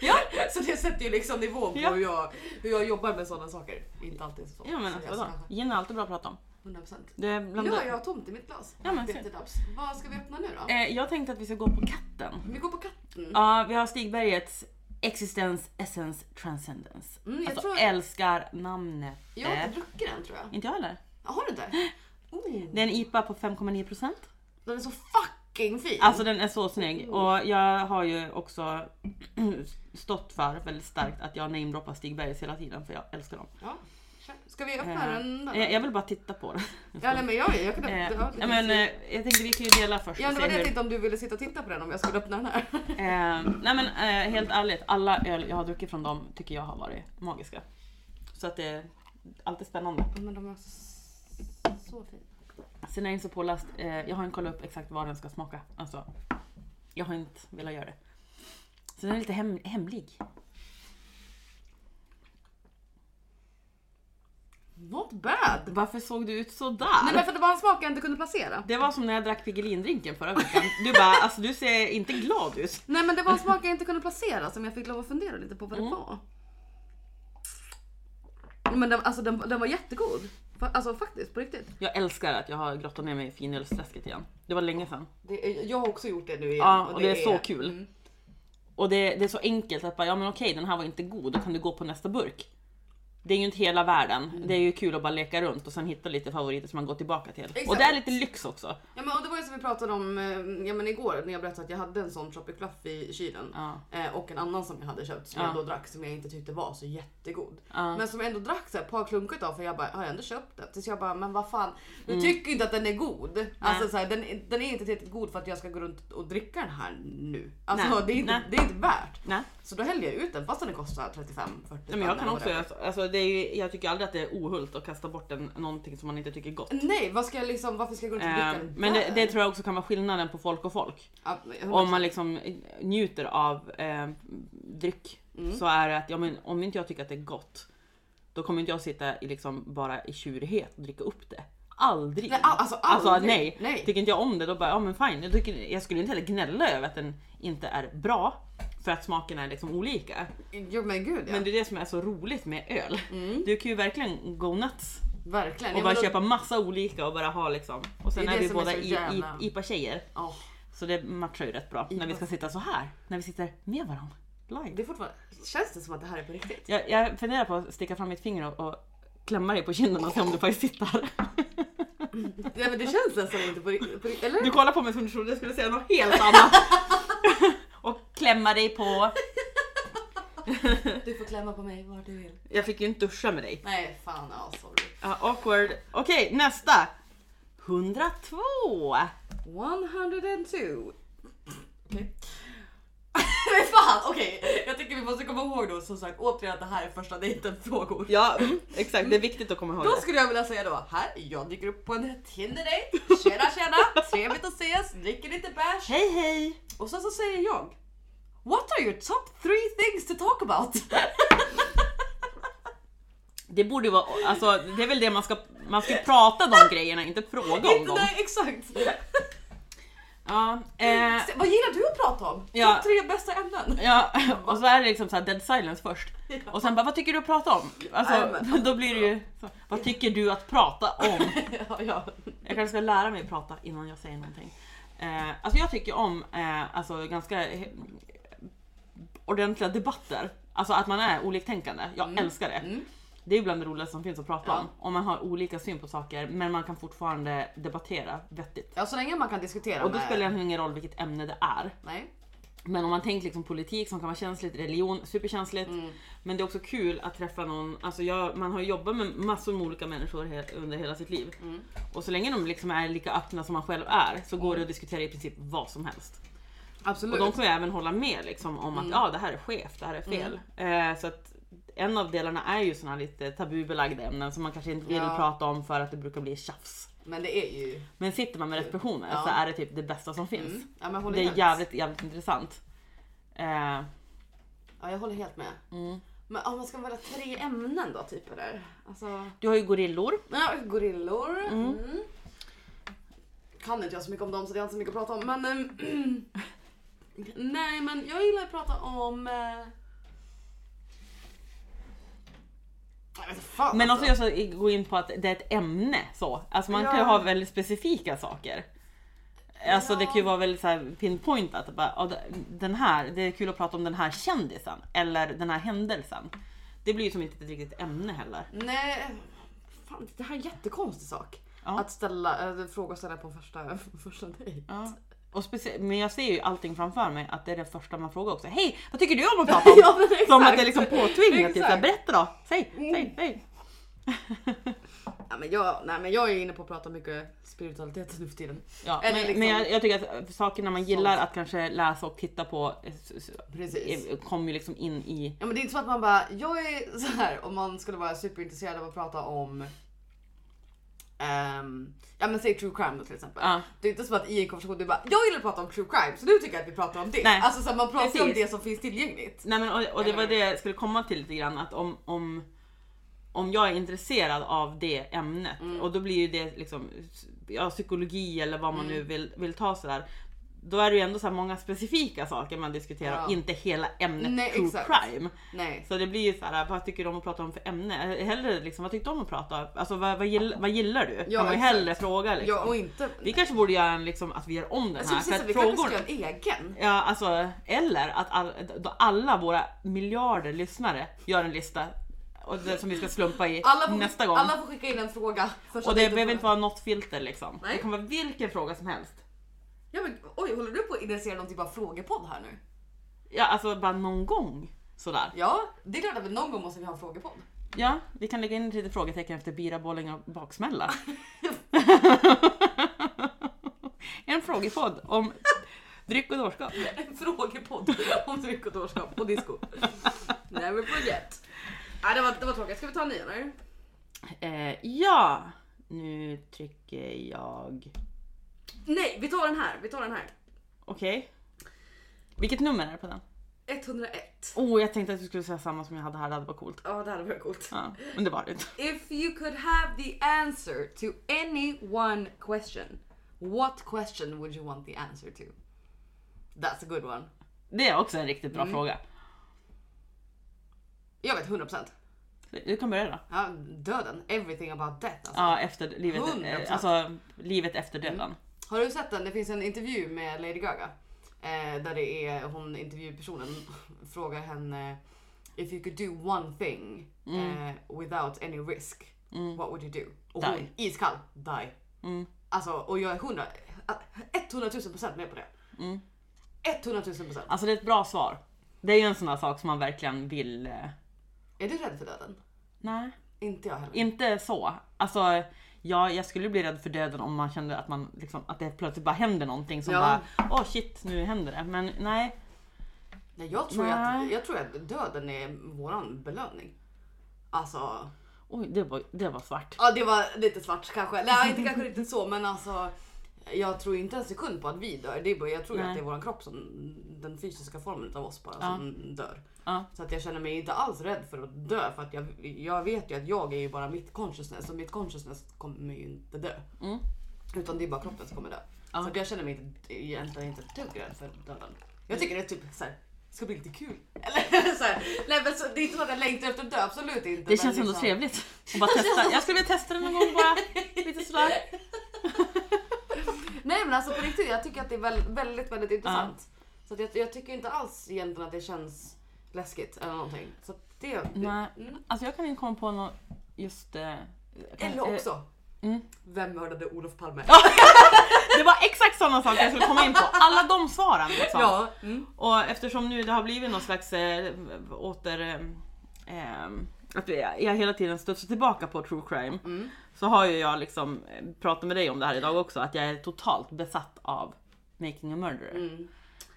[SPEAKER 2] Ja.
[SPEAKER 1] så det sätter ju liksom nivån på
[SPEAKER 2] Ja.
[SPEAKER 1] hur, jag, hur jag jobbar med sådana saker. Inte alltid så.
[SPEAKER 2] ja men
[SPEAKER 1] seriöst,
[SPEAKER 2] alltså, vadå?
[SPEAKER 1] kanske.
[SPEAKER 2] Gin är alltid bra att prata om.
[SPEAKER 1] 100%.
[SPEAKER 2] Det är bland
[SPEAKER 1] Ja,
[SPEAKER 2] det-
[SPEAKER 1] jag har tomt i mitt glas.
[SPEAKER 2] Ja, men
[SPEAKER 1] Det är
[SPEAKER 2] se.
[SPEAKER 1] inte dags. Vad ska vi öppna nu då?
[SPEAKER 2] Eh, jag tänkte att vi ska gå på katten.
[SPEAKER 1] Vi går på katten.
[SPEAKER 2] Ja, vi har Stigbergets Existens, Essence, Transcendence.
[SPEAKER 1] Mm, jag
[SPEAKER 2] alltså
[SPEAKER 1] tror-
[SPEAKER 2] älskar namnet.
[SPEAKER 1] Jag har inte druckit den tror jag.
[SPEAKER 2] Inte jag heller.
[SPEAKER 1] Ah, Har du
[SPEAKER 2] Eh.
[SPEAKER 1] inte? Oh,
[SPEAKER 2] Det är en IPA på 5,9%.
[SPEAKER 1] den är så fucking fin!
[SPEAKER 2] Alltså den är så
[SPEAKER 1] Mm.
[SPEAKER 2] snygg och jag har ju också stått för väldigt starkt att jag namedroppar Stigbergets hela tiden för jag älskar dem.
[SPEAKER 1] ja. kör. Ska vi öppna den?
[SPEAKER 2] Eh,
[SPEAKER 1] Där?
[SPEAKER 2] Jag jag vill bara titta på den.
[SPEAKER 1] Ja, nej, men jag, jag kan
[SPEAKER 2] Eh,
[SPEAKER 1] ja,
[SPEAKER 2] nej, men, eh, jag tänkte vi kan ju dela först
[SPEAKER 1] Ja,
[SPEAKER 2] och
[SPEAKER 1] det
[SPEAKER 2] se
[SPEAKER 1] var det jag
[SPEAKER 2] hur...
[SPEAKER 1] tänkte om du ville sitta och titta på den om jag skulle öppna den här.
[SPEAKER 2] Eh, nej men eh, helt ärligt, alla öl jag har druckit från dem tycker jag har varit magiska. Så att det är alltid spännande.
[SPEAKER 1] Ja, Men de är så, så fina.
[SPEAKER 2] Sen är jag inte så påläst, eh, jag har inte kollat upp exakt vad den ska smaka. Alltså, jag har inte velat göra det. Så den är lite hem, hemlig.
[SPEAKER 1] Not bad!
[SPEAKER 2] Varför såg du ut sådär?
[SPEAKER 1] Nej men för att det var en smak jag inte kunde placera.
[SPEAKER 2] Det var som när jag drack Piggelindrinken förra veckan. Du bara, alltså du ser inte glad ut.
[SPEAKER 1] Nej men det var en smak jag inte kunde placera som jag fick lov att fundera lite på vad det var. Men den, alltså, den, den var jättegod. Fa- Alltså faktiskt, på riktigt.
[SPEAKER 2] Jag älskar att jag har grottat ner mig i finölsträsket igen. Det var länge sedan.
[SPEAKER 1] Det är, jag har också gjort det Mm. nu igen.
[SPEAKER 2] Ja, och det är så kul. Och det, det är så enkelt att bara, ja men okej den här var inte god, då kan du gå på nästa burk. Det är ju inte hela världen. Det är ju kul att bara leka runt och sen hitta lite favoriter som man går tillbaka till. Och det är lite lyx också.
[SPEAKER 1] Ja men och det var ju som vi pratade om eh, ja, men igår när jag berättade att jag hade en sån Tropic Fluff i kylen.
[SPEAKER 2] Ja.
[SPEAKER 1] Eh, Och en annan som jag hade köpt som
[SPEAKER 2] Ja.
[SPEAKER 1] jag då drack som jag inte tyckte var så jättegod.
[SPEAKER 2] Ja.
[SPEAKER 1] Men som jag ändå drack så här, ett par klunkar av för jag bara, har jag ändå köpt den? Tills jag bara, men vad fan.
[SPEAKER 2] Mm.
[SPEAKER 1] Jag tycker inte att den är god. Alltså så här, den, är- den är inte tillräckligt god för att jag ska gå runt och dricka den här nu. Alltså
[SPEAKER 2] Nej.
[SPEAKER 1] det är, inte,
[SPEAKER 2] Nej.
[SPEAKER 1] det är inte värt.
[SPEAKER 2] Nej.
[SPEAKER 1] Så då hällde jag ut den fast den kostar 35-40
[SPEAKER 2] Nej, men jag
[SPEAKER 1] spänn
[SPEAKER 2] kan
[SPEAKER 1] eller
[SPEAKER 2] också,
[SPEAKER 1] whatever.
[SPEAKER 2] alltså, det är ju, jag tycker aldrig att det är ohult att kasta bort en, någonting som man inte tycker är gott.
[SPEAKER 1] Nej, vad ska jag liksom, varför ska jag gå runt och dricka
[SPEAKER 2] Eh,
[SPEAKER 1] den
[SPEAKER 2] men det,
[SPEAKER 1] där?
[SPEAKER 2] det tror jag också kan vara skillnaden på folk och folk.
[SPEAKER 1] Ja, men jag-
[SPEAKER 2] Om man liksom njuter av eh, dryck så är det att ja, men, om inte jag tycker att det är gott då kommer inte jag sitta i liksom bara i tjurighet och dricka upp det. Aldrig!
[SPEAKER 1] Nej, al- alltså aldrig.
[SPEAKER 2] liksom- nej.
[SPEAKER 1] Nej.
[SPEAKER 2] Tycker inte jag om det då bara, ja men fine. Jag, tycker, jag skulle inte heller gnälla över att den inte är bra för att smakerna är liksom olika.
[SPEAKER 1] Jo men gud ja.
[SPEAKER 2] Men det är det som är så roligt med öl. Du kan ju verkligen go nuts
[SPEAKER 1] Verkligen.
[SPEAKER 2] och
[SPEAKER 1] Ja,
[SPEAKER 2] bara
[SPEAKER 1] men då-
[SPEAKER 2] köpa massa olika och bara ha liksom. Och sen
[SPEAKER 1] Det är
[SPEAKER 2] är,
[SPEAKER 1] det
[SPEAKER 2] vi
[SPEAKER 1] som är
[SPEAKER 2] båda
[SPEAKER 1] så
[SPEAKER 2] i- i-
[SPEAKER 1] jävla-
[SPEAKER 2] IPA-tjejer.
[SPEAKER 1] Ja.
[SPEAKER 2] Så det matchar ju rätt bra när vi ska sitta så här. När vi sitter med varandra. Live.
[SPEAKER 1] Det är fortfarande, känns det som att det här är på riktigt?
[SPEAKER 2] Jag, jag funderar på att sticka fram mitt finger och, och klämma dig på kinden och se om du faktiskt sitter.
[SPEAKER 1] Nej men det känns nästan inte på riktigt, på riktigt eller?
[SPEAKER 2] Du kollar på mig som du trodde jag skulle säga något helt annat. och klämma dig på.
[SPEAKER 1] Du får klämma på mig var du vill.
[SPEAKER 2] Jag fick ju inte duscha med dig.
[SPEAKER 1] Nej fan ja sorry.
[SPEAKER 2] Ja, awkward. Okej, nästa. 102.
[SPEAKER 1] 102. Okej. men fan okej. Jag tycker vi måste komma ihåg då som sagt återigen att det här är första dejten frågor.
[SPEAKER 2] Ja, mm, exakt. Det är viktigt att komma ihåg
[SPEAKER 1] Då
[SPEAKER 2] det.
[SPEAKER 1] skulle jag vilja säga då, här, jag dyker upp på en Tinder-dejt. Tjena tjena, trevligt att ses, dricker lite bärs.
[SPEAKER 2] Hej hej!
[SPEAKER 1] Och sen så säger jag, what are your top three things to talk about?
[SPEAKER 2] Det borde ju vara, alltså det är väl det man ska, man ska prata de grejerna, inte fråga om dem.
[SPEAKER 1] Nej exakt!
[SPEAKER 2] Ja, eh,
[SPEAKER 1] Se, Vad gillar du att prata om?
[SPEAKER 2] Ja.
[SPEAKER 1] Topp tre bästa ämnen!
[SPEAKER 2] ja, och så är det liksom så här dead silence först. Och sen bara, vad tycker du att prata om? Alltså,
[SPEAKER 1] Jajamän.
[SPEAKER 2] då blir det ju, så, vad tycker du att prata om?
[SPEAKER 1] ja, ja.
[SPEAKER 2] Jag kanske ska lära mig prata innan jag säger någonting. Eh, alltså jag tycker om eh, alltså ganska eh, ordentliga debatter. Alltså att man är oliktänkande. Jag älskar det.
[SPEAKER 1] Mm.
[SPEAKER 2] Det är bland det roligaste som finns att prata
[SPEAKER 1] Ja.
[SPEAKER 2] om. Om man har olika syn på saker men man kan fortfarande debattera vettigt.
[SPEAKER 1] ja, så länge man kan diskutera
[SPEAKER 2] Och då
[SPEAKER 1] med-
[SPEAKER 2] spelar det egentligen ingen roll vilket ämne det är.
[SPEAKER 1] Nej.
[SPEAKER 2] Men om man tänker liksom politik som kan vara känsligt, religion, superkänsligt.
[SPEAKER 1] Mm.
[SPEAKER 2] Men det är också kul att träffa någon, alltså jag, man har ju jobbat med massor med olika människor he, under hela sitt liv.
[SPEAKER 1] Mm.
[SPEAKER 2] Och så länge de liksom är lika öppna som man själv är så går det att diskutera i princip vad som helst. Och
[SPEAKER 1] Absolut.
[SPEAKER 2] de kan ju även hålla med liksom om
[SPEAKER 1] Mm.
[SPEAKER 2] att ja, det här är skevt, det här är fel. Eh, så att en av delarna är ju såna här lite tabubelagda ämnen som man kanske inte vill
[SPEAKER 1] Ja.
[SPEAKER 2] prata om för att det brukar bli tjafs.
[SPEAKER 1] Men det är ju...
[SPEAKER 2] Men sitter man med rätt personer
[SPEAKER 1] Ja.
[SPEAKER 2] så är det typ det bästa som finns.
[SPEAKER 1] Mm. Ja, men jag håller
[SPEAKER 2] Det är
[SPEAKER 1] helt.
[SPEAKER 2] jävligt, jävligt intressant. Eh,
[SPEAKER 1] Ja, jag håller helt med.
[SPEAKER 2] Mm.
[SPEAKER 1] Men om man ska välja tre ämnen då, typ eller? Alltså...
[SPEAKER 2] Du har ju gorillor.
[SPEAKER 1] Ja, gorillor. Mm. Kan inte jag så mycket om dem så det är inte så mycket att prata om. Men, ehm, nej men jag gillar att prata om... Eh, jag vet inte fan
[SPEAKER 2] Men alltså, också jag ska gå in på att det är ett ämne så. Alltså man kan ju
[SPEAKER 1] Ja.
[SPEAKER 2] ha väldigt specifika saker. Alltså det
[SPEAKER 1] Ja.
[SPEAKER 2] kan ju vara väldigt så här pinpointat. Bara, ja, den här, det är kul att prata om den här kändisen eller den här händelsen. Det blir ju som inte ett riktigt ämne heller.
[SPEAKER 1] Nej, fan, det här är en jättekonstig sak.
[SPEAKER 2] Ja.
[SPEAKER 1] Att ställa äh, frågor och ställa på en första, första dejt.
[SPEAKER 2] Och specie- men jag ser ju allting framför mig att det är det första man frågar också. Hej, vad tycker du om att prata om?
[SPEAKER 1] Ja, men exakt.
[SPEAKER 2] som att det är liksom påtvingat. Typ, så här,
[SPEAKER 1] Exakt. Mm.
[SPEAKER 2] Berätta då, säg, säg, säg.
[SPEAKER 1] Ja, men jag, nej men jag är inne på att prata mycket spiritualitet nu för tiden.
[SPEAKER 2] Ja,
[SPEAKER 1] Eller
[SPEAKER 2] men,
[SPEAKER 1] liksom-
[SPEAKER 2] men jag, jag tycker att sakerna man gillar att kanske läsa och titta på eh, s- s-
[SPEAKER 1] Precis.
[SPEAKER 2] eh, kommer ju liksom in i...
[SPEAKER 1] Ja men det är inte så att man bara, jag är så här om man skulle vara superintresserad av att prata om ehm, ja men säg true crime då till exempel.
[SPEAKER 2] Ja.
[SPEAKER 1] Det är inte som att i en konversation du bara jag gillar att prata om true crime så nu tycker jag att vi pratar om det.
[SPEAKER 2] Nej.
[SPEAKER 1] Alltså så här, man pratar ju om
[SPEAKER 2] Precis.
[SPEAKER 1] det som finns tillgängligt.
[SPEAKER 2] Nej, men, och, och det var det jag skulle komma till lite grann att om, om, om jag är intresserad av det ämnet
[SPEAKER 1] Mm.
[SPEAKER 2] och då blir ju det liksom ja, psykologi eller vad man nu
[SPEAKER 1] Mm.
[SPEAKER 2] vill, vill ta sådär. Då är det ju ändå så här många specifika saker man diskuterar och
[SPEAKER 1] Ja.
[SPEAKER 2] inte hela ämnet
[SPEAKER 1] Nej,
[SPEAKER 2] true
[SPEAKER 1] exakt.
[SPEAKER 2] crime.
[SPEAKER 1] Nej.
[SPEAKER 2] Så det blir ju så här, vad tycker du om att prata om för ämne? Eh, Hellre liksom, vad tyckte du om att prata? Alltså vad, vad, gillar, vad gillar du?
[SPEAKER 1] Ja,
[SPEAKER 2] kan man ju
[SPEAKER 1] exakt.
[SPEAKER 2] hellre fråga liksom.
[SPEAKER 1] Ja och inte.
[SPEAKER 2] Vi kanske borde göra en liksom att vi gör om den
[SPEAKER 1] Alltså,
[SPEAKER 2] här.
[SPEAKER 1] precis,
[SPEAKER 2] För
[SPEAKER 1] att vi
[SPEAKER 2] att
[SPEAKER 1] kanske
[SPEAKER 2] frågorna,
[SPEAKER 1] ska göra en egen.
[SPEAKER 2] ja, alltså, eller att all, då alla våra miljarder lyssnare gör en lista och det, som vi ska slumpa i
[SPEAKER 1] Alla får,
[SPEAKER 2] nästa gång.
[SPEAKER 1] alla får skicka in en fråga. Första
[SPEAKER 2] och det
[SPEAKER 1] dejten
[SPEAKER 2] behöver inte
[SPEAKER 1] fråga.
[SPEAKER 2] vara något filter liksom.
[SPEAKER 1] Nej.
[SPEAKER 2] Det kan vara vilken fråga som helst.
[SPEAKER 1] Ja, men, oj håller du på att initiera någon typ av frågepodd här nu?
[SPEAKER 2] Ja, alltså bara någon gång sådär.
[SPEAKER 1] Ja det är klart att vi någon gång måste vi ha en frågepodd.
[SPEAKER 2] Ja, vi kan lägga in ett litet frågetecken efter Bira Bolling och baksmälla. en frågepodd om dryck och dårskap.
[SPEAKER 1] En frågepodd om dryck och dårskap och disco. Never forget. Nej, det, var, det var tråkigt. Ska vi ta en ny eller?
[SPEAKER 2] Eh, ja, nu trycker jag...
[SPEAKER 1] Nej, vi tar den här. Vi tar den här.
[SPEAKER 2] Okej. Vilket nummer är det på den?
[SPEAKER 1] 101.
[SPEAKER 2] Oh, jag tänkte att du skulle säga samma som jag hade här, det hade varit coolt.
[SPEAKER 1] Ja, det här var coolt.
[SPEAKER 2] Ja, men det var det inte.
[SPEAKER 1] If you could have the answer to any one question, what question would you want the answer to? That's a good one.
[SPEAKER 2] Det är också en riktigt bra fråga.
[SPEAKER 1] Jag vet 100%.
[SPEAKER 2] Du kan börja då.
[SPEAKER 1] Ja, döden. Everything about death. Alltså.
[SPEAKER 2] Ja, efter livet, eh,
[SPEAKER 1] 100%.
[SPEAKER 2] alltså, livet efter döden.
[SPEAKER 1] Har du sett den? Det finns en intervju med Lady Gaga. Eh, där det är hon intervjupersonen frågar henne If you could do one thing
[SPEAKER 2] Mm.
[SPEAKER 1] eh, without any risk, what would you do? Och hon
[SPEAKER 2] Die. Mm.
[SPEAKER 1] iskall, die. Alltså, och jag är 100, 100 000 procent med på det.
[SPEAKER 2] Mm.
[SPEAKER 1] 100 000 procent.
[SPEAKER 2] Alltså det är ett bra svar. Det är ju en sån där sak som man verkligen vill... eh,
[SPEAKER 1] Är du rädd för döden?
[SPEAKER 2] Nej.
[SPEAKER 1] Inte jag heller.
[SPEAKER 2] Inte så. Alltså, ja, jag skulle bli rädd för döden om man kände att, man, liksom, att det plötsligt bara händer någonting som
[SPEAKER 1] Ja.
[SPEAKER 2] bara åh shit nu händer det. Men nej,
[SPEAKER 1] Nej, jag, tror ju
[SPEAKER 2] Nej.
[SPEAKER 1] att, jag tror att döden är våran belöning. Alltså,
[SPEAKER 2] oj det var, det var svart.
[SPEAKER 1] Ja det var lite svart kanske. Nej inte kanske riktigt så men alltså. Jag tror inte en sekund på att vi dör. Det är bara, jag tror ju
[SPEAKER 2] Nej.
[SPEAKER 1] att det är vår kropp som, den fysiska formen av oss bara
[SPEAKER 2] Ja.
[SPEAKER 1] som dör.
[SPEAKER 2] Ja.
[SPEAKER 1] Så att jag känner mig inte alls rädd för att dö för att jag, jag vet ju att jag är ju bara mitt consciousness och mitt consciousness kommer ju inte dö.
[SPEAKER 2] Mm.
[SPEAKER 1] Utan det är bara kroppen som kommer dö.
[SPEAKER 2] Ja.
[SPEAKER 1] Så att jag känner mig inte, egentligen inte ett dugg rädd för döden. Jag tycker det är typ såhär, ska bli lite kul. Eller såhär, nej men så, det är inte så att jag längtar efter att dö, absolut inte.
[SPEAKER 2] Det
[SPEAKER 1] men
[SPEAKER 2] känns ändå
[SPEAKER 1] liksom-
[SPEAKER 2] trevligt. Och bara testa. Jag skulle vilja testa det någon gång bara. Lite sådär.
[SPEAKER 1] Nej men alltså på riktigt, jag tycker att det är väldigt, väldigt, väldigt intressant. Så att jag, jag tycker inte alls egentligen att det känns läskigt eller någonting. Så att det...
[SPEAKER 2] Nej.
[SPEAKER 1] Mm.
[SPEAKER 2] Alltså jag kan inte komma på något just... eh, jag kan-
[SPEAKER 1] Eller också,
[SPEAKER 2] Mm.
[SPEAKER 1] vem mördade Olof Palme?
[SPEAKER 2] Det var exakt sådana saker jag skulle komma in på. Alla de svaren liksom.
[SPEAKER 1] Ja. Mm.
[SPEAKER 2] Och eftersom nu det har blivit någon slags eh, åter... Eh, eh, att jag jag hela tiden studsar tillbaka på true crime.
[SPEAKER 1] Mm.
[SPEAKER 2] Så har ju jag liksom eh, pratat med dig om det här idag också, att jag är totalt besatt av Making a murderer.
[SPEAKER 1] Mm.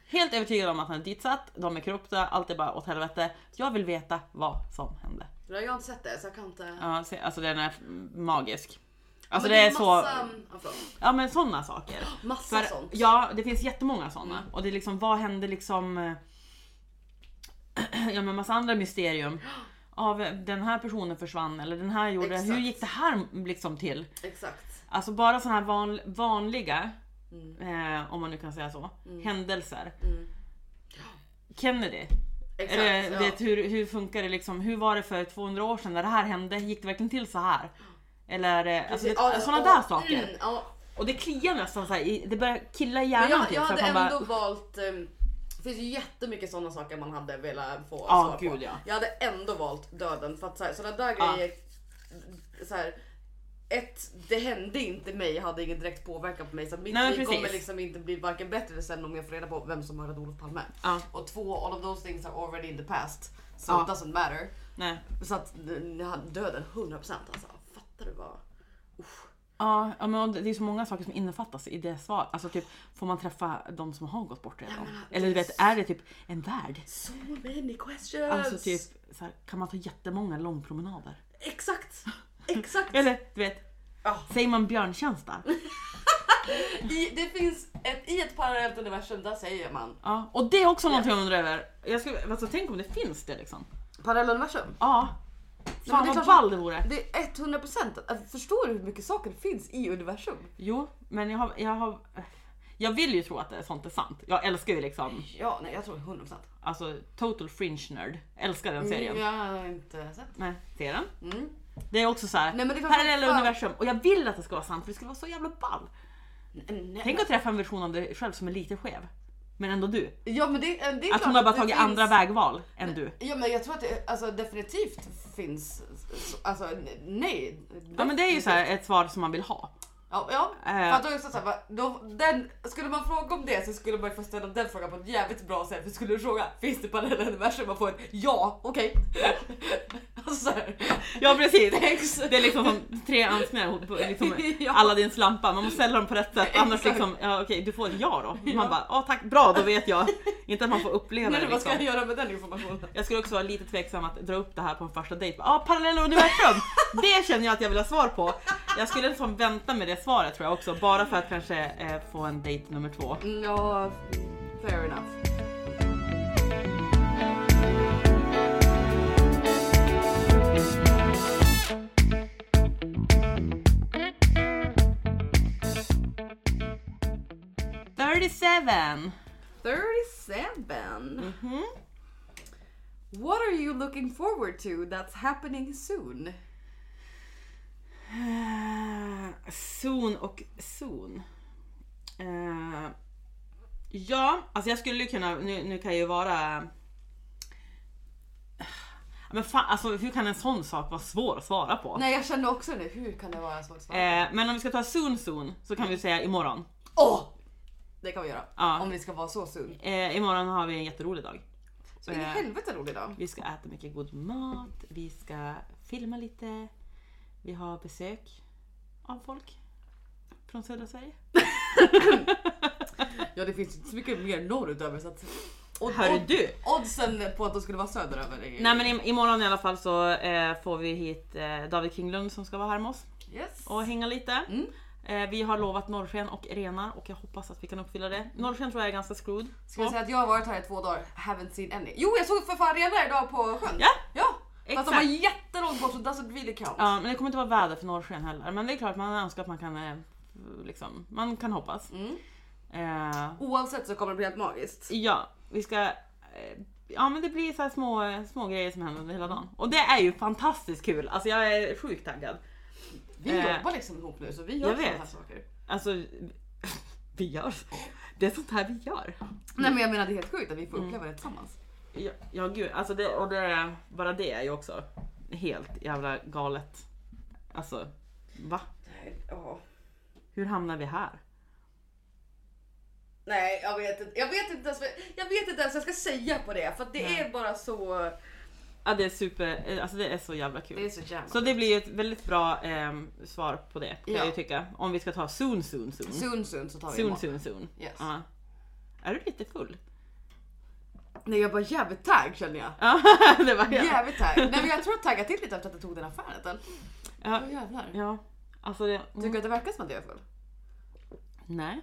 [SPEAKER 2] Helt övertygad om att han är ditsatt, de är korrupta, allt är bara åt helvete. Jag vill veta vad som hände.
[SPEAKER 1] Jag har inte sett det så jag kan inte...
[SPEAKER 2] Ja, se- Alltså den är magisk. Alltså
[SPEAKER 1] Men
[SPEAKER 2] det är
[SPEAKER 1] massa,
[SPEAKER 2] så,
[SPEAKER 1] ja, förlåt.
[SPEAKER 2] ja men sådana saker.
[SPEAKER 1] massa
[SPEAKER 2] För,
[SPEAKER 1] sånt.
[SPEAKER 2] ja, det finns jättemånga sådana.
[SPEAKER 1] Mm.
[SPEAKER 2] Och det är liksom, vad hände liksom... eh, ja men massa andra mysterium. Av eh, den här personen försvann eller den här gjorde...
[SPEAKER 1] Exakt.
[SPEAKER 2] Hur gick det här liksom till?
[SPEAKER 1] Exakt.
[SPEAKER 2] Alltså bara sådana här van, vanliga,
[SPEAKER 1] Mm.
[SPEAKER 2] eh, om man nu kan säga så,
[SPEAKER 1] Mm.
[SPEAKER 2] händelser.
[SPEAKER 1] Mm.
[SPEAKER 2] Kennedy.
[SPEAKER 1] Exakt.
[SPEAKER 2] Eller,
[SPEAKER 1] ja.
[SPEAKER 2] vet, hur, hur funkar det liksom? Hur var det för 200 år sedan när det här hände? Gick det verkligen till så här? Eller eh, alltså,
[SPEAKER 1] Precis,
[SPEAKER 2] det,
[SPEAKER 1] ja,
[SPEAKER 2] sådana
[SPEAKER 1] ja,
[SPEAKER 2] där saker.
[SPEAKER 1] Mm, ja.
[SPEAKER 2] Och det kliar nästan så här, i- det börjar killa i
[SPEAKER 1] Men
[SPEAKER 2] hjärnan
[SPEAKER 1] jag,
[SPEAKER 2] typ,
[SPEAKER 1] jag
[SPEAKER 2] för
[SPEAKER 1] hade
[SPEAKER 2] att man
[SPEAKER 1] ändå valt... ehm, det finns ju jättemycket sådana saker man hade velat få
[SPEAKER 2] Ja,
[SPEAKER 1] svar på.
[SPEAKER 2] gud, ja.
[SPEAKER 1] Jag hade ändå valt döden för att så här, sådana där
[SPEAKER 2] Ja.
[SPEAKER 1] grejer... Så här, ett, det hände inte mig, hade ingen direkt påverkan på mig så att mitt
[SPEAKER 2] Nej, men
[SPEAKER 1] liv kommer
[SPEAKER 2] precis.
[SPEAKER 1] liksom inte bli varken bättre sen om jag får reda på vem som mördade Olof Palme.
[SPEAKER 2] Ja.
[SPEAKER 1] Och två, all of those things are already in the past. So
[SPEAKER 2] Ja.
[SPEAKER 1] it doesn't matter.
[SPEAKER 2] Nej.
[SPEAKER 1] Så att eh, döden 100% alltså. Fattar du vad?
[SPEAKER 2] Ja, ja, men och det det är så många saker som innefattas i det svaret. Alltså typ, får man träffa de som har gått bort redan? Eller du vet, är det typ en värld?
[SPEAKER 1] So many questions!
[SPEAKER 2] Alltså typ, så här, kan man ta jättemånga långpromenader?
[SPEAKER 1] Exakt! Exakt!
[SPEAKER 2] Eller du vet,
[SPEAKER 1] Ja.
[SPEAKER 2] säger man björntjänsta?
[SPEAKER 1] I, det finns ett, i ett parallellt universum, där säger man.
[SPEAKER 2] Ja, och det är också något jag undrar över. Jag skulle, alltså, tänk om det finns det liksom.
[SPEAKER 1] Parallelluniversum?
[SPEAKER 2] Ja.
[SPEAKER 1] men
[SPEAKER 2] Fan
[SPEAKER 1] det är
[SPEAKER 2] vad
[SPEAKER 1] klart-
[SPEAKER 2] ball det vore.
[SPEAKER 1] Det är 100 procent. Alltså, Förstår du hur mycket saker det finns i universum?
[SPEAKER 2] Jo, men jag har, jag har... Jag vill ju tro att det, sånt är sant. Jag älskar ju liksom,
[SPEAKER 1] Ja, nej jag tror 100 procent.
[SPEAKER 2] alltså total fringe nerd. Älskar den serien.
[SPEAKER 1] Jag har inte sett.
[SPEAKER 2] Nej, ser den.
[SPEAKER 1] Mm.
[SPEAKER 2] Det är också så här,
[SPEAKER 1] Nej, men det kan
[SPEAKER 2] parallella
[SPEAKER 1] fan-
[SPEAKER 2] universum. Och jag vill att det ska vara sant för det skulle vara så jävla ball.
[SPEAKER 1] Nej, nej.
[SPEAKER 2] Tänk att träffa en version av dig själv som är lite skev. Men ändå du.
[SPEAKER 1] Ja men det, det är klart
[SPEAKER 2] Att hon har bara
[SPEAKER 1] det
[SPEAKER 2] tagit
[SPEAKER 1] finns-
[SPEAKER 2] andra vägval än du.
[SPEAKER 1] Ja men jag tror att det alltså, definitivt finns, alltså nej.
[SPEAKER 2] Ja men det är ju så här ett svar som man vill ha.
[SPEAKER 1] Ja, ja.
[SPEAKER 2] Eh.
[SPEAKER 1] För att då, är det så här, va, då, den, skulle man fråga om det så skulle man ju få ställa den frågan på ett jävligt bra sätt. För skulle du fråga finns det parallella universum man får ett ja, okej. alltså så här,
[SPEAKER 2] Ja precis. Det är liksom som tre önskningar ihop, liksom
[SPEAKER 1] Ja.
[SPEAKER 2] alla din slampa. Man måste ställa dem på rätt sätt annars
[SPEAKER 1] Exakt.
[SPEAKER 2] liksom, ja okej du får ett ja då. Man
[SPEAKER 1] Ja.
[SPEAKER 2] bara, ja tack, bra då vet jag. Inte att man får uppleva
[SPEAKER 1] nej,
[SPEAKER 2] det
[SPEAKER 1] vad ska
[SPEAKER 2] liksom.
[SPEAKER 1] jag göra med den informationen?
[SPEAKER 2] Jag skulle också vara lite tveksam att dra upp det här på en första dejt. Ja, parallella universum! Det känner jag att jag vill ha svar på. Jag skulle liksom vänta med det svaret tror jag också, bara för att kanske eh, få en dejt nummer två.
[SPEAKER 1] Mm, Ja, fair enough.
[SPEAKER 2] Thirty-seven. Mm.
[SPEAKER 1] 37. What are you looking forward to that's happening soon?
[SPEAKER 2] Eh, Zon och zon. Eh, ja, alltså jag skulle ju kunna, nu, nu kan jag ju vara... eh, Men fan, alltså hur kan en sån sak vara svår att svara på?
[SPEAKER 1] Nej jag känner också nu, hur kan det vara så svårt? Åh!
[SPEAKER 2] Eh, men om vi ska ta soon soon så kan vi säga imorgon.
[SPEAKER 1] Det kan vi göra.
[SPEAKER 2] Ja.
[SPEAKER 1] Om vi ska vara så soon.
[SPEAKER 2] Eh, imorgon har vi en jätterolig dag.
[SPEAKER 1] Så in i
[SPEAKER 2] Eh.
[SPEAKER 1] helvete rolig dag.
[SPEAKER 2] Vi ska äta mycket god mat, vi ska filma lite, vi har besök av folk från södra Sverige.
[SPEAKER 1] Ja det finns inte så mycket mer norrut över så att... Odd,
[SPEAKER 2] Hörru du!
[SPEAKER 1] Oddsen på att de skulle vara söderöver är...
[SPEAKER 2] Nej men im- imorgon i alla fall så eh, får vi hit eh, David Kinglund som ska vara här med oss
[SPEAKER 1] Yes.
[SPEAKER 2] och hänga lite.
[SPEAKER 1] Mm.
[SPEAKER 2] Eh, vi har lovat norrsken och renar och jag hoppas att vi kan uppfylla det. Norrsken tror jag är ganska screwed.
[SPEAKER 1] Ska jag
[SPEAKER 2] på.
[SPEAKER 1] säga att jag har varit här i två dagar, haven't seen any. Jo jag såg för fan renar idag på sjön.
[SPEAKER 2] Ja,
[SPEAKER 1] Ja! Fast de var
[SPEAKER 2] exakt.
[SPEAKER 1] jättelångt bort så doesn't really count.
[SPEAKER 2] Ja, men det kommer inte vara väder för norrsken heller. Men det är klart man önskar att man kan, eh, liksom, man kan hoppas.
[SPEAKER 1] Mm.
[SPEAKER 2] Eh,
[SPEAKER 1] Oavsett så kommer det bli helt magiskt.
[SPEAKER 2] ja, vi ska... eh, Ja men det blir så här små, små grejer som händer under hela dagen. Och det är ju fantastiskt kul, alltså jag är sjukt taggad.
[SPEAKER 1] Vi
[SPEAKER 2] Eh,
[SPEAKER 1] jobbar liksom ihop nu så vi
[SPEAKER 2] jag
[SPEAKER 1] gör sådana
[SPEAKER 2] vet.
[SPEAKER 1] här saker.
[SPEAKER 2] Alltså, vi gör så. Det är sånt här vi gör.
[SPEAKER 1] Nej men jag menar det är helt sjukt att vi
[SPEAKER 2] Mm.
[SPEAKER 1] får uppleva det tillsammans.
[SPEAKER 2] Ja, ja gud, alltså det, och det, bara det är ju också helt jävla galet. Alltså, va?
[SPEAKER 1] Nej, ja.
[SPEAKER 2] Hur hamnar vi här?
[SPEAKER 1] Nej jag vet inte, jag vet inte ens vad jag, vet inte ens vad jag ska säga på det för att det
[SPEAKER 2] Nej.
[SPEAKER 1] är bara så...
[SPEAKER 2] Ja, det är super, alltså det är så jävla kul.
[SPEAKER 1] Det är så jävla...
[SPEAKER 2] Så det blir ju ett väldigt bra ehm, svar på det kan
[SPEAKER 1] Ja.
[SPEAKER 2] jag ju tycka. Om vi ska ta soon soon soon.
[SPEAKER 1] Soon soon så tar vi
[SPEAKER 2] Soon
[SPEAKER 1] imorgon.
[SPEAKER 2] soon soon.
[SPEAKER 1] Yes.
[SPEAKER 2] Ja. Är du lite full?
[SPEAKER 1] Nej jag var jävligt taggad känner jag.
[SPEAKER 2] Ja, det var jag.
[SPEAKER 1] Jävligt taggad. Nej men jag tror jag taggade till lite efter att jag tog den affären. eller?
[SPEAKER 2] Ja.
[SPEAKER 1] Åh, oh, jävlar.
[SPEAKER 2] ja. Alltså det...
[SPEAKER 1] Tycker du att det verkar som att jag är full?
[SPEAKER 2] Nej.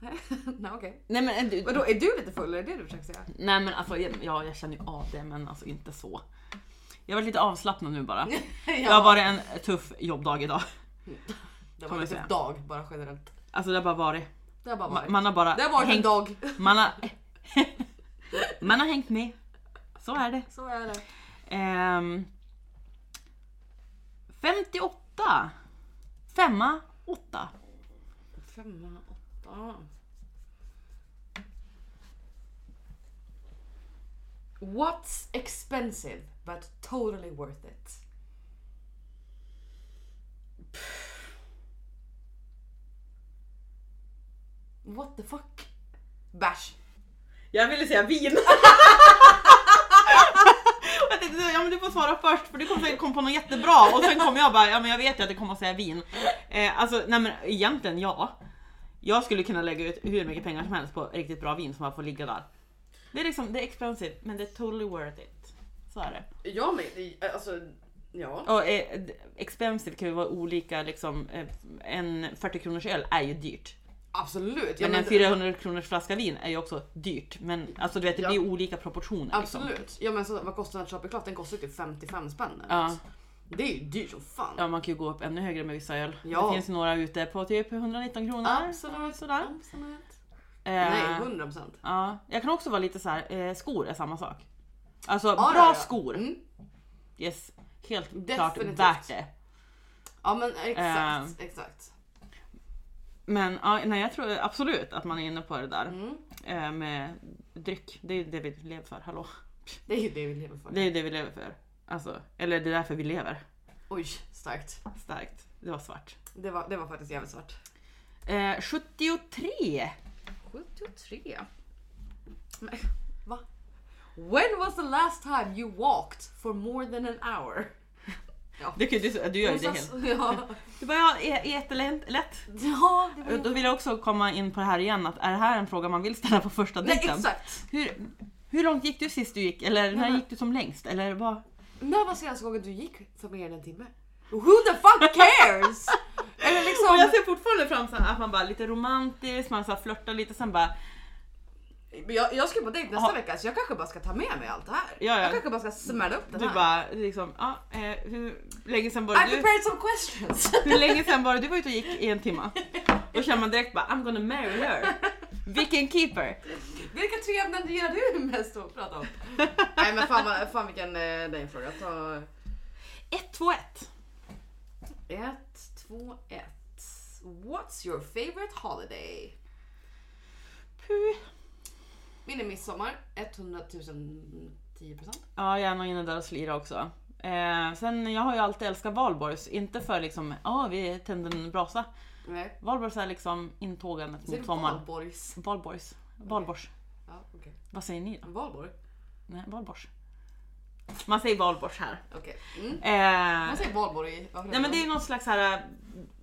[SPEAKER 1] Nej okej.
[SPEAKER 2] Nej men, du,
[SPEAKER 1] Vadå är du lite full? Är det det du försöker säga?
[SPEAKER 2] nej men alltså ja, jag känner ju av det men alltså inte så. Jag var lite avslappnad nu bara. Det har varit en tuff jobbdag idag.
[SPEAKER 1] det
[SPEAKER 2] kommer
[SPEAKER 1] var typ
[SPEAKER 2] jag säga.
[SPEAKER 1] dag bara generellt.
[SPEAKER 2] Alltså det har bara varit.
[SPEAKER 1] Det har bara
[SPEAKER 2] Ma-
[SPEAKER 1] varit.
[SPEAKER 2] Man har bara
[SPEAKER 1] Det har varit en
[SPEAKER 2] hängt,
[SPEAKER 1] dag.
[SPEAKER 2] man har, man har hängt med. Så är det.
[SPEAKER 1] Så är det.
[SPEAKER 2] Ehm, 58. Femma, åtta.
[SPEAKER 1] Femma, åtta. What's expensive but totally worth it? What the fuck? Bash.
[SPEAKER 2] Jag ville säga vin. jag tänkte, ja, men du får svara först för du kom, säkert kom på något jättebra och sen kom jag bara, ja men jag vet ju att det kommer att säga vin. Eh, alltså nej men egentligen ja. Jag skulle kunna lägga ut hur mycket pengar som helst på riktigt bra vin som bara får ligga där. Det är liksom, det är expensive men det är totally worth it. Så är det.
[SPEAKER 1] Ja men alltså, ja.
[SPEAKER 2] Och eh, d- expensive kan ju vara olika liksom. eh, En 40 kronors öl är ju dyrt.
[SPEAKER 1] Absolut. Ja,
[SPEAKER 2] Men en 400 kronors flaska vin är ju också dyrt. Men alltså du vet det
[SPEAKER 1] Ja.
[SPEAKER 2] blir ju olika proportioner. Liksom.
[SPEAKER 1] Absolut. Ja men så, vad kostar en shoppingklart? Den kostar ju typ 55 spänn. eller
[SPEAKER 2] Ja.
[SPEAKER 1] något. Det är ju dyrt som fan.
[SPEAKER 2] Ja man kan ju gå upp ännu högre med vissa öl.
[SPEAKER 1] Ja.
[SPEAKER 2] Det finns ju några ute på typ 119 kronor.
[SPEAKER 1] Absolut.
[SPEAKER 2] Sådär.
[SPEAKER 1] Absolut.
[SPEAKER 2] Eh,
[SPEAKER 1] Nej, 100 procent.
[SPEAKER 2] ja. Jag kan också vara lite så här. Eh, skor är samma sak. Alltså bra
[SPEAKER 1] ja, ja.
[SPEAKER 2] skor.
[SPEAKER 1] Mm.
[SPEAKER 2] Yes. Helt klart
[SPEAKER 1] Definitivt.
[SPEAKER 2] värt det.
[SPEAKER 1] Ja men exakt, exakt.
[SPEAKER 2] Men ja, nej, jag tror absolut att man är inne på det där
[SPEAKER 1] Mm.
[SPEAKER 2] eh, med dryck. Det är ju det vi lever för. Hallå.
[SPEAKER 1] Det är ju det vi lever för.
[SPEAKER 2] Det är ju det vi lever för. Alltså, eller det är därför vi lever.
[SPEAKER 1] Oj, starkt.
[SPEAKER 2] Starkt. Det var svart.
[SPEAKER 1] Det var, det var faktiskt jävligt svårt.
[SPEAKER 2] Eh, 73.
[SPEAKER 1] 73. Men, va? When was the last time you walked for more than an hour?
[SPEAKER 2] Du, kan- du, du gör ju det helt.
[SPEAKER 1] ja.
[SPEAKER 2] Du bara, ja, är, är jättelätt. lätt.
[SPEAKER 1] ja, det var
[SPEAKER 2] Då vill jag också komma in på det här igen, att är det här en fråga man vill ställa på första
[SPEAKER 1] Nej,
[SPEAKER 2] dejten?
[SPEAKER 1] exakt.
[SPEAKER 2] Hur, hur långt gick du sist du gick? Eller när
[SPEAKER 1] men-
[SPEAKER 2] gick du som längst? Eller vad?
[SPEAKER 1] När var senaste gången du gick för mer än en timme? Who the fuck cares? Eller
[SPEAKER 2] Och jag
[SPEAKER 1] liksom...
[SPEAKER 2] ser fortfarande fram så här att man bara lite romantiskt, man så här flörtar lite sen bara
[SPEAKER 1] Men Jag, jag ska på dejt nästa
[SPEAKER 2] Ja.
[SPEAKER 1] vecka så jag kanske bara ska ta med mig allt det här.
[SPEAKER 2] Ja, ja.
[SPEAKER 1] Jag kanske bara ska smälla upp den
[SPEAKER 2] Du
[SPEAKER 1] här.
[SPEAKER 2] bara liksom, ja, eh, hur länge sen var
[SPEAKER 1] I
[SPEAKER 2] det du?
[SPEAKER 1] prepared some questions.
[SPEAKER 2] Hur länge sen var det du var ute och gick i en timma? Då känner man direkt bara I'm gonna marry her. Vilken keeper!
[SPEAKER 1] Vilka tre ämnen gillar du mest att prata om? Nej men fan, vad- fan vilken eh, nej, fråga. Ta
[SPEAKER 2] 1, 2, 1.
[SPEAKER 1] ett, två, ett. What's your favorite holiday? Min är midsommar, 100 000 10 procent.
[SPEAKER 2] Ja, jag är nog inne där och slirar också. Eh, sen jag har ju alltid älskat valborgs, inte för liksom, ja vi tände en brasa.
[SPEAKER 1] Nej.
[SPEAKER 2] Valborgs är liksom intågandet
[SPEAKER 1] Ser du
[SPEAKER 2] mot sommaren.
[SPEAKER 1] Valborgs?
[SPEAKER 2] Valborgs. Valborgs.
[SPEAKER 1] Ja, okej.
[SPEAKER 2] Vad säger ni då?
[SPEAKER 1] Valborg?
[SPEAKER 2] Nej, valborgs. Man säger valborgs här.
[SPEAKER 1] Okej. Mm. Man
[SPEAKER 2] Eh,
[SPEAKER 1] säger Valborg i... varför
[SPEAKER 2] nej men det är någon slags här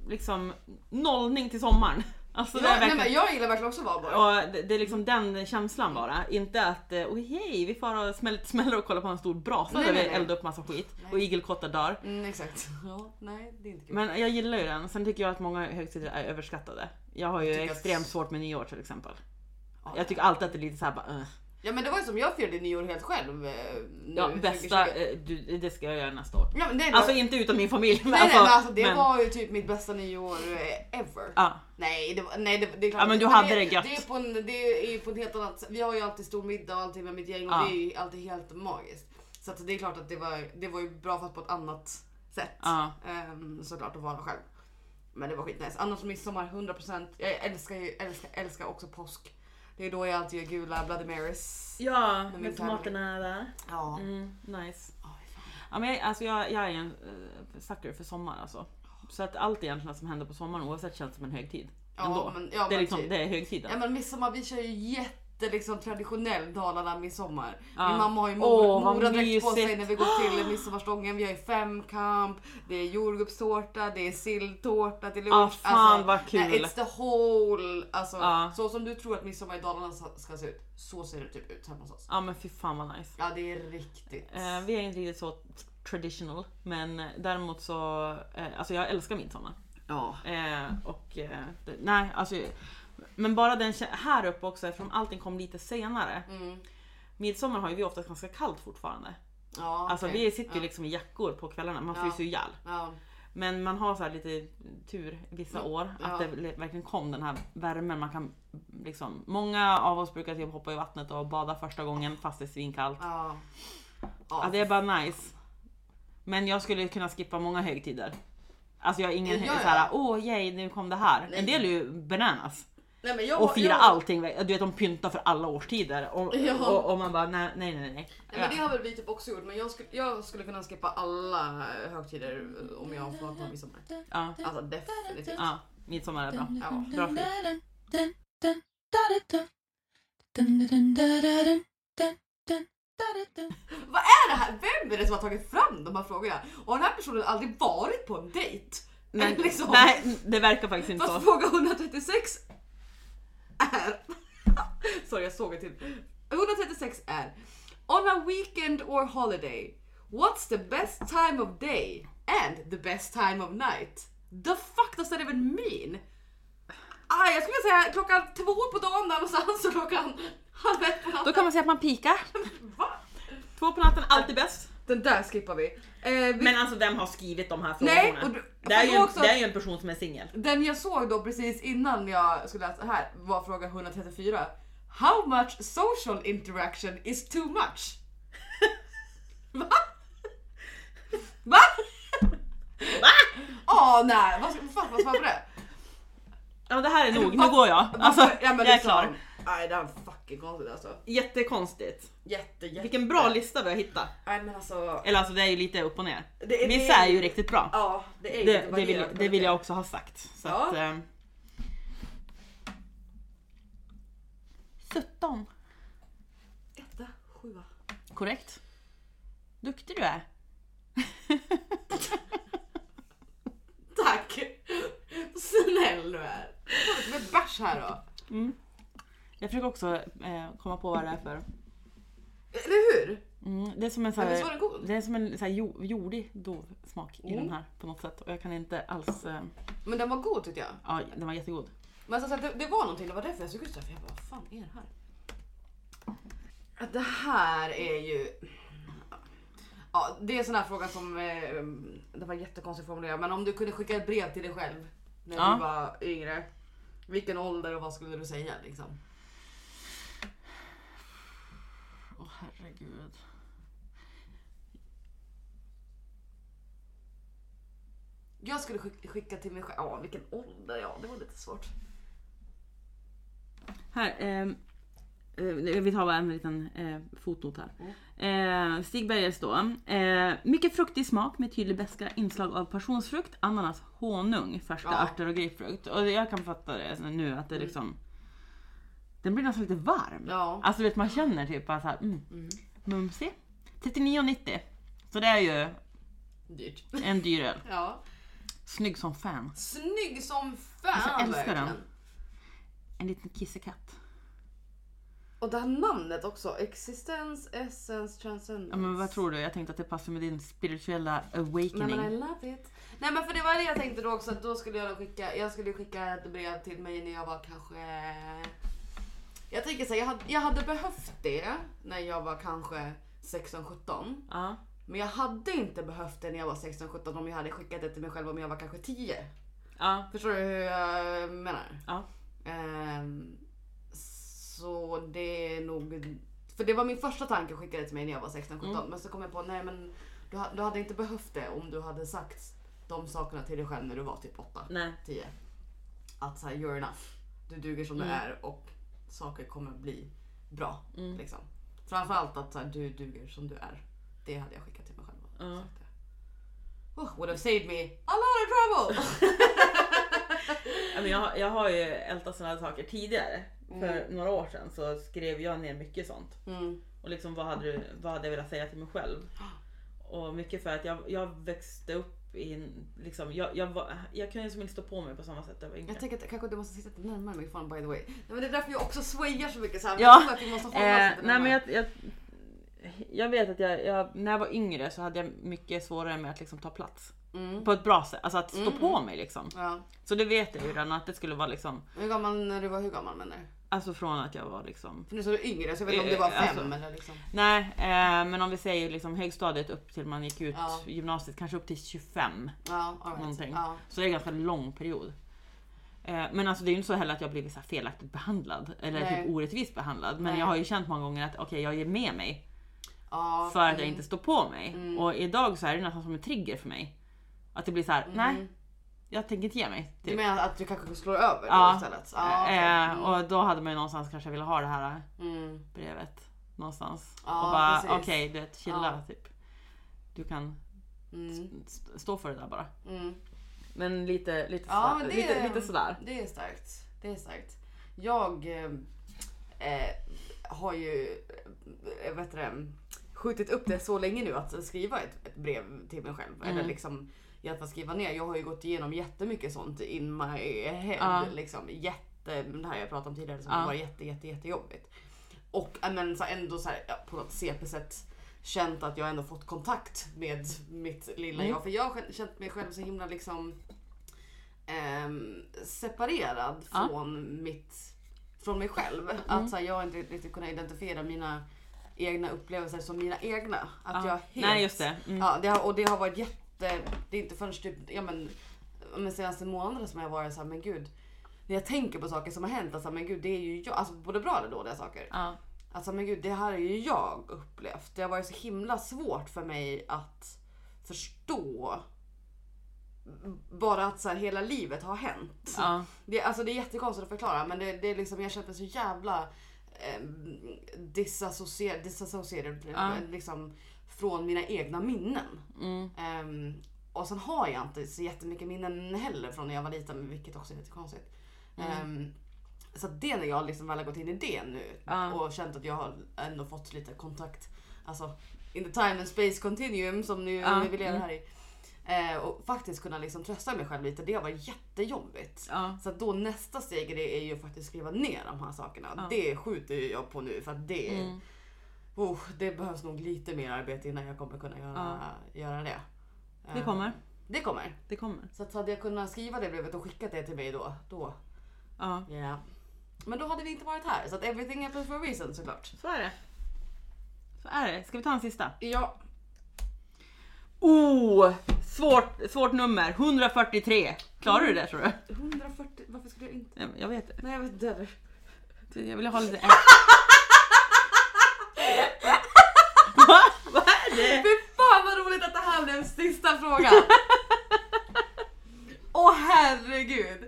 [SPEAKER 2] liksom eh, nollning till sommaren. Alltså, det
[SPEAKER 1] ja,
[SPEAKER 2] är
[SPEAKER 1] nej,
[SPEAKER 2] verkligen...
[SPEAKER 1] men jag gillar verkligen också valborg.
[SPEAKER 2] Och det, det är liksom den känslan bara. Inte att eh, oj hej, vi far och smäller, smäller och kollar på en stor brasa
[SPEAKER 1] Nej,
[SPEAKER 2] där vi
[SPEAKER 1] nej, nej.
[SPEAKER 2] eldar upp massa skit
[SPEAKER 1] Nej.
[SPEAKER 2] och igelkottar dör.
[SPEAKER 1] Mm, exakt. Ja, nej, det är inte kul.
[SPEAKER 2] Men jag gillar ju den. Sen tycker jag att många högtider är överskattade. Jag har ju
[SPEAKER 1] tycker att-
[SPEAKER 2] extremt svårt med nyår till exempel.
[SPEAKER 1] Ja.
[SPEAKER 2] Jag tycker alltid att det är lite såhär bara eh.
[SPEAKER 1] Ja men det var ju som jag firade nyår helt själv. eh, Nu,
[SPEAKER 2] ja, bästa,
[SPEAKER 1] 2020.
[SPEAKER 2] eh, du, det ska jag göra nästa år.
[SPEAKER 1] Ja, men nej,
[SPEAKER 2] Alltså
[SPEAKER 1] nej,
[SPEAKER 2] inte utan min familj. Men
[SPEAKER 1] nej,
[SPEAKER 2] alltså,
[SPEAKER 1] men alltså, det
[SPEAKER 2] men-
[SPEAKER 1] var ju typ mitt bästa nyår eh, ever.
[SPEAKER 2] Ja,
[SPEAKER 1] Nej, det, var, nej det, det är klart.
[SPEAKER 2] Ja, men du
[SPEAKER 1] det,
[SPEAKER 2] hade
[SPEAKER 1] det,
[SPEAKER 2] det gött.
[SPEAKER 1] Det är, på en, det är ju på ett helt annat sätt. Vi har ju alltid stor middag och allting med mitt gäng och
[SPEAKER 2] Ja.
[SPEAKER 1] det är ju alltid helt magiskt. Så att det är klart att det var, det var ju bra fast på ett annat sätt.
[SPEAKER 2] ja.
[SPEAKER 1] Ehm, såklart att vara själv. Men det var skitnice. Annars midsommar 100%. Jag älskar ju, älskar, älskar också påsk. Det är då jag alltid gör gula Bloody Marys.
[SPEAKER 2] ja
[SPEAKER 1] med min tomaterna
[SPEAKER 2] där.
[SPEAKER 1] Ja.
[SPEAKER 2] Mm, nice.
[SPEAKER 1] Åh, fy fan.
[SPEAKER 2] Ja, men jag, alltså jag, jag är ju en uh, sucker för sommar alltså. Så att allt egentligen som händer på sommaren oavsett känns som en högtid.
[SPEAKER 1] Ja,
[SPEAKER 2] Ändå.
[SPEAKER 1] men, ja,
[SPEAKER 2] det, är
[SPEAKER 1] men
[SPEAKER 2] liksom,
[SPEAKER 1] typ.
[SPEAKER 2] det är
[SPEAKER 1] Ja
[SPEAKER 2] högtiden.
[SPEAKER 1] men midsommar, vi kör ju jätte liksom traditionell Dalarna midsommar.
[SPEAKER 2] Ja.
[SPEAKER 1] Min mamma har ju
[SPEAKER 2] Åh,
[SPEAKER 1] mor-
[SPEAKER 2] vad
[SPEAKER 1] moradräkt på sig
[SPEAKER 2] mysigt.
[SPEAKER 1] när vi går till midsommarstången. Vi har ju femkamp, det är jordgubbstårta, det är silltårta till lunch. Alltså,
[SPEAKER 2] Ja, Ah, fan vad kul.
[SPEAKER 1] nej, It's the whole. Alltså,
[SPEAKER 2] Ja.
[SPEAKER 1] Så som du tror att midsommar i Dalarna ska- ska se ut, så ser det typ ut hemma hos oss.
[SPEAKER 2] Ja men fy fan vad nice.
[SPEAKER 1] Ja det är riktigt.
[SPEAKER 2] Eh, vi är inte riktigt så traditional men däremot så, eh, alltså jag älskar midsommar.
[SPEAKER 1] ja.
[SPEAKER 2] Eh, och eh, det, nej alltså, men bara den kä- här uppe också eftersom allting kom lite senare.
[SPEAKER 1] Mm.
[SPEAKER 2] Midsommar har ju vi oftast ganska kallt fortfarande.
[SPEAKER 1] ja
[SPEAKER 2] Alltså
[SPEAKER 1] okej.
[SPEAKER 2] vi sitter ju
[SPEAKER 1] ja.
[SPEAKER 2] liksom i jackor på kvällarna, man
[SPEAKER 1] Ja.
[SPEAKER 2] fryser ju ihjäl.
[SPEAKER 1] Ja.
[SPEAKER 2] Men man har så här lite tur vissa år att
[SPEAKER 1] Mm. Ja.
[SPEAKER 2] det verkligen kom den här värmen. Man kan liksom, många av oss brukar typ hoppa i vattnet och bada första gången fast det är svinkallt.
[SPEAKER 1] Ja.
[SPEAKER 2] Ja, det är bara nice. Men jag skulle kunna skippa många högtider. Alltså jag har ingen
[SPEAKER 1] Ja, ja.
[SPEAKER 2] så här, åh yay nu kom det här.
[SPEAKER 1] Nej.
[SPEAKER 2] En del är ju bananas
[SPEAKER 1] Nej, men jag,
[SPEAKER 2] och fira
[SPEAKER 1] jag,
[SPEAKER 2] allting. Du vet de pyntar för alla årstider och,
[SPEAKER 1] Ja.
[SPEAKER 2] och, och man bara nej nej nej. nej.
[SPEAKER 1] Nej, men det har väl vi typ också gjort men jag skulle, jag skulle kunna skippa alla högtider om jag får ta midsommar.
[SPEAKER 2] ja. ja.
[SPEAKER 1] Alltså definitivt.
[SPEAKER 2] ja, midsommar är bra.
[SPEAKER 1] Ja.
[SPEAKER 2] Bra skit.
[SPEAKER 1] Vad är det här? Vem är det som har tagit fram de här frågorna? Och har den här personen aldrig varit på en dejt?
[SPEAKER 2] Men,
[SPEAKER 1] liksom.
[SPEAKER 2] Nej det verkar faktiskt inte så.
[SPEAKER 1] Fast fråga 136 är... Sorry jag såg det till. 136 är On a weekend or holiday What's the best time of day and the best time of night? The fuck does that even mean? Ah, jag skulle säga klockan två på dagen någonstans och klockan halv ett på
[SPEAKER 2] Då
[SPEAKER 1] natten.
[SPEAKER 2] kan man säga att man pikar.
[SPEAKER 1] Va?
[SPEAKER 2] Två på natten, alltid bäst.
[SPEAKER 1] Den där skippar vi. Eh, vi
[SPEAKER 2] Men alltså vem har skrivit de här frågorna?
[SPEAKER 1] Nej, och du-
[SPEAKER 2] det, är ju
[SPEAKER 1] och
[SPEAKER 2] en,
[SPEAKER 1] också-
[SPEAKER 2] det är ju en person som är singel.
[SPEAKER 1] Den jag såg då precis innan jag skulle läsa här var fråga 134. How much social interaction is too much? Va? Va?
[SPEAKER 2] Va?
[SPEAKER 1] Åh nej, vad ska, vad fan, vad ska man på det?
[SPEAKER 2] Ja det här är nog,
[SPEAKER 1] Va-
[SPEAKER 2] nu går jag.
[SPEAKER 1] Varför-
[SPEAKER 2] Alltså,
[SPEAKER 1] ja, men
[SPEAKER 2] jag är
[SPEAKER 1] liksom-
[SPEAKER 2] klar.
[SPEAKER 1] Nej det här är fucking konstigt alltså.
[SPEAKER 2] Jättekonstigt.
[SPEAKER 1] Jätte jätte.
[SPEAKER 2] Vilken bra lista vi har hittat.
[SPEAKER 1] Nej men alltså.
[SPEAKER 2] Eller alltså det är ju lite upp och ner.
[SPEAKER 1] Det är-
[SPEAKER 2] Vissa är ju riktigt bra.
[SPEAKER 1] Ja det är ju
[SPEAKER 2] Det,
[SPEAKER 1] lite
[SPEAKER 2] det, vill,
[SPEAKER 1] varierat på
[SPEAKER 2] det vill
[SPEAKER 1] lite.
[SPEAKER 2] jag också ha sagt. Så
[SPEAKER 1] Ja.
[SPEAKER 2] att, ehm. 17.
[SPEAKER 1] Etta, sjua.
[SPEAKER 2] Korrekt. Duktig du är.
[SPEAKER 1] Tack! Snäll du är. Med bärs här då.
[SPEAKER 2] Jag försöker också eh, komma på vad det är för.
[SPEAKER 1] Eller hur?
[SPEAKER 2] Mm, det är som en sån
[SPEAKER 1] Men visst var
[SPEAKER 2] här,
[SPEAKER 1] den god?
[SPEAKER 2] det är som en så här jo, jordig, dov smak i
[SPEAKER 1] Mm.
[SPEAKER 2] den här på något sätt. Och jag kan inte alls... Eh,
[SPEAKER 1] Men den var god tyckte jag.
[SPEAKER 2] ja, den var jättegod.
[SPEAKER 1] Men alltså, så att det, det var någonting, det var därför jag såg ut såhär, för jag bara vad fan är det här? Att Det här är ju... Ja, det är en sån här fråga som, eh, det var jättekonstigt formulerat, men om du kunde skicka ett brev till dig själv när
[SPEAKER 2] Ja.
[SPEAKER 1] du var yngre. Vilken ålder och vad skulle du säga liksom?
[SPEAKER 2] Åh herregud.
[SPEAKER 1] Jag skulle skick- skicka till mig själv, ja vilken ålder, ja det var lite svårt.
[SPEAKER 2] Här, ehm, eh, vi tar bara en liten eh, fotnot här.
[SPEAKER 1] Mm.
[SPEAKER 2] Eh, Stig Bergers då. Eh, mycket fruktig smak med tydlig beska inslag av passionsfrukt, ananas, honung, färska
[SPEAKER 1] Ja. Mm.
[SPEAKER 2] örter och grapefrukt. Och jag kan fatta det nu att det liksom... Den blir nästan lite varm.
[SPEAKER 1] Ja.
[SPEAKER 2] Alltså du vet man känner typ bara såhär, mm, mumsig. 39,90. Så det är ju
[SPEAKER 1] Dyrt.
[SPEAKER 2] en dyr öl.
[SPEAKER 1] Ja.
[SPEAKER 2] Snygg som fan.
[SPEAKER 1] Snygg som fan
[SPEAKER 2] Alltså, jag älskar
[SPEAKER 1] verkligen.
[SPEAKER 2] den. en liten kissekatt.
[SPEAKER 1] Och det här namnet också. Existens, essence, transcendence.
[SPEAKER 2] Ja, men vad tror du? Jag tänkte att det passar med din spirituella
[SPEAKER 1] Nej
[SPEAKER 2] awakening.
[SPEAKER 1] men I love it. Nej men för det var det jag tänkte då också att då skulle jag nog skicka, jag skulle skicka ett brev till mig när jag var kanske... Jag tänker såhär, jag, hade- jag hade behövt det när jag var kanske 16-17.
[SPEAKER 2] Ja.
[SPEAKER 1] Men jag hade inte behövt det när jag var 16-17 om jag hade skickat det till mig själv om jag var kanske 10.
[SPEAKER 2] Ja.
[SPEAKER 1] Förstår du hur jag menar?
[SPEAKER 2] Ja.
[SPEAKER 1] Ehm, så det är nog... För det var min första tanke att skicka det till mig när jag var 16-17.
[SPEAKER 2] Mm.
[SPEAKER 1] Men så kom jag på, nej men du, ha- du hade inte behövt det om du hade sagt de sakerna till dig själv när du var typ 8,
[SPEAKER 2] Nej.
[SPEAKER 1] 10. Att såhär, you're enough. Du duger som
[SPEAKER 2] Mm.
[SPEAKER 1] du är och saker kommer bli bra.
[SPEAKER 2] Mm.
[SPEAKER 1] Liksom. Framförallt att så här, du duger som du är. Det hade jag skickat till mig själv. och
[SPEAKER 2] Ja.
[SPEAKER 1] sagt det. Oh, would have saved me a lot of trouble!
[SPEAKER 2] Ja, men jag, jag har ju ältat sådana saker tidigare. För några år sedan så skrev jag ner mycket sånt.
[SPEAKER 1] Mm.
[SPEAKER 2] Och liksom vad hade, du, vad hade jag velat säga till mig själv? Och mycket för att jag, jag växte upp i en, liksom, jag, jag, var, jag kunde liksom inte stå på mig på samma sätt. Jag var yngre.
[SPEAKER 1] Jag tänker att kanske du måste sitta lite närmare mikrofonen by the way. Nej, men det är därför jag också swayar så mycket så här. men
[SPEAKER 2] Ja,
[SPEAKER 1] jag tror att vi måste hålla oss
[SPEAKER 2] Eh,
[SPEAKER 1] lite
[SPEAKER 2] nej men
[SPEAKER 1] närmare.
[SPEAKER 2] jag, jag, jag vet att jag, jag, när jag var yngre så hade jag mycket svårare med att liksom ta plats.
[SPEAKER 1] Mm.
[SPEAKER 2] På ett bra sätt, alltså att stå på mig liksom.
[SPEAKER 1] Ja.
[SPEAKER 2] Så det vet jag ju redan att det skulle vara liksom,
[SPEAKER 1] Hur gammal när du var, hur gammal menar du?
[SPEAKER 2] alltså från att jag var liksom
[SPEAKER 1] För nu sa du yngre så jag vet inte om det var
[SPEAKER 2] Eh,
[SPEAKER 1] fem
[SPEAKER 2] alltså.
[SPEAKER 1] eller liksom.
[SPEAKER 2] Nej, eh, men om vi säger liksom högstadiet upp till man gick ut
[SPEAKER 1] Ja.
[SPEAKER 2] gymnasiet, kanske upp till 25.
[SPEAKER 1] Ja, all right.
[SPEAKER 2] Någonting.
[SPEAKER 1] Ja.
[SPEAKER 2] Så det är en ganska lång period. Eh, men alltså det är ju inte så heller att jag blivit så här felaktigt behandlad eller
[SPEAKER 1] Nej.
[SPEAKER 2] typ orättvist behandlad. Men
[SPEAKER 1] Nej.
[SPEAKER 2] jag har ju känt många gånger att okej, jag ger med mig
[SPEAKER 1] Ja. mm,
[SPEAKER 2] för att jag inte står på mig. Och idag så är det nästan som en trigger för mig. Att det blir så här: nej, jag tänker inte ge mig.
[SPEAKER 1] mm. Du
[SPEAKER 2] Typ.
[SPEAKER 1] menar att du kanske slår över
[SPEAKER 2] Ja.
[SPEAKER 1] då istället? Ja. okej.
[SPEAKER 2] eh, och då hade man ju någonstans kanske velat ha det här
[SPEAKER 1] Mm.
[SPEAKER 2] brevet någonstans.
[SPEAKER 1] Ja,
[SPEAKER 2] och bara
[SPEAKER 1] precis.
[SPEAKER 2] okej, du vet, chilla typ. Du kan
[SPEAKER 1] Mm.
[SPEAKER 2] st- stå för det där bara.
[SPEAKER 1] Mm.
[SPEAKER 2] Men lite, lite,
[SPEAKER 1] Ja,
[SPEAKER 2] sådär,
[SPEAKER 1] men det-
[SPEAKER 2] lite, lite sådär.
[SPEAKER 1] Det är starkt. Det är starkt. Jag eh, eh, har ju eh, vet du, det, skjutit upp det så länge nu att skriva ett, ett brev till mig själv.
[SPEAKER 2] Mm.
[SPEAKER 1] Eller liksom i alla fall skriva ner. Jag har ju gått igenom jättemycket sånt in my head.
[SPEAKER 2] Ja.
[SPEAKER 1] Liksom, jätte, det här jag pratade om tidigare som
[SPEAKER 2] Ja.
[SPEAKER 1] var jätte, jätte, jättejobbigt. Och eh, men så här, ändå så här, ja, på något CP-sätt känt att jag ändå fått kontakt med mitt lilla
[SPEAKER 2] Mm.
[SPEAKER 1] jag. För jag har själv- känt mig själv så himla liksom ehm, separerad
[SPEAKER 2] Ja. Mm.
[SPEAKER 1] från, mitt, från mig själv. Att så här, jag har inte riktigt kunnat identifiera mina egna upplevelser som mina egna. Att
[SPEAKER 2] Ja.
[SPEAKER 1] jag helt,
[SPEAKER 2] Nej just det. Mm.
[SPEAKER 1] Ja, det har, och det har varit jätte... Det är inte förrän typ, ja men, ja, men senaste månaderna som jag har varit så här, men gud. När jag tänker på saker som har hänt, alltså, men gud det är ju jag. Alltså både bra eller dåliga saker.
[SPEAKER 2] Ja.
[SPEAKER 1] Alltså men gud, det här är ju jag upplevt. Det har varit så himla svårt för mig att förstå bara att så här, hela livet har hänt.
[SPEAKER 2] Ja.
[SPEAKER 1] Det, alltså, det är jättekonstigt att förklara men det, det är liksom, jag känner mig så jävla eh, disassocier- disassocierad
[SPEAKER 2] Ja.
[SPEAKER 1] liksom, från mina egna minnen.
[SPEAKER 2] Mm.
[SPEAKER 1] Ehm, och sen har jag inte så jättemycket minnen heller från när jag var liten vilket också är lite konstigt.
[SPEAKER 2] Mm.
[SPEAKER 1] Ehm, så att det när jag liksom väl har gått in i det nu
[SPEAKER 2] Ja.
[SPEAKER 1] och känt att jag har ändå fått lite kontakt. Alltså in the time and space continuum som nu
[SPEAKER 2] Ja, Mm.
[SPEAKER 1] vi lever här i. Eh, och faktiskt kunna liksom trösta mig själv lite. Det har varit jättejobbigt.
[SPEAKER 2] Ja.
[SPEAKER 1] Så att då nästa steg i det är ju faktiskt skriva ner de här sakerna. Det skjuter ju jag på nu för att det,
[SPEAKER 2] Mm.
[SPEAKER 1] oh, det behövs nog lite mer arbete innan jag kommer kunna göra, göra det.
[SPEAKER 2] Det
[SPEAKER 1] Eh,
[SPEAKER 2] kommer.
[SPEAKER 1] Det kommer.
[SPEAKER 2] Det kommer.
[SPEAKER 1] Så att hade jag kunnat skriva det brevet och skickat det till mig då, då
[SPEAKER 2] Ja.
[SPEAKER 1] ja. Men då hade vi inte varit här. Så att everything happens for a reason såklart.
[SPEAKER 2] Så är det. Så är det. Ska vi ta en sista?
[SPEAKER 1] Ja.
[SPEAKER 2] Oh! Svårt, svårt nummer. 143. Klarar du det tror du?
[SPEAKER 1] 140, varför skulle jag inte?
[SPEAKER 2] Nej, men Jag vet det.
[SPEAKER 1] Nej jag vet inte.
[SPEAKER 2] Jag ville ha lite... Va? Vad är det?
[SPEAKER 1] Fy fan vad roligt att det här blev sista frågan! Åh herregud!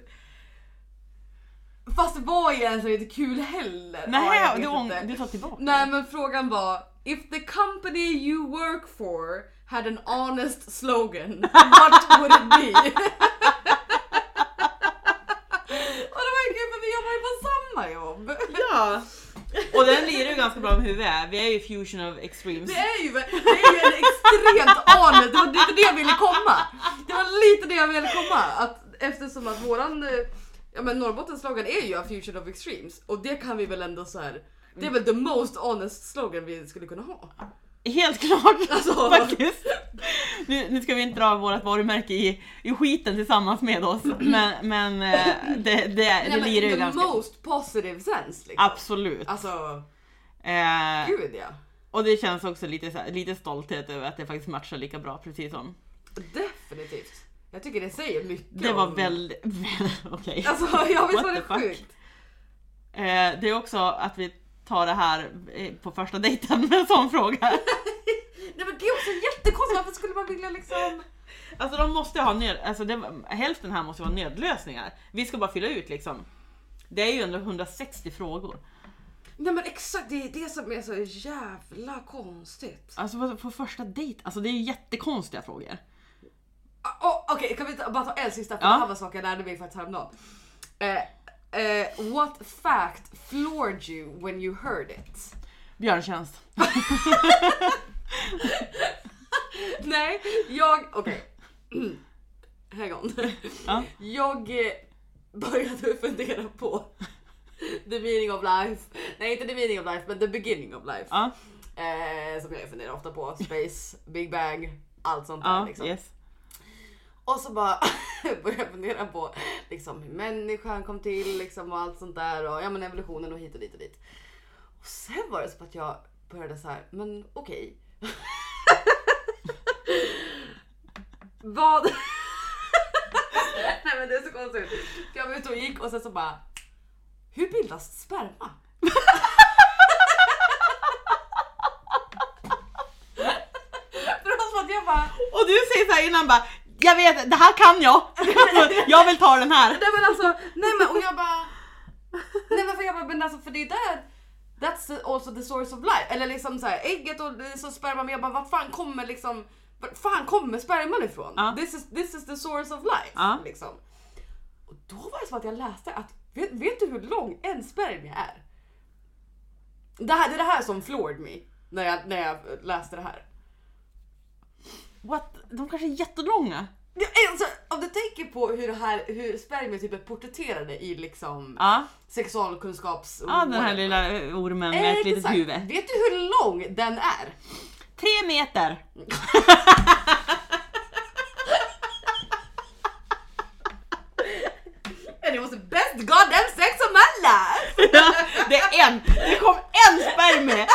[SPEAKER 1] Fast det var egentligen inte kul heller. Ja, jag
[SPEAKER 2] Nej,
[SPEAKER 1] vet
[SPEAKER 2] du,
[SPEAKER 1] inte.
[SPEAKER 2] ång- du tar tillbaka
[SPEAKER 1] Nej men frågan var If the company you work for had an honest slogan, what would it be? Och det var ju kul för vi jobbar ju på samma jobb.
[SPEAKER 2] Ja. Och den lirar ju ganska bra med hur vi är. Vi är ju fusion of extremes.
[SPEAKER 1] Det är ju, det är ju en extremt anel, det var lite det jag ville komma. Det var lite det jag ville komma. Att eftersom att våran, eh, ja, Ja men Norrbottens slogan är ju A Fusion of Extremes och det kan vi väl ändå så här. Det är väl the most honest slogan vi skulle kunna ha.
[SPEAKER 2] Helt klart
[SPEAKER 1] Alltså.
[SPEAKER 2] faktiskt. Nu, nu ska vi inte dra vårt varumärke i, i skiten tillsammans med oss men, men eh, det, det,
[SPEAKER 1] Nej,
[SPEAKER 2] det
[SPEAKER 1] men
[SPEAKER 2] lirar ju
[SPEAKER 1] in the
[SPEAKER 2] ganska...
[SPEAKER 1] most positive sense liksom.
[SPEAKER 2] Absolut.
[SPEAKER 1] Alltså
[SPEAKER 2] Eh,
[SPEAKER 1] gud ja.
[SPEAKER 2] och det känns också lite, så här, lite stolthet över att det faktiskt matchar lika bra precis som.
[SPEAKER 1] Definitivt. Jag tycker det säger mycket
[SPEAKER 2] Det var
[SPEAKER 1] om-
[SPEAKER 2] väldigt... Okej.
[SPEAKER 1] Alltså jag visst var
[SPEAKER 2] What the
[SPEAKER 1] det
[SPEAKER 2] fuck?
[SPEAKER 1] sjukt?
[SPEAKER 2] Eh, det är också att vi tar det här eh, på första dejten med en sån fråga.
[SPEAKER 1] Nej men det är också jättekonstigt, varför skulle man vilja liksom...
[SPEAKER 2] Alltså de måste ha nöd, alltså det, hälften här måste vara nödlösningar. Vi ska bara fylla ut liksom. Det är ju ändå 160 frågor.
[SPEAKER 1] Nej men exakt, det är det som är så jävla konstigt.
[SPEAKER 2] Alltså på, på första dejt, alltså det är ju jättekonstiga frågor.
[SPEAKER 1] Ah, Oh, Okej, kan vi ta, bara ta en sista för
[SPEAKER 2] Ja.
[SPEAKER 1] det här var saker jag lärde mig faktiskt häromdagen. Eh, eh, what fact floored you when you heard it?
[SPEAKER 2] Björntjänst.
[SPEAKER 1] Nej, jag... Okej. Hang on.
[SPEAKER 2] Ja.
[SPEAKER 1] Jag eh, började fundera på the meaning of life. Nej, inte the meaning of life, men the beginning of life.
[SPEAKER 2] Ja,
[SPEAKER 1] Eh, som jag funderar ofta på. Space, Big Bang, allt sånt där
[SPEAKER 2] ja,
[SPEAKER 1] liksom.
[SPEAKER 2] yes.
[SPEAKER 1] Och så bara började jag fundera på liksom, hur människan kom till liksom, och allt sånt där och ja, men evolutionen och hit och dit och dit. Och sen var det som att jag började så här, men okej. Vad? Nej men det är så konstigt. För jag var ute och gick och sen så bara, hur bildas sperma? För det var som att jag bara,
[SPEAKER 2] Och du säger såhär innan bara, jag vet, det här kan jag! Alltså, jag vill ta den här!
[SPEAKER 1] Nej men alltså, nej men och jag bara... Nej men för jag bara, men alltså för det är där... That's the, also the source of life. Eller liksom så här, ägget och det är så sperman. Men jag bara, vart fan kommer liksom... Vart fan kommer sperman ifrån?
[SPEAKER 2] Ja.
[SPEAKER 1] This, is, this is the source of life.
[SPEAKER 2] Ja.
[SPEAKER 1] Liksom. Och då var det som att jag läste att, vet, vet du hur lång en spermie är? Det, här, det är det här som floored me när jag, när jag läste det här.
[SPEAKER 2] What? De kanske är jättelånga.
[SPEAKER 1] Ja, Alltså, om du tänker på hur, det här, hur spermier typ är porträtterade i liksom
[SPEAKER 2] Ja,
[SPEAKER 1] sexualkunskaps...
[SPEAKER 2] ja den här lilla eh, ormen med ett
[SPEAKER 1] Exakt.
[SPEAKER 2] litet huvud.
[SPEAKER 1] Vet du hur lång den är?
[SPEAKER 2] Tre meter!
[SPEAKER 1] And it was the best goddamn sex of my life!
[SPEAKER 2] Ja, det är en! Det kom en spermie!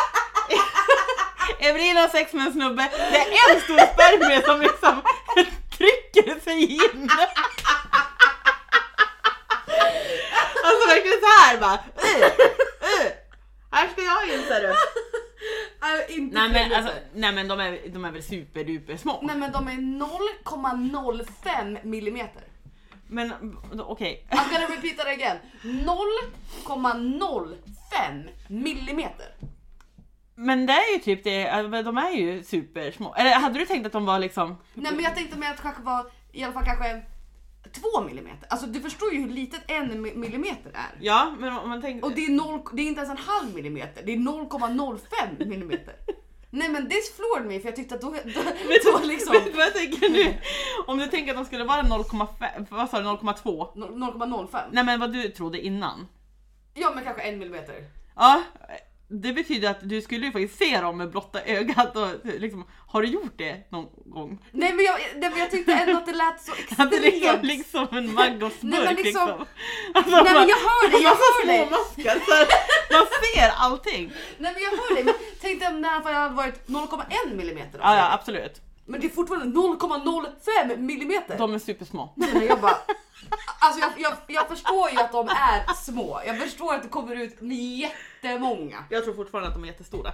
[SPEAKER 2] Evelina har sex med en snubbe, det är en stor spermie som liksom trycker sig in! Alltså verkligen så här bara! "Uh, uh, Här ska jag in ser du!
[SPEAKER 1] Äh, inte
[SPEAKER 2] Nej men,
[SPEAKER 1] tydligt.
[SPEAKER 2] alltså, nej, men de, är, de är väl superduper små.
[SPEAKER 1] Nej men de är 0,05 millimeter.
[SPEAKER 2] Men okej,
[SPEAKER 1] I'm gonna repeat that again. 0,05 millimeter.
[SPEAKER 2] men det är ju typ det, alltså, de är ju supersmå. Eller hade du tänkt att de var liksom...
[SPEAKER 1] Nej men jag tänkte mig att det kanske var i alla fall kanske 2 millimeter. Alltså du förstår ju hur litet en mi- millimeter är.
[SPEAKER 2] Ja men om man tänker...
[SPEAKER 1] Och det är, noll, det är inte ens en halv millimeter, det är 0,05 millimeter. Nej men this floored me för jag tyckte att då, då, då liksom
[SPEAKER 2] Vet du vad jag tänker nu? Om du tänker att de skulle vara 0,5, vad sa du, 0,2?
[SPEAKER 1] 0,05.
[SPEAKER 2] Nej men vad du trodde innan.
[SPEAKER 1] Ja men kanske en millimeter.
[SPEAKER 2] Ja, det betyder att du skulle ju faktiskt se dem med blotta ögat och liksom, har du gjort det någon gång?
[SPEAKER 1] Nej men jag, nej, men jag tyckte ändå att det lät så
[SPEAKER 2] Att det liksom,
[SPEAKER 1] extremt.
[SPEAKER 2] liksom en maggotburk
[SPEAKER 1] Nej, men
[SPEAKER 2] liksom.
[SPEAKER 1] liksom-
[SPEAKER 2] Alltså,
[SPEAKER 1] Nej men jag hör dig, jag hör dig!
[SPEAKER 2] Småmaskar, så här, man ser allting.
[SPEAKER 1] Nej men jag hör dig. Men tänk dig om det här fall hade varit 0,1 millimeter. då.
[SPEAKER 2] Ja, ja absolut.
[SPEAKER 1] Men det är fortfarande 0,05 millimeter.
[SPEAKER 2] De är supersmå.
[SPEAKER 1] Nej, men jag bara... Alltså jag, jag, jag förstår ju att de är små. Jag förstår att det kommer ut jättemånga.
[SPEAKER 2] Jag tror fortfarande att de är jättestora.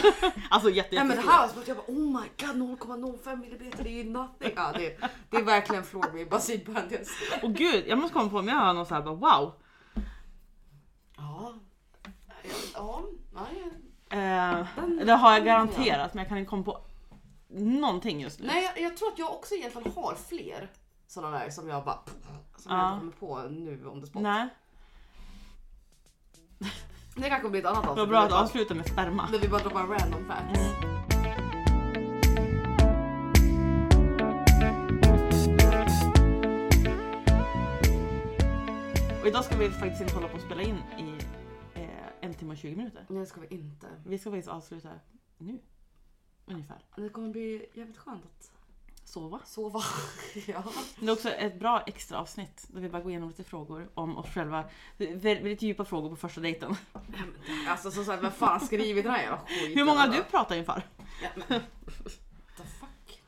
[SPEAKER 2] alltså jätte,
[SPEAKER 1] Nej men det
[SPEAKER 2] jättestora.
[SPEAKER 1] här var som att jag bara oh my god 0,05 millimeter det är ju nothing. Ja, det, det är verkligen floored me, bara sidparentes.
[SPEAKER 2] Och gud, jag måste komma på om jag har någon så här bara wow.
[SPEAKER 1] Ja. Ja, nej.
[SPEAKER 2] Eh, det har jag garanterat men jag kan inte komma på någonting just nu.
[SPEAKER 1] nej jag, jag tror att jag också egentligen har fler sådana där som jag bara som
[SPEAKER 2] Ja.
[SPEAKER 1] jag inte kommer på nu om det spot.
[SPEAKER 2] Nej.
[SPEAKER 1] Det kanske blir ett annat
[SPEAKER 2] Det var
[SPEAKER 1] avsnitt.
[SPEAKER 2] bra Mm. att avsluta med sperma.
[SPEAKER 1] När vi bara droppar random facts.
[SPEAKER 2] Och idag ska vi faktiskt inte hålla på att spela in i eh, en timme och 20 minuter.
[SPEAKER 1] Nej det ska vi inte.
[SPEAKER 2] Vi ska faktiskt avsluta nu. Ungefär.
[SPEAKER 1] Det kommer bli jävligt skönt att
[SPEAKER 2] Sova.
[SPEAKER 1] sova. ja.
[SPEAKER 2] Det är också ett bra extra avsnitt där vi bara går igenom lite frågor om oss själva. Vä- Väldigt djupa frågor på första dejten.
[SPEAKER 1] Alltså som sagt, vem fan har skrivit den här jävla skiten?
[SPEAKER 2] Hur många har
[SPEAKER 1] då?
[SPEAKER 2] du pratat inför?
[SPEAKER 1] Ja, men, the fuck?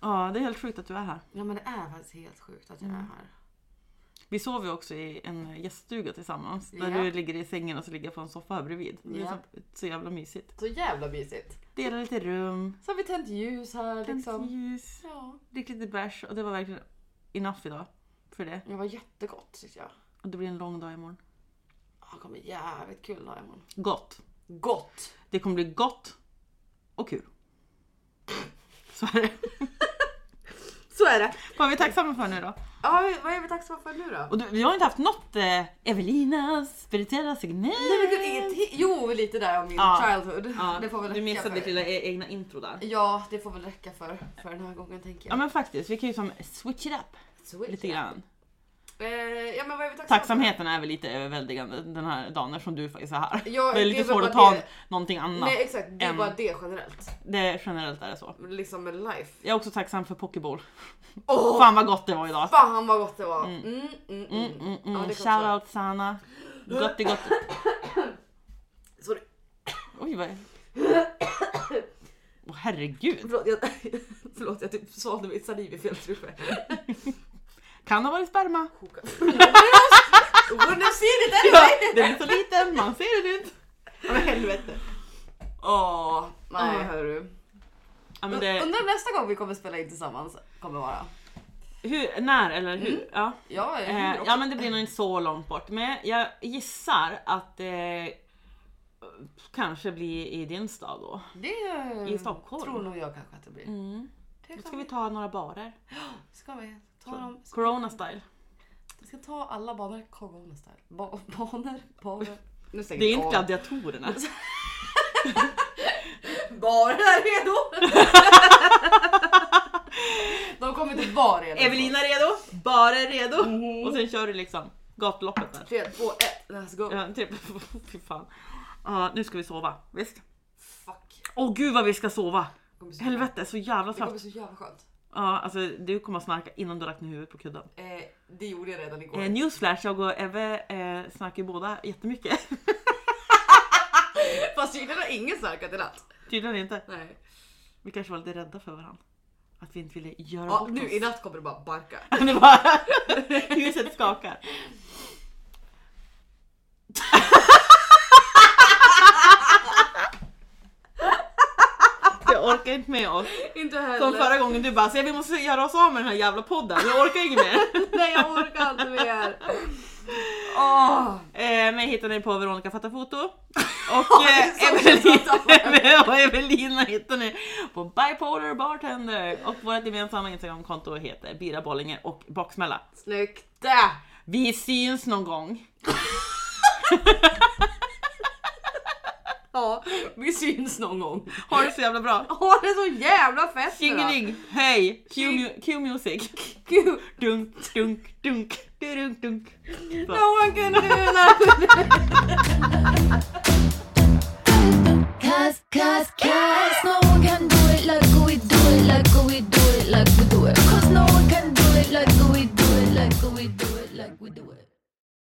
[SPEAKER 2] Ja, det är helt sjukt att du är här.
[SPEAKER 1] Ja men det är faktiskt helt sjukt att jag är här.
[SPEAKER 2] Vi sov ju också i en gäststuga tillsammans. Där
[SPEAKER 1] Ja.
[SPEAKER 2] du ligger i sängen och så ligger jag på en soffa här bredvid. Det är
[SPEAKER 1] Ja.
[SPEAKER 2] så, så jävla mysigt.
[SPEAKER 1] Så jävla mysigt.
[SPEAKER 2] Delar lite rum,
[SPEAKER 1] Så har vi tänt ljus här
[SPEAKER 2] tänt
[SPEAKER 1] liksom.
[SPEAKER 2] ljus,
[SPEAKER 1] Ja.
[SPEAKER 2] drick lite bärs och det var verkligen enough idag. För det.
[SPEAKER 1] Det var jättegott tyckte jag.
[SPEAKER 2] Och det blir en lång dag imorgon.
[SPEAKER 1] Ja, Det kommer bli jävligt kul dag imorgon.
[SPEAKER 2] Gott.
[SPEAKER 1] Gott!
[SPEAKER 2] Det kommer bli gott och kul. Så är det.
[SPEAKER 1] Så är det.
[SPEAKER 2] Vad är vi tacksamma för nu då?
[SPEAKER 1] Ja, vad är vi tacksamma för nu då?
[SPEAKER 2] Och du, vi har inte haft något eh, Evelinas spirituella segment.
[SPEAKER 1] Nej men gud, ingenting. Jo lite där om min
[SPEAKER 2] Ja.
[SPEAKER 1] childhood.
[SPEAKER 2] Ja,
[SPEAKER 1] det får väl
[SPEAKER 2] du
[SPEAKER 1] räcka
[SPEAKER 2] missade
[SPEAKER 1] för.
[SPEAKER 2] ditt lilla e- egna intro där.
[SPEAKER 1] Ja det får väl räcka för, för den här gången tänker
[SPEAKER 2] Ja
[SPEAKER 1] jag.
[SPEAKER 2] men faktiskt, vi kan ju som switch it up
[SPEAKER 1] Sweet.
[SPEAKER 2] lite grann.
[SPEAKER 1] Eh, ja men vad är vi tacksamma
[SPEAKER 2] Tacksamheten är väl lite överväldigande den här dagen eftersom du faktiskt är här.
[SPEAKER 1] för? Ja,
[SPEAKER 2] det är lite
[SPEAKER 1] väl
[SPEAKER 2] svårt
[SPEAKER 1] bara
[SPEAKER 2] att ta
[SPEAKER 1] det.
[SPEAKER 2] någonting annat.
[SPEAKER 1] Nej exakt, det är
[SPEAKER 2] än-
[SPEAKER 1] bara det generellt.
[SPEAKER 2] Det, generellt är det så.
[SPEAKER 1] Liksom med life.
[SPEAKER 2] Jag är också tacksam för Pokéball.
[SPEAKER 1] Åh!
[SPEAKER 2] Fan vad gott det var idag.
[SPEAKER 1] Fan vad gott det var! Mm, mm, mm.
[SPEAKER 2] Mm, mm,
[SPEAKER 1] Ja,
[SPEAKER 2] mm.
[SPEAKER 1] det kan jag
[SPEAKER 2] Shoutout Sanna. Gotti gotti.
[SPEAKER 1] Sorry,
[SPEAKER 2] Oj vad... Åh herregud.
[SPEAKER 1] förlåt jag, förlåt, jag typ svalde mitt saliv i fel truffe.
[SPEAKER 2] Kan ha varit sperma.
[SPEAKER 1] Wouldn't have seen it anyway!
[SPEAKER 2] Ja, den är så liten, man ser den ut. Ja, men helvete.
[SPEAKER 1] Åh, nej
[SPEAKER 2] Ja.
[SPEAKER 1] hörru.
[SPEAKER 2] Ja, men
[SPEAKER 1] Det...
[SPEAKER 2] det,
[SPEAKER 1] Undrar nästa gång vi kommer spela in tillsammans kommer vara.
[SPEAKER 2] hur, när eller hur? Ja.
[SPEAKER 1] Ja, jag
[SPEAKER 2] Eh,
[SPEAKER 1] hänger också.
[SPEAKER 2] ja men det blir nog inte så långt bort. Men jag gissar att eh, kanske blir i din stad då.
[SPEAKER 1] det eh,
[SPEAKER 2] i Stockholm.
[SPEAKER 1] tror nog jag kanske att det blir. Det
[SPEAKER 2] Då
[SPEAKER 1] kan
[SPEAKER 2] ska vi ta några barer.
[SPEAKER 1] ska vi ta dem. Ska,
[SPEAKER 2] Corona style.
[SPEAKER 1] vi ska ta alla banor corona style. Ba- banor, banor. Nu stänger
[SPEAKER 2] Det är inte
[SPEAKER 1] av.
[SPEAKER 2] gladiatorerna.
[SPEAKER 1] Barer är redo! De kommer inte vara redo.
[SPEAKER 2] Evelina redo, barer redo. Och sen kör du liksom gatloppet där.
[SPEAKER 1] 3, 2, 1, let's go.
[SPEAKER 2] Ja, typ. Fy fan. Ja, nu ska vi sova. Visst?
[SPEAKER 1] Fuck.
[SPEAKER 2] Åh gud vad vi ska sova!
[SPEAKER 1] Det kommer bli så-
[SPEAKER 2] Helvete, så jävla
[SPEAKER 1] Det kommer
[SPEAKER 2] trött.
[SPEAKER 1] bli så jävla skönt.
[SPEAKER 2] Ja, alltså du kommer att snarka innan du räknar huvudet på kudden.
[SPEAKER 1] Eh, det gjorde jag redan igår.
[SPEAKER 2] Eh, newsflash, jag och Eve eh, snackar ju båda jättemycket.
[SPEAKER 1] Fast tydligen har ingen snarkat i natt.
[SPEAKER 2] Tydligen inte.
[SPEAKER 1] Nej.
[SPEAKER 2] Vi kanske var lite rädda för varandra. Att vi inte ville göra
[SPEAKER 1] Ja,
[SPEAKER 2] bort
[SPEAKER 1] nu
[SPEAKER 2] oss.
[SPEAKER 1] i natt kommer det bara barka.
[SPEAKER 2] Det bara... Huset skakar. Jag orkar inte med oss.
[SPEAKER 1] inte heller.
[SPEAKER 2] Som förra gången du bara, "Så vi måste göra oss av med den här jävla podden, jag orkar inte mer.
[SPEAKER 1] Nej jag orkar inte mer. Åh!
[SPEAKER 2] Eh, mig hittar ni på Veronica Fattar Foto. Och,
[SPEAKER 1] det är
[SPEAKER 2] eh,
[SPEAKER 1] så
[SPEAKER 2] Evelina, och Evelina hittar ni på Bipolar Bartender. Och vårt gemensamma Instagramkonto heter Bira Bollinger och Baksmälla.
[SPEAKER 1] Snyggt! Äh.
[SPEAKER 2] Vi syns någon gång.
[SPEAKER 1] Ja, vi syns någon gång.
[SPEAKER 2] Ha det så jävla bra.
[SPEAKER 1] Ha det så jävla fett nu då.
[SPEAKER 2] Tjingeling, hej! Q-mu- Q-music.
[SPEAKER 1] Gud,
[SPEAKER 2] Dunk, dunk, dunk, dunk, dunk. Så.
[SPEAKER 1] no one can do that!